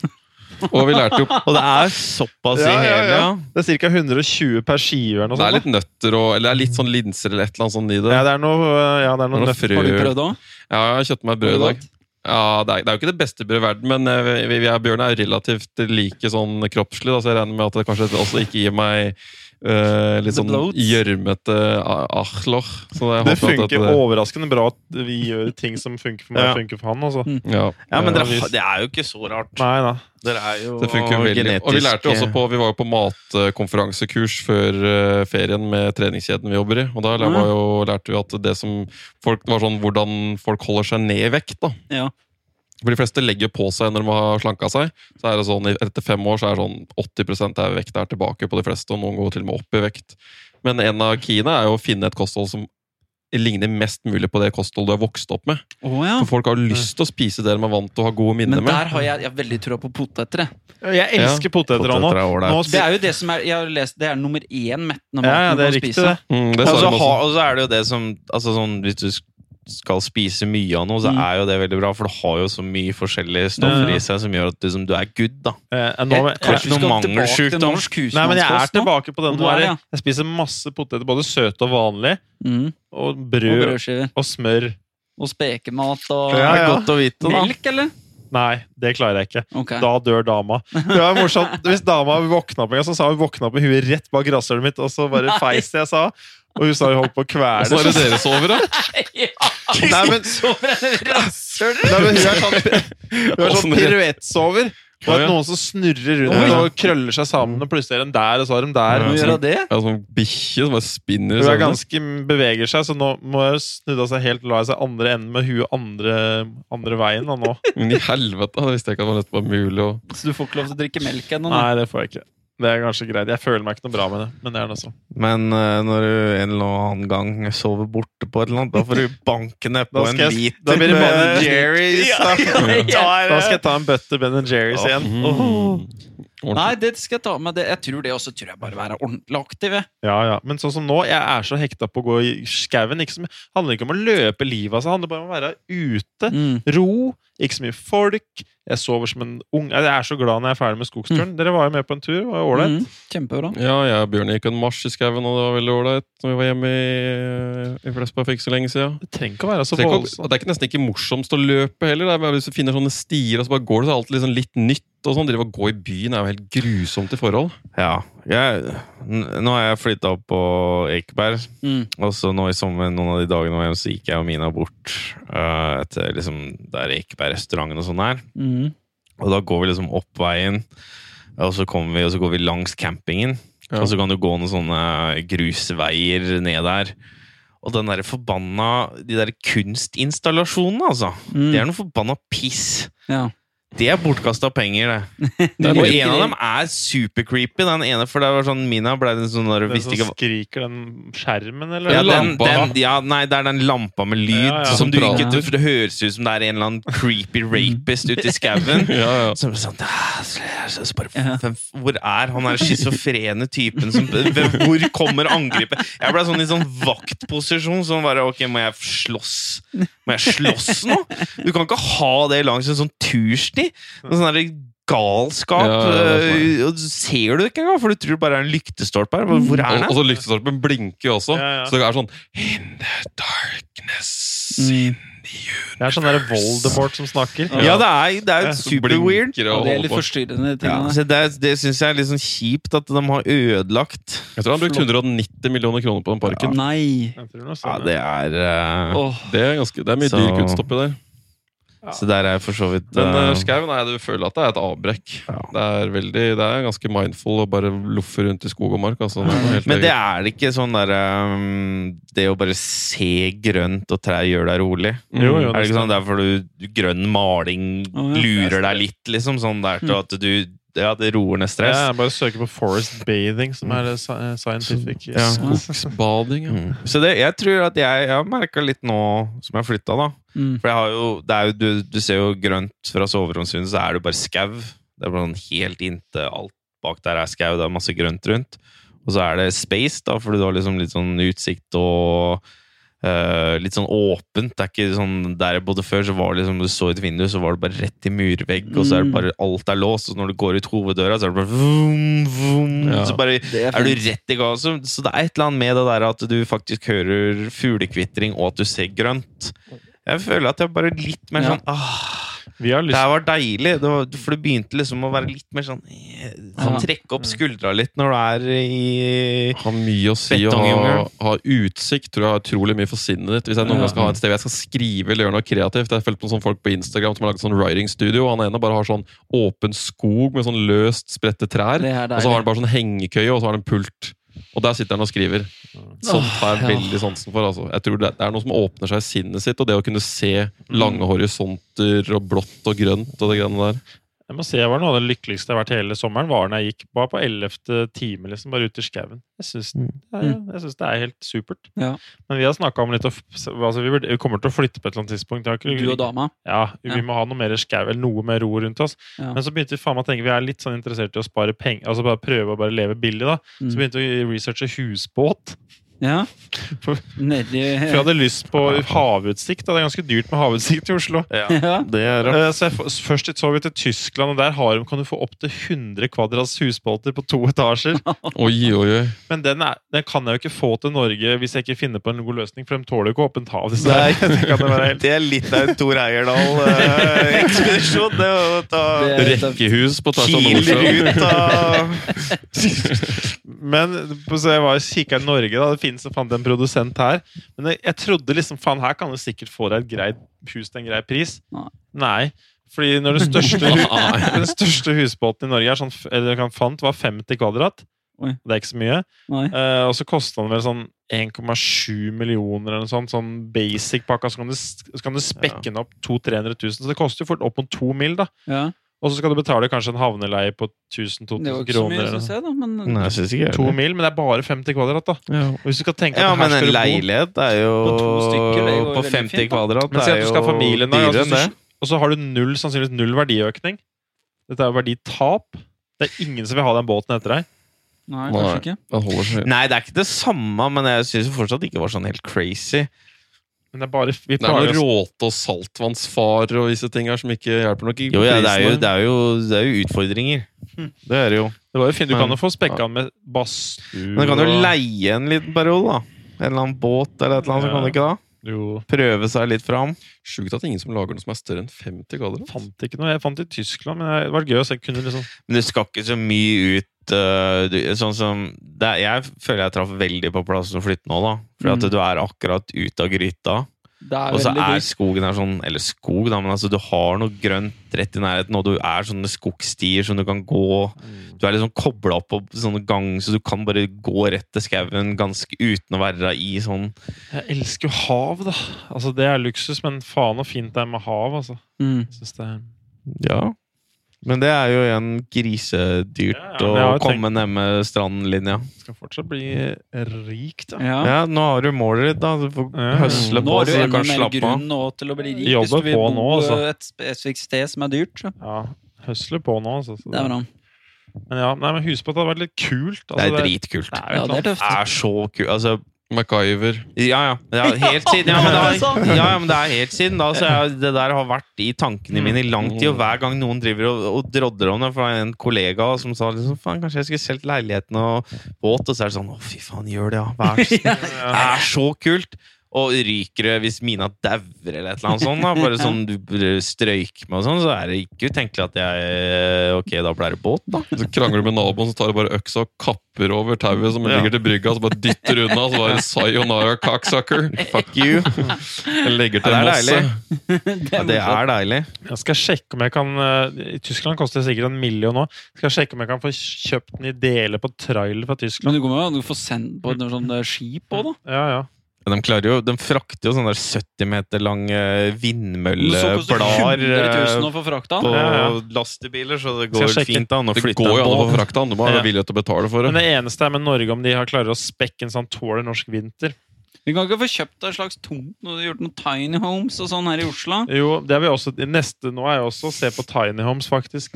S1: Og vi lærte jo
S3: Og det er såpass i
S4: Ja, ja,
S3: hele,
S4: ja.
S3: ja.
S4: Det er ca. 120 per skive. eller noe
S1: Det er
S4: sånt,
S1: litt nøtter og Eller det er litt sånn linser eller et eller annet sånt i
S4: da.
S1: det.
S4: Ja, det er noe, eh, ja, det er noe
S1: Noe
S4: nøtter.
S1: frø.
S2: Har du prøvd òg?
S1: Ja, jeg kjøpte meg brød i dag. Ja, det er, det er jo ikke det beste brødet i verden, men eh, vi, vi er, Bjørn er relativt like sånn kroppslig, da, så jeg regner med at det kanskje også ikke gir meg eh, litt
S2: The
S1: sånn
S2: bloat.
S1: gjørmete ah- achloch. Så jeg håper
S4: Det
S1: at
S4: funker
S1: dette-
S4: overraskende bra at vi gjør ting som funker for meg,
S3: Ja.
S4: funker for han. Altså.
S2: Mm.
S1: Ja.
S3: Ja, men
S4: Ja,
S3: dere,
S4: hvis-
S3: har- det er jo ikke så rart.
S4: Nei da.
S3: Dere er jo eh,
S1: Det funker jo veldig. Og vi lærte jo
S2: eh,
S1: også på, vi var jo på matkonferansekurs før eh, ferien med treningskjeden vi jobber i. Og da lær-
S2: Mm.
S1: var jo, lærte vi at det som folk det var sånn hvordan folk holder seg ned i vekt. da.
S2: Ja.
S1: For de fleste legger på seg når de har slanka seg. Så er det sånn, Etter fem år så er det sånn 80 av vekta er tilbake på de fleste, og noen går til og med opp i vekt. Men en av keyene er jo å finne et kosthold som ligner mest mulig på det kostholdet du har vokst opp med.
S2: Å, ja.
S1: For folk har lyst til å spise det de er vant til å ha gode minner
S2: Ah. Men der
S1: med.
S2: har jeg, jeg har veldig trua på poteter. jeg.
S4: Jeg elsker poteter
S3: Poteter
S4: nå.
S3: er ålreit.
S4: nå
S2: Det er jo det som er jeg har lest, det er nummer én mettende
S4: ja,
S2: mat
S4: ja,
S2: man
S4: det
S2: kan
S4: er riktig,
S2: spise.
S4: det.
S1: Mm, det
S3: Og
S1: sa
S2: Altså,
S3: så
S1: de også.
S3: ha- og så er det jo det som altså sånn, Hvis du sk- skal spise mye av noe, så
S2: Mm.
S3: er jo det veldig bra, for det har jo så mye forskjellige stoffer
S4: Ja.
S3: i seg som gjør at du, som, du er good, da.
S4: Eh,
S2: Jeg-
S4: nå, jeg,
S3: Kanskje noe
S2: skal tilbake til
S3: mangelsykdom.
S2: norsk
S4: nei, men jeg er
S2: husmannskost nå.
S4: tilbake på den.
S2: Og du er det, ja.
S4: Jeg spiser masse poteter, både søte og vanlige,
S2: Mm.
S4: og
S2: Og
S4: brød
S2: brødskiver.
S4: og smør.
S2: Og spekemat og
S4: Ja, ja.
S3: Godt å vite, da.
S2: Melk, eller?
S4: Nei, det klarer jeg ikke.
S2: Ok.
S4: Da dør dama. Det var morsomt. Hvis dama våkna opp en gang, så sa hun 'våkna opp med huet rett bak rasshølet mitt', og så bare feis det jeg sa. Og hun sa hun holdt på å
S1: Og
S4: kvele
S1: så er det dere sover, da!
S4: Nei, men, nei, men hun er sånn, hun er sånn piruettsover. Og at
S1: Ja, ja.
S4: noen som snurrer rundt
S1: Oi.
S4: og krøller seg sammen, og plutselig er den der, og så er de der.
S1: Ja,
S4: Hun
S1: ja.
S4: gjør at-
S2: det?
S1: Jeg er sånn bikkje som bare spinner. i
S4: Hun er
S1: søvne.
S4: ganske beveger seg, så nå må hun snudde seg helt la seg andre enden med huet andre, andre veien. Da, nå.
S1: Men i helvete, jeg visste ikke at det var dette var mulig. å-
S2: Så du får ikke lov til å drikke melk ennå? nå?
S4: Nei, det får jeg ikke. Det er kanskje greit. Jeg føler meg ikke noe bra med det. Men det er sånn. det også.
S3: Men eh, når du en eller annen gang sover borte på et eller annet, da får du banke ned
S4: Da
S3: på en
S4: skal jeg-
S3: liter
S4: da blir det
S3: med
S4: bare-
S3: Jerry's. Da.
S4: Da skal jeg ta en bøtte Ben Jerry's igjen.
S1: Mm. Ordentlig.
S2: Nei, det skal jeg ta med. Det. Jeg tror det også tror jeg bare være ordentlig aktiv. jeg.
S4: Ja, ja. Men sånn som nå, jeg er så hekta på å gå i skauen. Ikke så mye- handler ikke om å løpe livet av seg, det handler bare om å være ute.
S2: Mm.
S4: Ro. Ikke så mye folk. Jeg sover som en ung Jeg er så glad når jeg er ferdig med
S3: Mm.
S4: skogsturen. Dere var jo med på en tur. Det var jo
S2: Mm.
S4: ålreit.
S2: Kjempebra.
S1: Ja, jeg og Bjørn gikk en marsj i skauen, og det var veldig ålreit. når Vi var hjemme i, i Flesberg for ikke så lenge siden.
S4: Det trenger ikke å være så
S1: Tenk om-
S4: voldsomt.
S1: det er ikke nesten ikke morsomst å løpe heller. Det er bare Hvis du finner sånne stier, og så bare går det så er det alltid liksom litt nytt. og sånn. Drive og gå i byen er jo helt grusomt i forhold.
S3: Ja. Jeg, n- nå har jeg flytta opp på Ekeberg.
S2: Mm.
S3: Og så nå i sommer, noen av de dagene hvor jeg var hjemme, så gikk jeg og Mina bort eh, til liksom, der Ekeberg-restauranten og sånn er.
S2: Mm.
S3: Og da går vi liksom opp veien, og så kommer vi, og så går vi langs campingen.
S1: Ja.
S3: Og så kan du gå noen sånne grusveier ned der. Og den der forbanna, de der kunstinstallasjonene, altså.
S2: Mm.
S3: Det er noe forbanna piss.
S2: Ja.
S3: Det er bortkasta penger, det.
S1: Det er
S3: Og
S1: noe-
S3: en av dem er supercreepy. Den ene, for det var sånn Mina ble den sånn der,
S4: Den
S3: visste
S4: som
S3: ikke hva
S4: skriker den skjermen, eller?
S3: ja,
S1: Den
S3: den,
S1: lampa.
S3: den, ja, nei, det er den lampa med lyd
S4: Ja, ja.
S3: som du ikke
S2: Sentralen.
S3: For det høres ut som det er en eller annen creepy rapist ute i skauen.
S1: Ja, ja.
S3: Som er sånn, "Ah, så jeg- så jeg bare,
S2: Ja.
S3: hvem, hvor er han der schizofrene typen? Som, hvem- hvor kommer angrepet? Jeg ble sånn i sånn vaktposisjon. Sånn bare, ok, Må jeg slåss Må jeg slåss nå? Du kan ikke ha det langs en sånn tursti. Noe sånn der galskap.
S1: Ja, ja, det er
S3: eh, og du ser du det ikke engang, for du tror det bare er en lyktestolpe her. Hvor er den?
S1: Mm. Og, og så lyktestolpen blinker jo også.
S4: Ja, ja.
S1: Så det er sånn In the darkness
S2: Mm.
S4: Det er sånn der Voldemort som snakker.
S3: Ja, det er, det er
S4: Ja,
S3: jo
S4: så
S3: super weird.
S1: blinker det
S2: Ja,
S1: og
S2: det er
S1: holder
S2: litt
S1: på.
S2: forstyrrende.
S3: Ja,
S2: tingene.
S3: så det er- det syns jeg er litt sånn kjipt at de har ødelagt.
S1: Jeg tror han har brukt 190 millioner kroner på den parken.
S2: Nei!
S4: Jeg tror noe
S3: Ja,
S4: sånt,
S3: det er eh,
S2: Åh.
S1: Det er, ganske, det er mye
S3: Så-
S1: dyr kunst oppi der.
S3: Så der er jeg for så vidt
S1: Men
S3: eh,
S1: uh, skauen er det- du føler at det er et avbrekk.
S3: ja.
S1: Det er veldig, det er ganske mindful å bare loffe rundt i skog og mark. Altså. Det er noe helt
S3: Men det
S1: eget.
S3: er ikke sånn der eh, Det å bare se grønt og trær gjør deg rolig.
S4: Jo, jo.
S3: Er det ikke sånn derfor du du- grønn maling
S2: Å, ja.
S3: lurer deg litt, liksom? Sånn der til at du Ja, det roer ned
S4: Ja,
S3: stress.
S4: jeg bare søker på Forest Bathing, som er eh, sci- eh, scientific.
S3: Ja.
S1: Skogsbading, ja.
S3: Mm. Så det, jeg tror at jeg, jeg har merka litt nå som jeg har flytta, da.
S2: Mm.
S3: For jeg har jo, det er jo du, du ser jo grønt fra soveromsvinduet, så er det jo bare skau. Det er bare sånn helt inntil alt bak der er skau. Det er masse grønt rundt. Og så er det space, da, fordi du har liksom litt sånn utsikt og eh, litt sånn åpent. Det er ikke sånn Der jeg bodde før, så var det liksom du så ut vinduet, så var det bare rett i murvegg, og så er det bare alt er låst, og når du går ut hoveddøra, så er det bare vroom, vroom,
S1: Ja.
S3: Så bare
S2: Det
S3: er du rett i gang. Så, så det er et eller annet med det der at du faktisk hører fuglekvittring, og at du ser grønt. Jeg føler at jeg bare litt mer
S2: Ja.
S3: sånn ah,
S4: Vi har
S3: Det
S4: lyst
S3: her var deilig. Det var, for det begynte liksom å være litt mer sånn, eh, sånn
S2: Ja.
S3: Trekke opp skuldra litt når du er i
S1: Har mye å si å ha,
S3: Betongjungel.
S1: ha utsikt. Tror jeg har utrolig mye for sinnet ditt. Hvis jeg noen
S2: Ja.
S1: gang skal ha et sted hvor jeg skal skrive eller gjøre noe kreativt Jeg har fulgt på sånne folk på Instagram som har laget sånn writing studio. og Han ene bare har sånn åpen skog med sånn løst spredte trær.
S2: Det er
S1: Og så har han
S2: deilig.
S1: bare sånn hengekøye, og så har han en pult. Og der sitter han og skriver. Sånt har jeg
S2: Åh, ja.
S1: veldig sansen for. Altså. Jeg tror det det er noe som åpner seg i sinnet sitt, og det å kunne se
S3: Mm.
S1: lange horisonter og blått og grønt og det greiene der.
S4: Jeg må si, jeg var noe av det lykkeligste jeg har vært hele sommeren, var når jeg gikk bare på 11. time, liksom, bare ute i skauen. Jeg syns jeg, jeg synes det er helt supert.
S2: Mm. Ja.
S4: Men vi har snakka om litt å f- altså, vi, burde, vi kommer til å flytte på et eller annet tidspunkt. Jeg har ikke-
S2: Du og dama.
S4: Ja,
S2: Ja.
S4: vi må ha noe mer skau eller noe mer ro rundt oss.
S2: Ja.
S4: Men så begynte vi faen meg å tenke vi er litt sånn interessert i å spare penger, altså bare prøve å bare leve billig, da. Så
S2: Mm.
S4: begynte vi å researche husbåt.
S2: Ja.
S4: For-
S2: Nedi
S4: For jeg hadde lyst på havutsikt. Da. Det er ganske dyrt med havutsikt i Oslo.
S2: ja.
S3: Det er rart.
S4: Eh, Så jeg f- først så vi til Tyskland, og der har de, kan du få opptil 100 kvadrats husbåter på to etasjer.
S1: Oi, oi, oi.
S4: Men den, er, den kan jeg jo ikke få til Norge hvis jeg ikke finner på en god løsning, for de tåler jo ikke åpent hav. disse her. Det kan det være helt...
S3: Det er litt av en Tor Eierdal-ekspedisjon. det å ta
S2: Det er-
S1: Rekkehus på tvers av
S3: kiler
S1: Nordsjøen.
S3: ut av
S4: Men så jeg var og kikka i Norge, da. Det finnes fant en produsent her. Men jeg, jeg trodde liksom faen, her kan du sikkert få deg et greit hus til en grei pris.
S2: Nei.
S4: Nei. Fordi når den største, hu-
S1: Nei.
S4: den største husbåten i Norge er sånn, f- eller jeg fant, var 50 kvadrat.
S2: Oi.
S4: Det er ikke så mye.
S2: Nei.
S4: Eh, og så kosta den vel sånn 1,7 millioner eller noe sånt. Sånn basic-pakka. Så kan du, s- så kan du spekke den opp 200 000-300 000. Så det koster jo fort opp mot to mil, da.
S2: Ja.
S4: Og så skal du betale kanskje en havneleie på
S2: Det var
S4: 1000-2000
S2: ikke så
S4: kroner.
S2: mye,
S4: eller noe.
S2: syns jeg, da. Men
S3: Nei, jeg syns ikke jeg
S4: To
S3: gjør det.
S4: mil, men det er bare 50 kvadrat, da.
S1: Ja.
S4: Og hvis du skal tenke at
S3: Ja,
S4: her
S3: men
S4: skal
S3: en
S4: du bo-
S3: leilighet er jo
S2: På to stykker, det går
S3: På
S2: veldig
S3: 50
S2: fint, da.
S3: kvadrat
S4: Men si
S3: er
S4: at du
S3: jo
S4: skal ha familien der,
S3: dyrere
S4: altså,
S3: enn det.
S4: så- og så har du null, sannsynligvis null verdiøkning. Dette er jo verditap. Det er ingen som vil ha den båten etter deg.
S1: Nei,
S2: Nei, kanskje ikke.
S1: den holder seg.
S3: Nei, det er ikke det samme, men jeg syns fortsatt ikke det var sånn helt crazy.
S4: Men det er bare vi
S1: Det er noe
S4: klarer oss.
S1: råte og saltvannsfare og visse ting her som ikke hjelper nok. i
S3: Jo, ja, det er jo,
S1: prisene.
S3: det er jo, det er jo utfordringer. Det er det jo.
S4: Det var jo fint. Du
S3: Men-
S4: kan jo få spekka den med badstue
S3: Men du kan jo
S4: og-
S3: leie en liten periode, da. En eller annen båt eller et eller annet, så kan du ikke da?
S4: Jo,
S3: Prøve seg litt fram.
S1: Sjukt at ingen som lager noe som er større enn 50 kvadrat.
S4: fant ikke noe. Jeg fant det i Tyskland, men det hadde vært gøy å se. Kunne liksom
S3: Men det skal ikke så mye ut. øh, du, sånn som det, er- Jeg føler jeg traff veldig på plass å flytte nå, da. Fordi
S2: Mm.
S3: at du er akkurat ut av gryta.
S2: Det er
S3: Og så
S2: veldig gøy.
S3: er skogen her sånn Eller skog, da, men altså, du har noe grønt rett i nærheten, og du er sånne skogstier som du kan gå
S2: Mm.
S3: Du er liksom kobla opp på sånne gang, så du kan bare gå rett til skauen ganske uten å være i sånn
S4: Jeg elsker jo hav, da. Altså, det er luksus, men faen så fint det er med hav, altså.
S2: Mm.
S4: Jeg synes det er
S3: Ja. Men det er jo igjen grisedyrt
S4: Ja, ja, men jeg har
S3: å
S4: jo
S3: komme ned med strandlinja.
S4: Skal fortsatt bli eh, rik, da.
S2: Ja. Mm.
S3: Ja, nå har du målet ditt, da. Du får
S4: Ja.
S3: høsle
S2: Nå
S3: på
S2: har du
S3: så du
S2: enda
S3: kan
S2: mer
S3: slappe
S2: grunn
S3: av.
S2: nå til å bli rik
S4: Jobbe
S2: hvis du vil
S4: på
S2: bo
S4: nå, altså.
S2: eh, et spesifikt sted som er dyrt. Så.
S4: Ja. Høsler på nå, altså. Så-
S2: Det er bra.
S4: Men ja, nei, men husbåt hadde vært litt kult. Altså,
S3: Det er
S4: det-
S3: dritkult.
S4: det er jo
S2: Ja,
S4: et eller
S2: det
S4: annet.
S2: er tøft.
S3: Det er så kult. Altså,
S1: MacGyver.
S3: Ja, ja. ja helt siden, ja, men det har, ja, ja, men det er helt siden da. Så jeg, det der har vært i tankene mine i lang tid. Og hver gang noen driver og, og drodler om det, for det var en kollega som sa liksom, faen, kanskje jeg skulle solgt leiligheten og båt, og så er det sånn å, fy faen, gjør det, ja. Vær så snill.
S4: Ja.
S3: Det er så kult! Og ryker det hvis Mina dauer eller et eller annet sånt, da, bare sånn du strøyker med og sånn, så er det ikke utenkelig at jeg eh, Ok, da blir det båt, da.
S1: Så krangler du med naboen, så tar du bare øksa og kapper over tauet som
S3: Ja.
S1: ligger til brygga, så bare dytter unna, så bare sayonara, cocksucker.
S3: Fuck you!
S1: Jeg legger til
S3: Ja, det er
S1: masse.
S3: deilig. Ja, det er deilig.
S4: Jeg skal sjekke om jeg kan eh, I Tyskland koster det sikkert en million nå. Skal jeg sjekke om jeg kan få kjøpt den i deler på trailer fra Tyskland.
S2: Men du kommer jo an å få sendt på et sånt eh, skip òg, da.
S4: Ja, ja.
S3: Ja, de, klarer jo, de frakter jo sånne der 70 meter lange
S2: Men så koster det
S3: vindmølleblader
S2: 100 000
S3: eh,
S2: å få frakta.
S3: på
S4: Ja, ja.
S3: lastebiler, så det
S4: Skal
S3: går
S4: jeg sjekke?
S3: fint an å
S1: Det
S3: flytte
S1: går jo an å få
S3: en båt.
S1: frakta, du må
S4: Ja.
S1: være villig til å betale for
S4: Men
S1: det.
S4: det eneste er med Norge om de har klarer å spekke en sånn tåler norsk vinter.
S2: Vi kan ikke få kjøpt deg en slags tomt når du har gjort noen tiny homes og sånn her i Oslo.
S4: Jo, det er vi også det Neste nå er jo også å se på tiny homes, faktisk.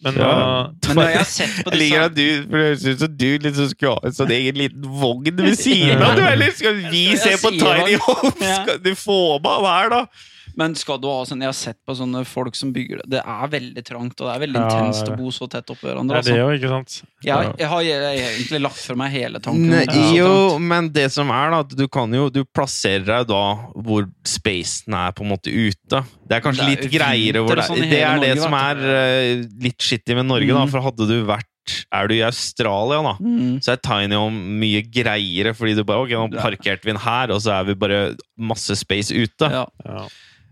S4: Men
S3: Ja.
S4: eh,
S2: Men når jeg har sett på
S3: Jeg liker
S2: disse
S3: at du for det høres ut som du liksom skulle ha en sånn egen liten vogn ved siden av. Du eller skal vi
S2: Jeg
S3: se på
S2: sier
S3: Tiny
S2: vogn.
S3: Homes?
S2: Ja.
S3: Skal du få med av hver, da?
S2: Men skal du ha sånn Jeg har sett på sånne folk som bygger det. Det er veldig trangt, og det er veldig
S4: Ja,
S2: intenst
S4: det er
S2: å
S4: det.
S2: bo så tett oppå
S4: det
S2: hverandre.
S4: er det
S2: Altså.
S4: jo, ikke sant?
S2: Jeg, jeg har egentlig lagt fra meg hele tanken. om
S3: Ne,
S2: at det er så
S3: jo,
S2: trangt.
S3: men det som er, da, at du kan jo Du plasserer deg da hvor spacen er på en måte ute. Det er kanskje
S2: Det er
S3: litt
S2: jo
S3: greiere hvor
S2: vinter
S3: det,
S2: og sånn i
S3: det er
S2: hele
S3: det
S2: Norge,
S3: som
S2: vet
S3: er eh, litt shitty med Norge, da.
S2: Mhm.
S3: For hadde du vært Er du i Australia, da,
S2: Mm.
S3: så er Tiny Home mye greiere, fordi du bare Ok, nå
S2: Ja.
S3: parkerte vi den her, og så er vi bare masse space ute.
S2: Ja.
S4: Ja.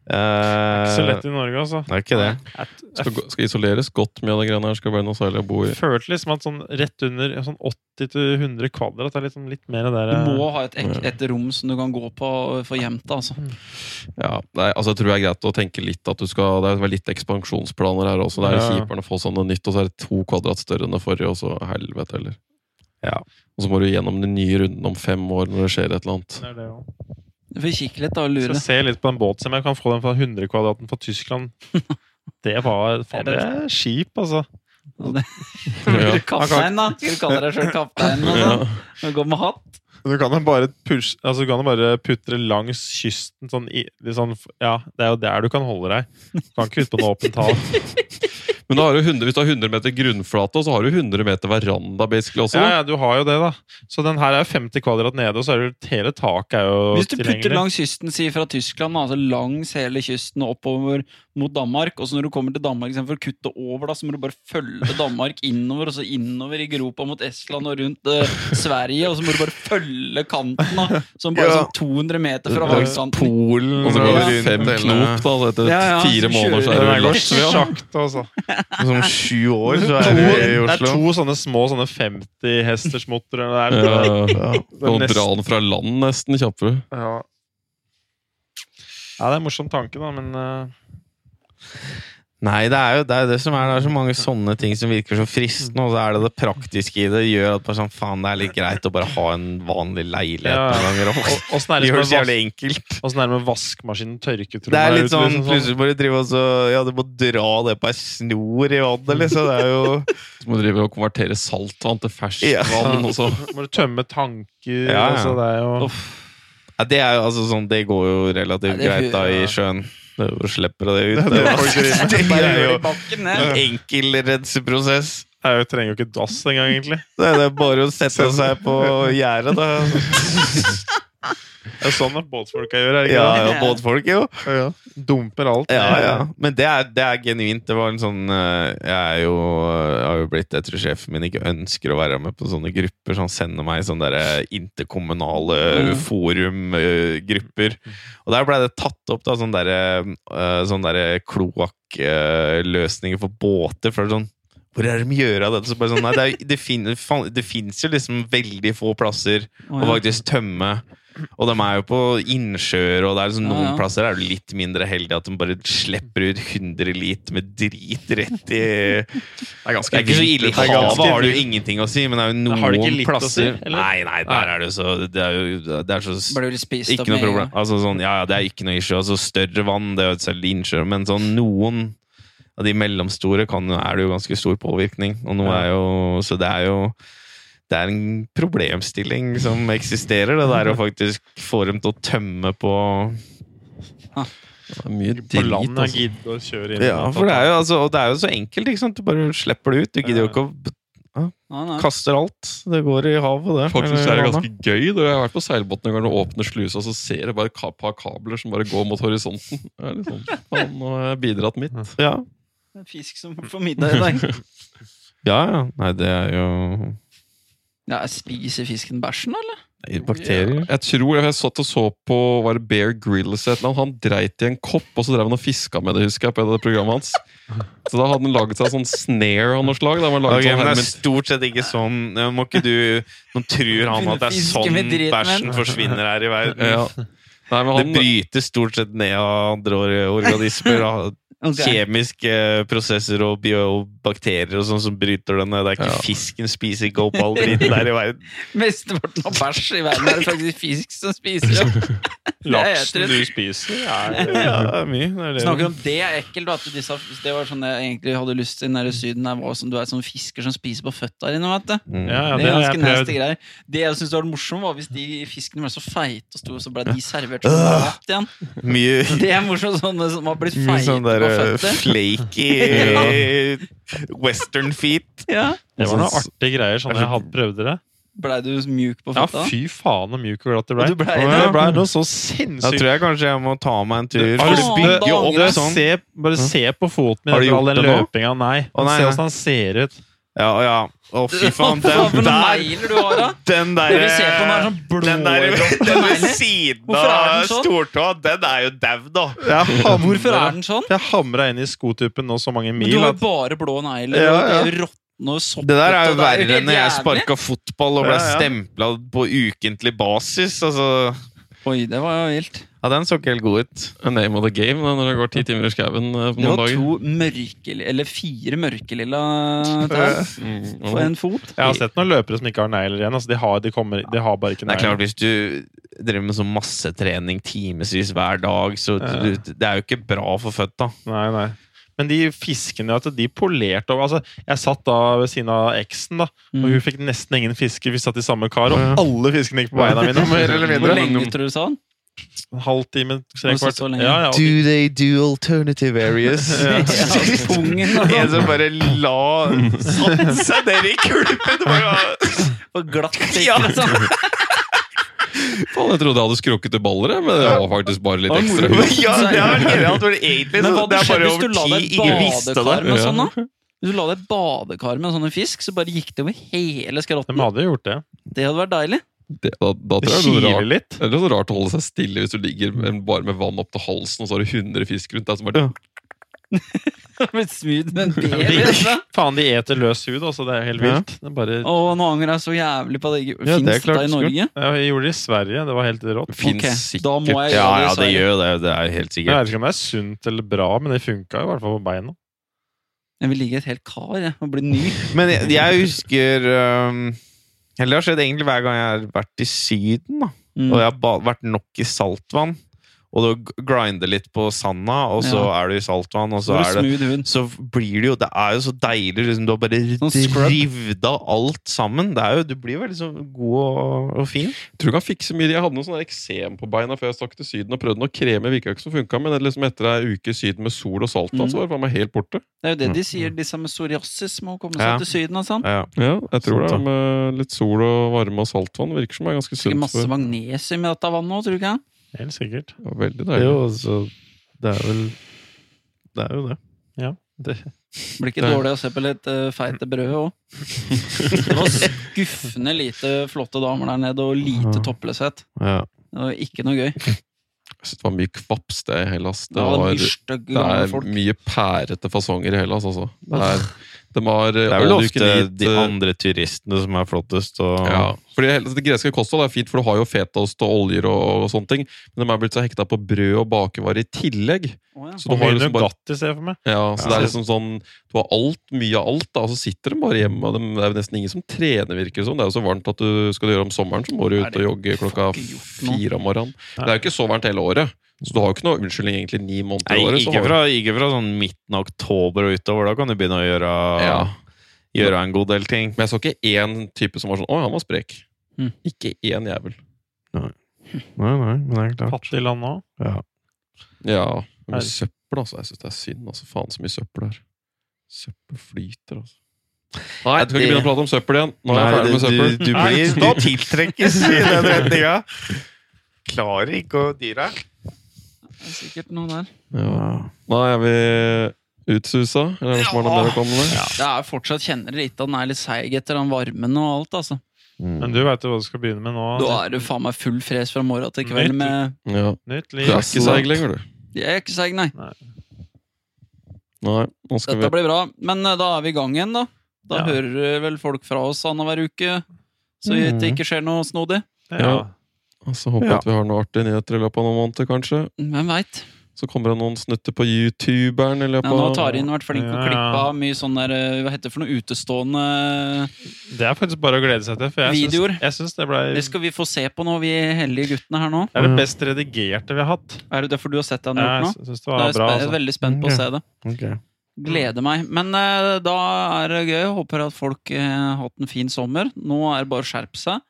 S3: Eh,
S4: Så lett i Norge, altså.
S3: det er ikke det.
S4: Jeg,
S1: Skal, gå- skal isoleres godt mye av det greiene her. Skal Buenos Aires bo i
S4: jeg følte liksom at sånn rett under ja, sånn 80-100 kvadrat er liksom litt mer det der
S2: Du
S4: eh,
S2: må ha et, ek- et rom som du kan gå på og få gjemt deg,
S4: Mm.
S2: altså.
S1: Ja, det er, altså jeg tror det er greit å tenke litt at du skal Det er litt ekspansjonsplaner her også. Det er
S4: Ja.
S1: kjipere å få sånn noe nytt, og så er det to kvadrat større enn det forrige, og så helvete heller.
S3: Ja.
S1: Og så må du gjennom den nye runden om fem år når det skjer et eller annet.
S4: eh, det er det, ja.
S2: Du får kikke litt da og
S4: Skal
S2: lure.
S4: se litt på en båt, se om jeg kan få den fra 100 kvadraten fra Tyskland. Det var faen, det er skip, altså.
S1: Ja.
S2: Kaptein, da. Skal du kalle deg sjøl kaptein?
S1: Ja.
S2: Altså. Og Gå med hatt.
S4: Du kan jo bare, push, altså, du kan jo bare putre langs kysten sånn, i, litt sånn Ja, det er jo der du kan holde deg. Du kan ikke ut på noe åpent hav.
S1: Men da har du 100, hvis du har 100 meter grunnflate, og så har du 100 meter veranda basically også.
S4: Ja,
S1: da.
S4: ja, du har jo det, da. Så den her er jo 50 kvadrat nede, og så er det jo hele taket er jo
S2: Hvis du putter
S4: tilgjengelig.
S2: langs kysten, si fra Tyskland, da, altså langs hele kysten og oppover mot Danmark, og så når du kommer til Danmark, istedenfor å kutte over, da, så må du bare følge Danmark innover, og så innover i gropa mot Estland og rundt eh, Sverige, og så må du bare følge kanten, da, som bare
S3: Ja.
S2: sånn 200 meter fra
S4: Ja.
S2: horisonten.
S3: Polen
S1: Og så går det
S3: rundt
S1: fem
S3: hele-
S1: knop, da, så etter
S2: Ja, ja,
S1: fire
S2: så
S1: måneder så
S2: kjører
S1: er du
S4: Den er
S1: i
S4: godt
S1: Lars. Ja.
S4: sjakt, altså.
S3: Som sju år, så
S4: To,
S3: er vi i
S4: det er
S3: Oslo.
S4: to sånne små sånne 50-hestersmotorer der.
S1: Ja,
S3: Ja.
S1: og dra den fra land nesten kjappere.
S4: ja. ja, det er en morsom tanke, da, men eh,
S3: Nei, det er jo det, er jo det som er. Det er så mange sånne ting som virker så fristende, og så er det det praktiske i det gjør at bare sånn, faen, det er litt greit å bare ha en vanlig leilighet
S4: Ja.
S3: noen ganger.
S4: å-
S3: og-
S4: Åssen er
S3: Det
S4: det
S3: gjøres
S4: som er
S3: jævlig
S4: vas-
S3: enkelt.
S4: åssen er det med vaskemaskinen, tørketrommel
S3: Det er
S4: her
S3: litt
S4: ute, liksom,
S3: sånn, plutselig bare drive og så Ja, du må dra det på ei snor i vannet, liksom. Det er jo
S1: Så må du drive og konvertere saltvann til
S3: Ja.
S1: ferskvann. og så-
S4: Må du tømme tanker
S3: Ja, ja.
S4: Altså, det er jo
S3: ja, Det er jo altså sånn Det går jo relativt
S2: Nei, det-
S3: greit da i
S2: ja.
S3: sjøen. Du slipper det ut.
S4: det folk driver med.
S3: Det
S2: Bare
S3: er
S2: gjør
S3: jo
S2: det i bakken ned.
S3: en enkel renseprosess.
S4: Jeg trenger jo ikke dass engang, egentlig.
S3: Det er det bare å sette seg på gjerdet, da.
S4: Det er sånn at båtfolka gjør, er det ikke
S3: Ja,
S4: det?
S3: ja, båtfolk, jo.
S4: Ja. Dumper alt.
S3: Ja, ja. Men det er, det er genuint. Det var en sånn eh, Jeg er jo, jeg har jo blitt Jeg tror sjefen min ikke ønsker å være med på sånne grupper, så han sender meg i sånne der eh, interkommunale
S2: Mm.
S3: forumgrupper. Og der blei det tatt opp, da, sånn derre eh, sånn derre kloakkløsninger for båter. For det er sånn Hvor er det de gjør av dette? Så bare sånn, nei, det, er, det, fin, faen- det fins jo liksom veldig få plasser
S2: Å,
S3: og
S2: ja.
S3: faktisk tømme. Og de er jo på innsjøer, og det er liksom
S2: Ja,
S3: noen
S2: ja.
S3: plasser er du litt mindre heldig at de bare slipper ut 100 liter med drit rett i
S4: Det er
S3: Det er ikke så ille. I
S4: Det er
S3: havet
S4: ganske
S3: har det jo
S4: vilt.
S3: ingenting å si, men det er jo
S4: Men
S3: noen
S4: har det ikke litt å si,
S3: plasser
S4: eller?
S3: Nei, nei, der er det jo så Det er jo det er så
S2: Bare blir spist opp
S3: Ikke noe
S2: med en
S3: problem.
S2: gang.
S3: Altså sånn, ja, ja, det er ikke noe issue. Altså større vann, det er jo selv innsjøer, men sånn noen av de mellomstore kan, er det jo ganske stor påvirkning. Og noe
S4: Ja.
S3: er jo Så det er jo det er en problemstilling som eksisterer, det der å faktisk få dem til å tømme på
S1: Det er mye
S4: På
S1: drit.
S4: land jeg
S1: Altså.
S4: gidder å kjøre inn.
S3: Ja, for det er jo, altså, og det er jo så enkelt, ikke sant? Du bare slipper det ut. Du gidder jo ikke å b-
S2: Nei, nei.
S3: kaster alt. Det går i havet, det.
S1: Faktisk
S3: Eller
S1: er det
S3: vannet.
S1: ganske gøy. Du. Jeg har vært på seilbåten en gang og åpner slusa, så ser jeg bare ka- et par kabler som bare går mot horisonten. Det er litt sånn, faen, nå har jeg bidratt mitt.
S3: ja.
S2: Det er Fisk som får middag i dag.
S3: ja, ja. Nei, det er jo
S2: Ja, spiser fisken bæsjen, eller?
S3: bakterier.
S1: Jeg tror jeg satt og så på var det Bear Grylls et eller annet. Han dreit i en kopp, og så drev han og fiska med det, husker jeg. på det programmet hans. Så da hadde han laget seg sånn snare av noe slag. Da hadde han laget
S3: Ok, men det er
S1: sånn
S3: stort sett ikke sånn Nå Må ikke du Nå tror han at det er
S2: Fiske
S3: sånn
S2: med driten,
S3: bæsjen
S2: men.
S3: forsvinner her i verden.
S1: hermet... Ja. Nei, men
S3: Det
S1: han,
S3: brytes stort sett ned av andre or- organismer. av Kjemiske eh, prosesser og biobakterier og sånn som bryter den ned. Det er ikke
S1: Ja.
S3: fisken spiser ikke opp all driten der i verden.
S2: Mesteparten av bæsj i verden er det faktisk fisk som spiser opp. Det
S4: Laksen
S2: er
S4: du
S2: jeg
S4: spiser, er
S3: Ja, det er mye. Det er det.
S2: Snakker om det er ekkelt, vet du. Disse, det var sånn jeg egentlig hadde lyst til nede i Syden. Der var sånn, du er sånn fisker som spiser på føtta dine, vet du.
S3: Mm.
S4: Ja,
S2: det
S4: ja, det
S2: er
S4: har
S2: ganske
S4: jeg
S2: nasty
S4: prøvd.
S2: greier. Det jeg syntes var morsomt, var hvis de fiskene ble så feite og sto, og så ble de servert som mat igjen.
S3: Mye,
S2: Det er morsomt, sånne som har blitt
S3: mye
S2: feite
S3: sånn der
S2: på
S3: eh,
S2: føtter.
S3: flaky eh, western feet.
S2: Ja.
S4: Det var noen artige greier sånn jeg hadde prøvd det.
S2: Blei du mjuk på
S4: Ja,
S2: føtta?
S4: fy faen så mjuk og glatt det
S2: Og
S4: ble.
S2: du ble
S4: Å,
S3: det?
S4: det ble noe så
S3: Da
S4: sinnssykt.
S3: tror jeg kanskje jeg må ta meg en tur.
S4: Har du
S3: For
S4: lyst-
S3: det bygger jo
S2: Å,
S3: opp
S4: Bare
S3: sånn.
S4: se, bare se på foten min
S3: Har du
S4: etter all
S3: gjort
S4: den
S3: det nå?
S4: løpinga. Nei.
S3: Å, nei,
S4: Se
S3: nei.
S4: åssen han ser ut.
S3: Ja, og ja. Å, fy faen.
S2: Hva for
S3: Den
S2: noen
S3: der,
S2: negler du har, da?
S3: den
S2: Det
S3: der, eh,
S2: vi ser på den er sånn blå
S3: den der den ved siden
S2: Hvorfor er
S3: av
S2: den sånn?
S3: stortåa, den er jo dau, da.
S4: Jeg
S2: Hvorfor er den sånn?
S4: Jeg hamra inn i skotuppen nå så mange
S2: Men du
S4: mil
S2: har
S4: at
S2: jo bare blå negler.
S4: Ja,
S2: og
S4: ja.
S2: Det er jo råtne og soppete.
S3: Det der er jo
S2: og
S3: verre
S2: helt
S3: enn når jeg
S2: jævlig.
S3: sparka fotball og ble
S4: Ja, ja.
S3: stempla på ukentlig basis. Altså,
S2: Oi, det var jo vilt.
S3: ja, den så ikke helt god ut.
S1: A name of the game da, når det går ti timer i skauen eh, på
S2: Det
S1: noen
S2: var
S1: dager.
S2: to mørkelilla Eller fire mørkelilla tær
S1: Mm,
S2: på en fot.
S4: Jeg har sett noen løpere som ikke har negler igjen. Altså, de, har, de, kommer, de har bare ikke
S3: Det er klart,
S4: negler.
S3: hvis du driver med sånn massetrening timevis hver dag, så
S4: Ja.
S3: du, det er jo ikke bra for føtta.
S4: Nei, nei. Men de fiskene at de polerte over altså, Jeg satt da ved siden av eksen, da, og hun fikk nesten ingen fisker. Vi satt i samme kar, og
S3: Ja.
S4: alle fiskene gikk på beina mine. Mer eller
S2: Hvor
S4: mindre.
S2: lenge tror du sa han?
S4: En halv time,
S2: Har
S4: tre
S2: du satt
S4: kvart.
S2: så lenge?
S4: Ja, ja, og
S3: Do they do alternative areas?
S2: Pungen og
S3: En
S2: sånn.
S3: som bare la satte seg ned i kulpen og bare
S2: Og glatt
S3: Ja.
S2: ikke sant?
S1: Faen, jeg trodde jeg hadde skrukket til baller, jeg, men det var faktisk bare litt ekstra.
S3: Ja, det er genialt, for egentlig
S2: Men
S3: så
S2: hva hadde
S3: det er
S2: skjedd
S3: bare
S2: hvis du
S3: over
S2: la
S3: tid
S2: deg
S3: ingen visste det.
S2: badekar med
S1: Ja.
S2: sånn, da? Hvis du la deg badekar med sånne fisk, så bare gikk det over hele
S4: De
S2: skrotten.
S4: hadde jo gjort det.
S2: Det hadde vært deilig.
S1: Det, da, da
S4: Det
S1: tror jeg det er noe
S4: kiler
S1: rart.
S4: litt.
S1: Det er noe rart å holde seg stille hvis du ligger med- bare med vann opp til halsen, og så har du 100 fisk rundt deg. som bare...
S2: Det hadde blitt smooth med en baby.
S4: Ja.
S2: altså.
S4: Faen, de eter løs hud, altså. Det er helt
S3: Ja.
S4: vilt. Det er bare,
S2: Å, nå angrer jeg så jævlig på det. Fins
S3: Ja, det er
S2: det,
S3: klart,
S2: i Norge?
S4: jeg gjorde det i Sverige. Det var helt rått.
S1: Finnes
S2: Ok,
S1: sikkert.
S2: Da må jeg
S3: Ja,
S2: gjøre
S3: ja,
S2: det.
S3: det
S2: i Sverige.
S3: gjør jo det. Det er jo helt
S4: Jeg
S3: sikkert.
S4: vet ikke om det er sunt eller bra, men det funka i hvert fall på beina.
S2: Jeg vil ligge i et helt kar jeg, og bli ny.
S3: Men jeg, jeg husker um, Eller det har skjedd egentlig hver gang jeg har vært i Syden. da
S2: Mm.
S3: Og jeg har ba- vært nok i saltvann. Og du grinder litt på sanda, og så
S2: Ja.
S3: er du i saltvann, og så
S2: Så
S3: er det
S2: smooth hund.
S3: så blir det jo Det er jo så deilig. Liksom, du har bare
S2: scrub.
S3: revet av alt sammen. Det er jo, du blir jo veldig så god og, og fin.
S1: Jeg tror du kan fikse mye. Jeg hadde noe sånn eksem på beina før jeg stakk til Syden og prøvde noe kreme. Virka ikke som funka, men liksom etter ei uke i Syden med sol og saltvann,
S3: Mhm.
S2: Mm.
S1: så var det faen meg helt borte.
S2: Det er jo det de sier, disse med psoriasis må komme seg
S3: Ja.
S2: til Syden. og sånn.
S3: Ja.
S1: Mm. Ja, jeg tror
S3: Sant,
S1: det
S3: ja.
S1: er med litt sol og varme og saltvann. Virker som det er ganske
S2: Sikkert
S1: sunt.
S2: masse
S1: for-
S2: magnesium i dette vannet òg, tror du ikke?
S4: Helt sikkert.
S1: Ja, Veldig deilig.
S3: Det er vel Det er jo det.
S2: Blir ikke
S1: Det-
S2: dårlig å se på litt uh, feite brød òg. Det var skuffende lite flotte damer der nede, og lite toppløshet.
S3: Ja.
S2: Det var ikke noe gøy.
S1: Jeg synes det var mye kvaps det i Hellas.
S2: Det
S1: Det,
S2: var
S1: var,
S2: mye stygge
S1: det
S2: gamle
S1: er
S2: folk.
S1: mye pærete fasonger i Hellas, altså. Det eh, er, de har
S3: Det er vel ofte de andre turistene som er flottest. Og,
S1: ja, fordi Hellas- Det greske kostholdet er fint, for du har jo fetaost og oljer og, og sånne ting. Men de er blitt så hekta på brød og bakevarer i tillegg.
S2: Å, ja.
S1: Så
S4: Og
S1: du har
S4: mye
S1: liksom bare
S4: Nugatti, ser jeg for meg.
S1: Ja, så
S3: Ja.
S1: det er liksom sånn Du har alt, mye av alt, da, og så sitter de bare hjemme. Og de, det er jo nesten ingen som trener, virker det som. Det er jo så varmt at du skal du gjøre det om sommeren, så må du
S2: Er
S1: ut
S2: det
S1: og jogge klokka
S2: fucking gjort noe?
S1: fire om morgenen. Det er jo ikke så varmt hele året, så du har jo ikke noe unnskyldning egentlig ni måneder
S3: Nei,
S1: i året. så
S3: ikke,
S1: har du-
S3: fra, ikke fra sånn midten av oktober og utover. Da kan du begynne å gjøre,
S1: Ja.
S3: gjøre en god del ting.
S1: Men jeg så ikke én type som var sånn Å, han var sprek.
S2: Mm.
S1: Ikke én jævel.
S3: Nei, nei, men det er klart.
S4: Fattig land òg.
S3: Ja.
S1: Ja. Men
S4: Nei.
S1: søppel, altså. Jeg syns det er synd. altså Faen så mye søppel det er. Søppel flyter, altså. Nei, jeg skal ikke
S3: det-
S1: begynne å prate om søppel igjen. Nå er jeg
S3: Nei,
S1: ferdig med
S3: du-
S1: søppel.
S3: Du, du
S4: Nei,
S3: blir
S4: stopp.
S3: tiltrekkes i den retninga. Klarer ikke å dyre.
S2: Det er sikkert noe der.
S1: Ja. Nå er vi utsusa. Eller er det noe som har noe mer å komme med?
S2: Det er fortsatt kjenner dere litt at den er litt seig etter den varmen og alt, altså.
S3: Mm.
S4: Men du veit jo hva du skal begynne med nå.
S2: Da er det faen meg full fres fra morgen til kveld
S4: Vet du-
S2: med
S1: Ja.
S4: Nytt
S1: Du
S4: liv.
S1: er ikke seig lenger, du.
S2: Jeg er ikke seig, nei.
S1: Nei, nå skal
S2: Dette
S1: vi
S2: blir bra. Men eh, da er vi i gang igjen, da. Da
S4: Ja.
S2: hører vel folk fra oss annenhver uke. Så
S4: Mhm.
S2: det ikke skjer noe snodig.
S4: Ja.
S1: altså, Håper
S3: Ja.
S1: at vi har noen artige nyheter i løpet av noen måneder, kanskje.
S2: Hvem veit?
S1: Så kommer det noen snutter på youtuberen i
S2: Ja,
S1: løpet
S2: nå har
S1: av
S2: Tarin vært flink til å
S4: Ja, ja.
S2: klippe av mye sånn der eh, Hva heter det for noe utestående
S4: Det er faktisk bare å glede seg til. For jeg
S2: Videoer.
S4: Syns, jeg syns det, ble,
S2: Det skal vi få se på nå, vi heldige guttene her nå.
S4: det er det best redigerte vi har hatt.
S2: Er det derfor du har sett den
S4: Jeg
S2: gjort nå?
S4: syns det
S2: Da er
S4: var
S2: jeg
S4: bra.
S2: spe-
S4: Altså.
S2: veldig spent på å se det.
S3: Ok.
S2: Gleder meg. Men eh, da er det gøy. Jeg håper at folk eh, har hatt en fin sommer. Nå er det bare å skjerpe seg.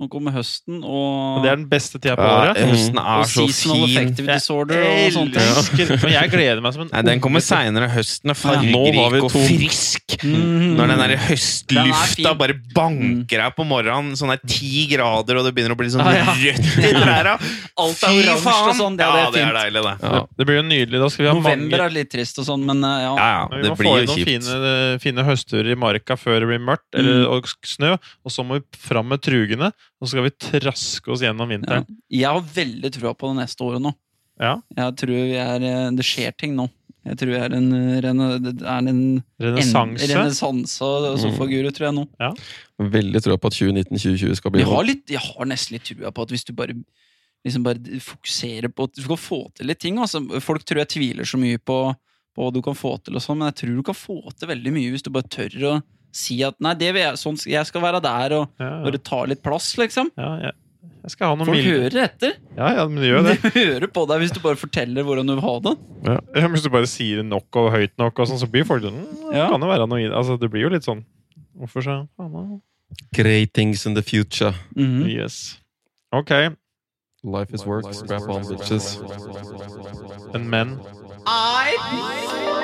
S2: Nå kommer høsten og,
S4: Og det er den beste tida på
S3: Ja,
S4: året.
S3: høsten
S2: og
S3: er så
S2: seasonal
S3: fin.
S2: affective
S4: Jeg
S2: disorder og sånne ting.
S4: elsker- Og jeg gleder meg som en
S3: Nei, den kommer seinere. Høsten er
S1: Nå har vi
S3: fargerik og
S1: to-
S3: frisk.
S2: Mhm.
S3: Når den der
S2: Den er
S3: høstlufta
S2: fin. Mm.
S3: bare banker deg på morgenen, sånn er ti grader, og det begynner å bli sånn
S2: Ja, ja.
S3: rødt i trærne
S2: Alt er oransje og sånn. Det,
S3: ja,
S2: ja, det er fint.
S3: deilig, det.
S1: Ja.
S4: Det blir jo nydelig. Da skal vi ha
S2: November
S4: mange
S2: er litt trist og sånn, men eh, ja.
S3: Ja, ja,
S4: Men vi
S3: det
S4: må få
S3: blir
S4: inn
S3: jo
S4: noen
S3: kjipt.
S4: fine, fine høstturer i marka før det blir mørkt eller,
S2: Mm.
S4: og snø. Og så må vi fram med trugene, og så skal vi traske oss gjennom
S2: ja.
S4: vinteren.
S2: Jeg har veldig trua på det neste året nå.
S4: Ja.
S2: Jeg tror vi er, eh, det skjer ting nå. Jeg tror vi er en, eh, rene- det er en en-
S4: Renessanse.
S2: renessanse Mm. og sofaguru, tror jeg nå.
S1: Veldig trua på at 2019-2020 skal bli
S2: Jeg har, litt, jeg har nesten litt trua på at hvis du bare, liksom bare fokuserer på at du kan få til litt ting altså, Folk tror jeg tviler så mye på på hva du kan få til, og sånn, men jeg tror du kan få til veldig mye hvis du bare tør å si at nei, det vil jeg, sånn, jeg skal være der, og
S4: Ja, ja.
S2: bare ta litt plass, liksom.
S4: Ja, jeg, jeg skal ha noen
S2: Folk
S4: mild-
S2: hører etter.
S4: Ja, ja, men det gjør
S2: De
S4: det.
S2: hører på deg hvis du bare forteller hvordan du vil ha det.
S4: Ja. men Hvis du bare sier det nok og høyt nok, og sånn, så blir folk sånn mm,
S2: Ja.
S4: Kan det være noe i det? Altså, det blir jo litt sånn Hvorfor så faen, da?
S1: Great things in the future.
S2: Mhm.
S4: Yes. Ok.
S1: Life is work, scrap on bitches.
S4: En menn.
S5: I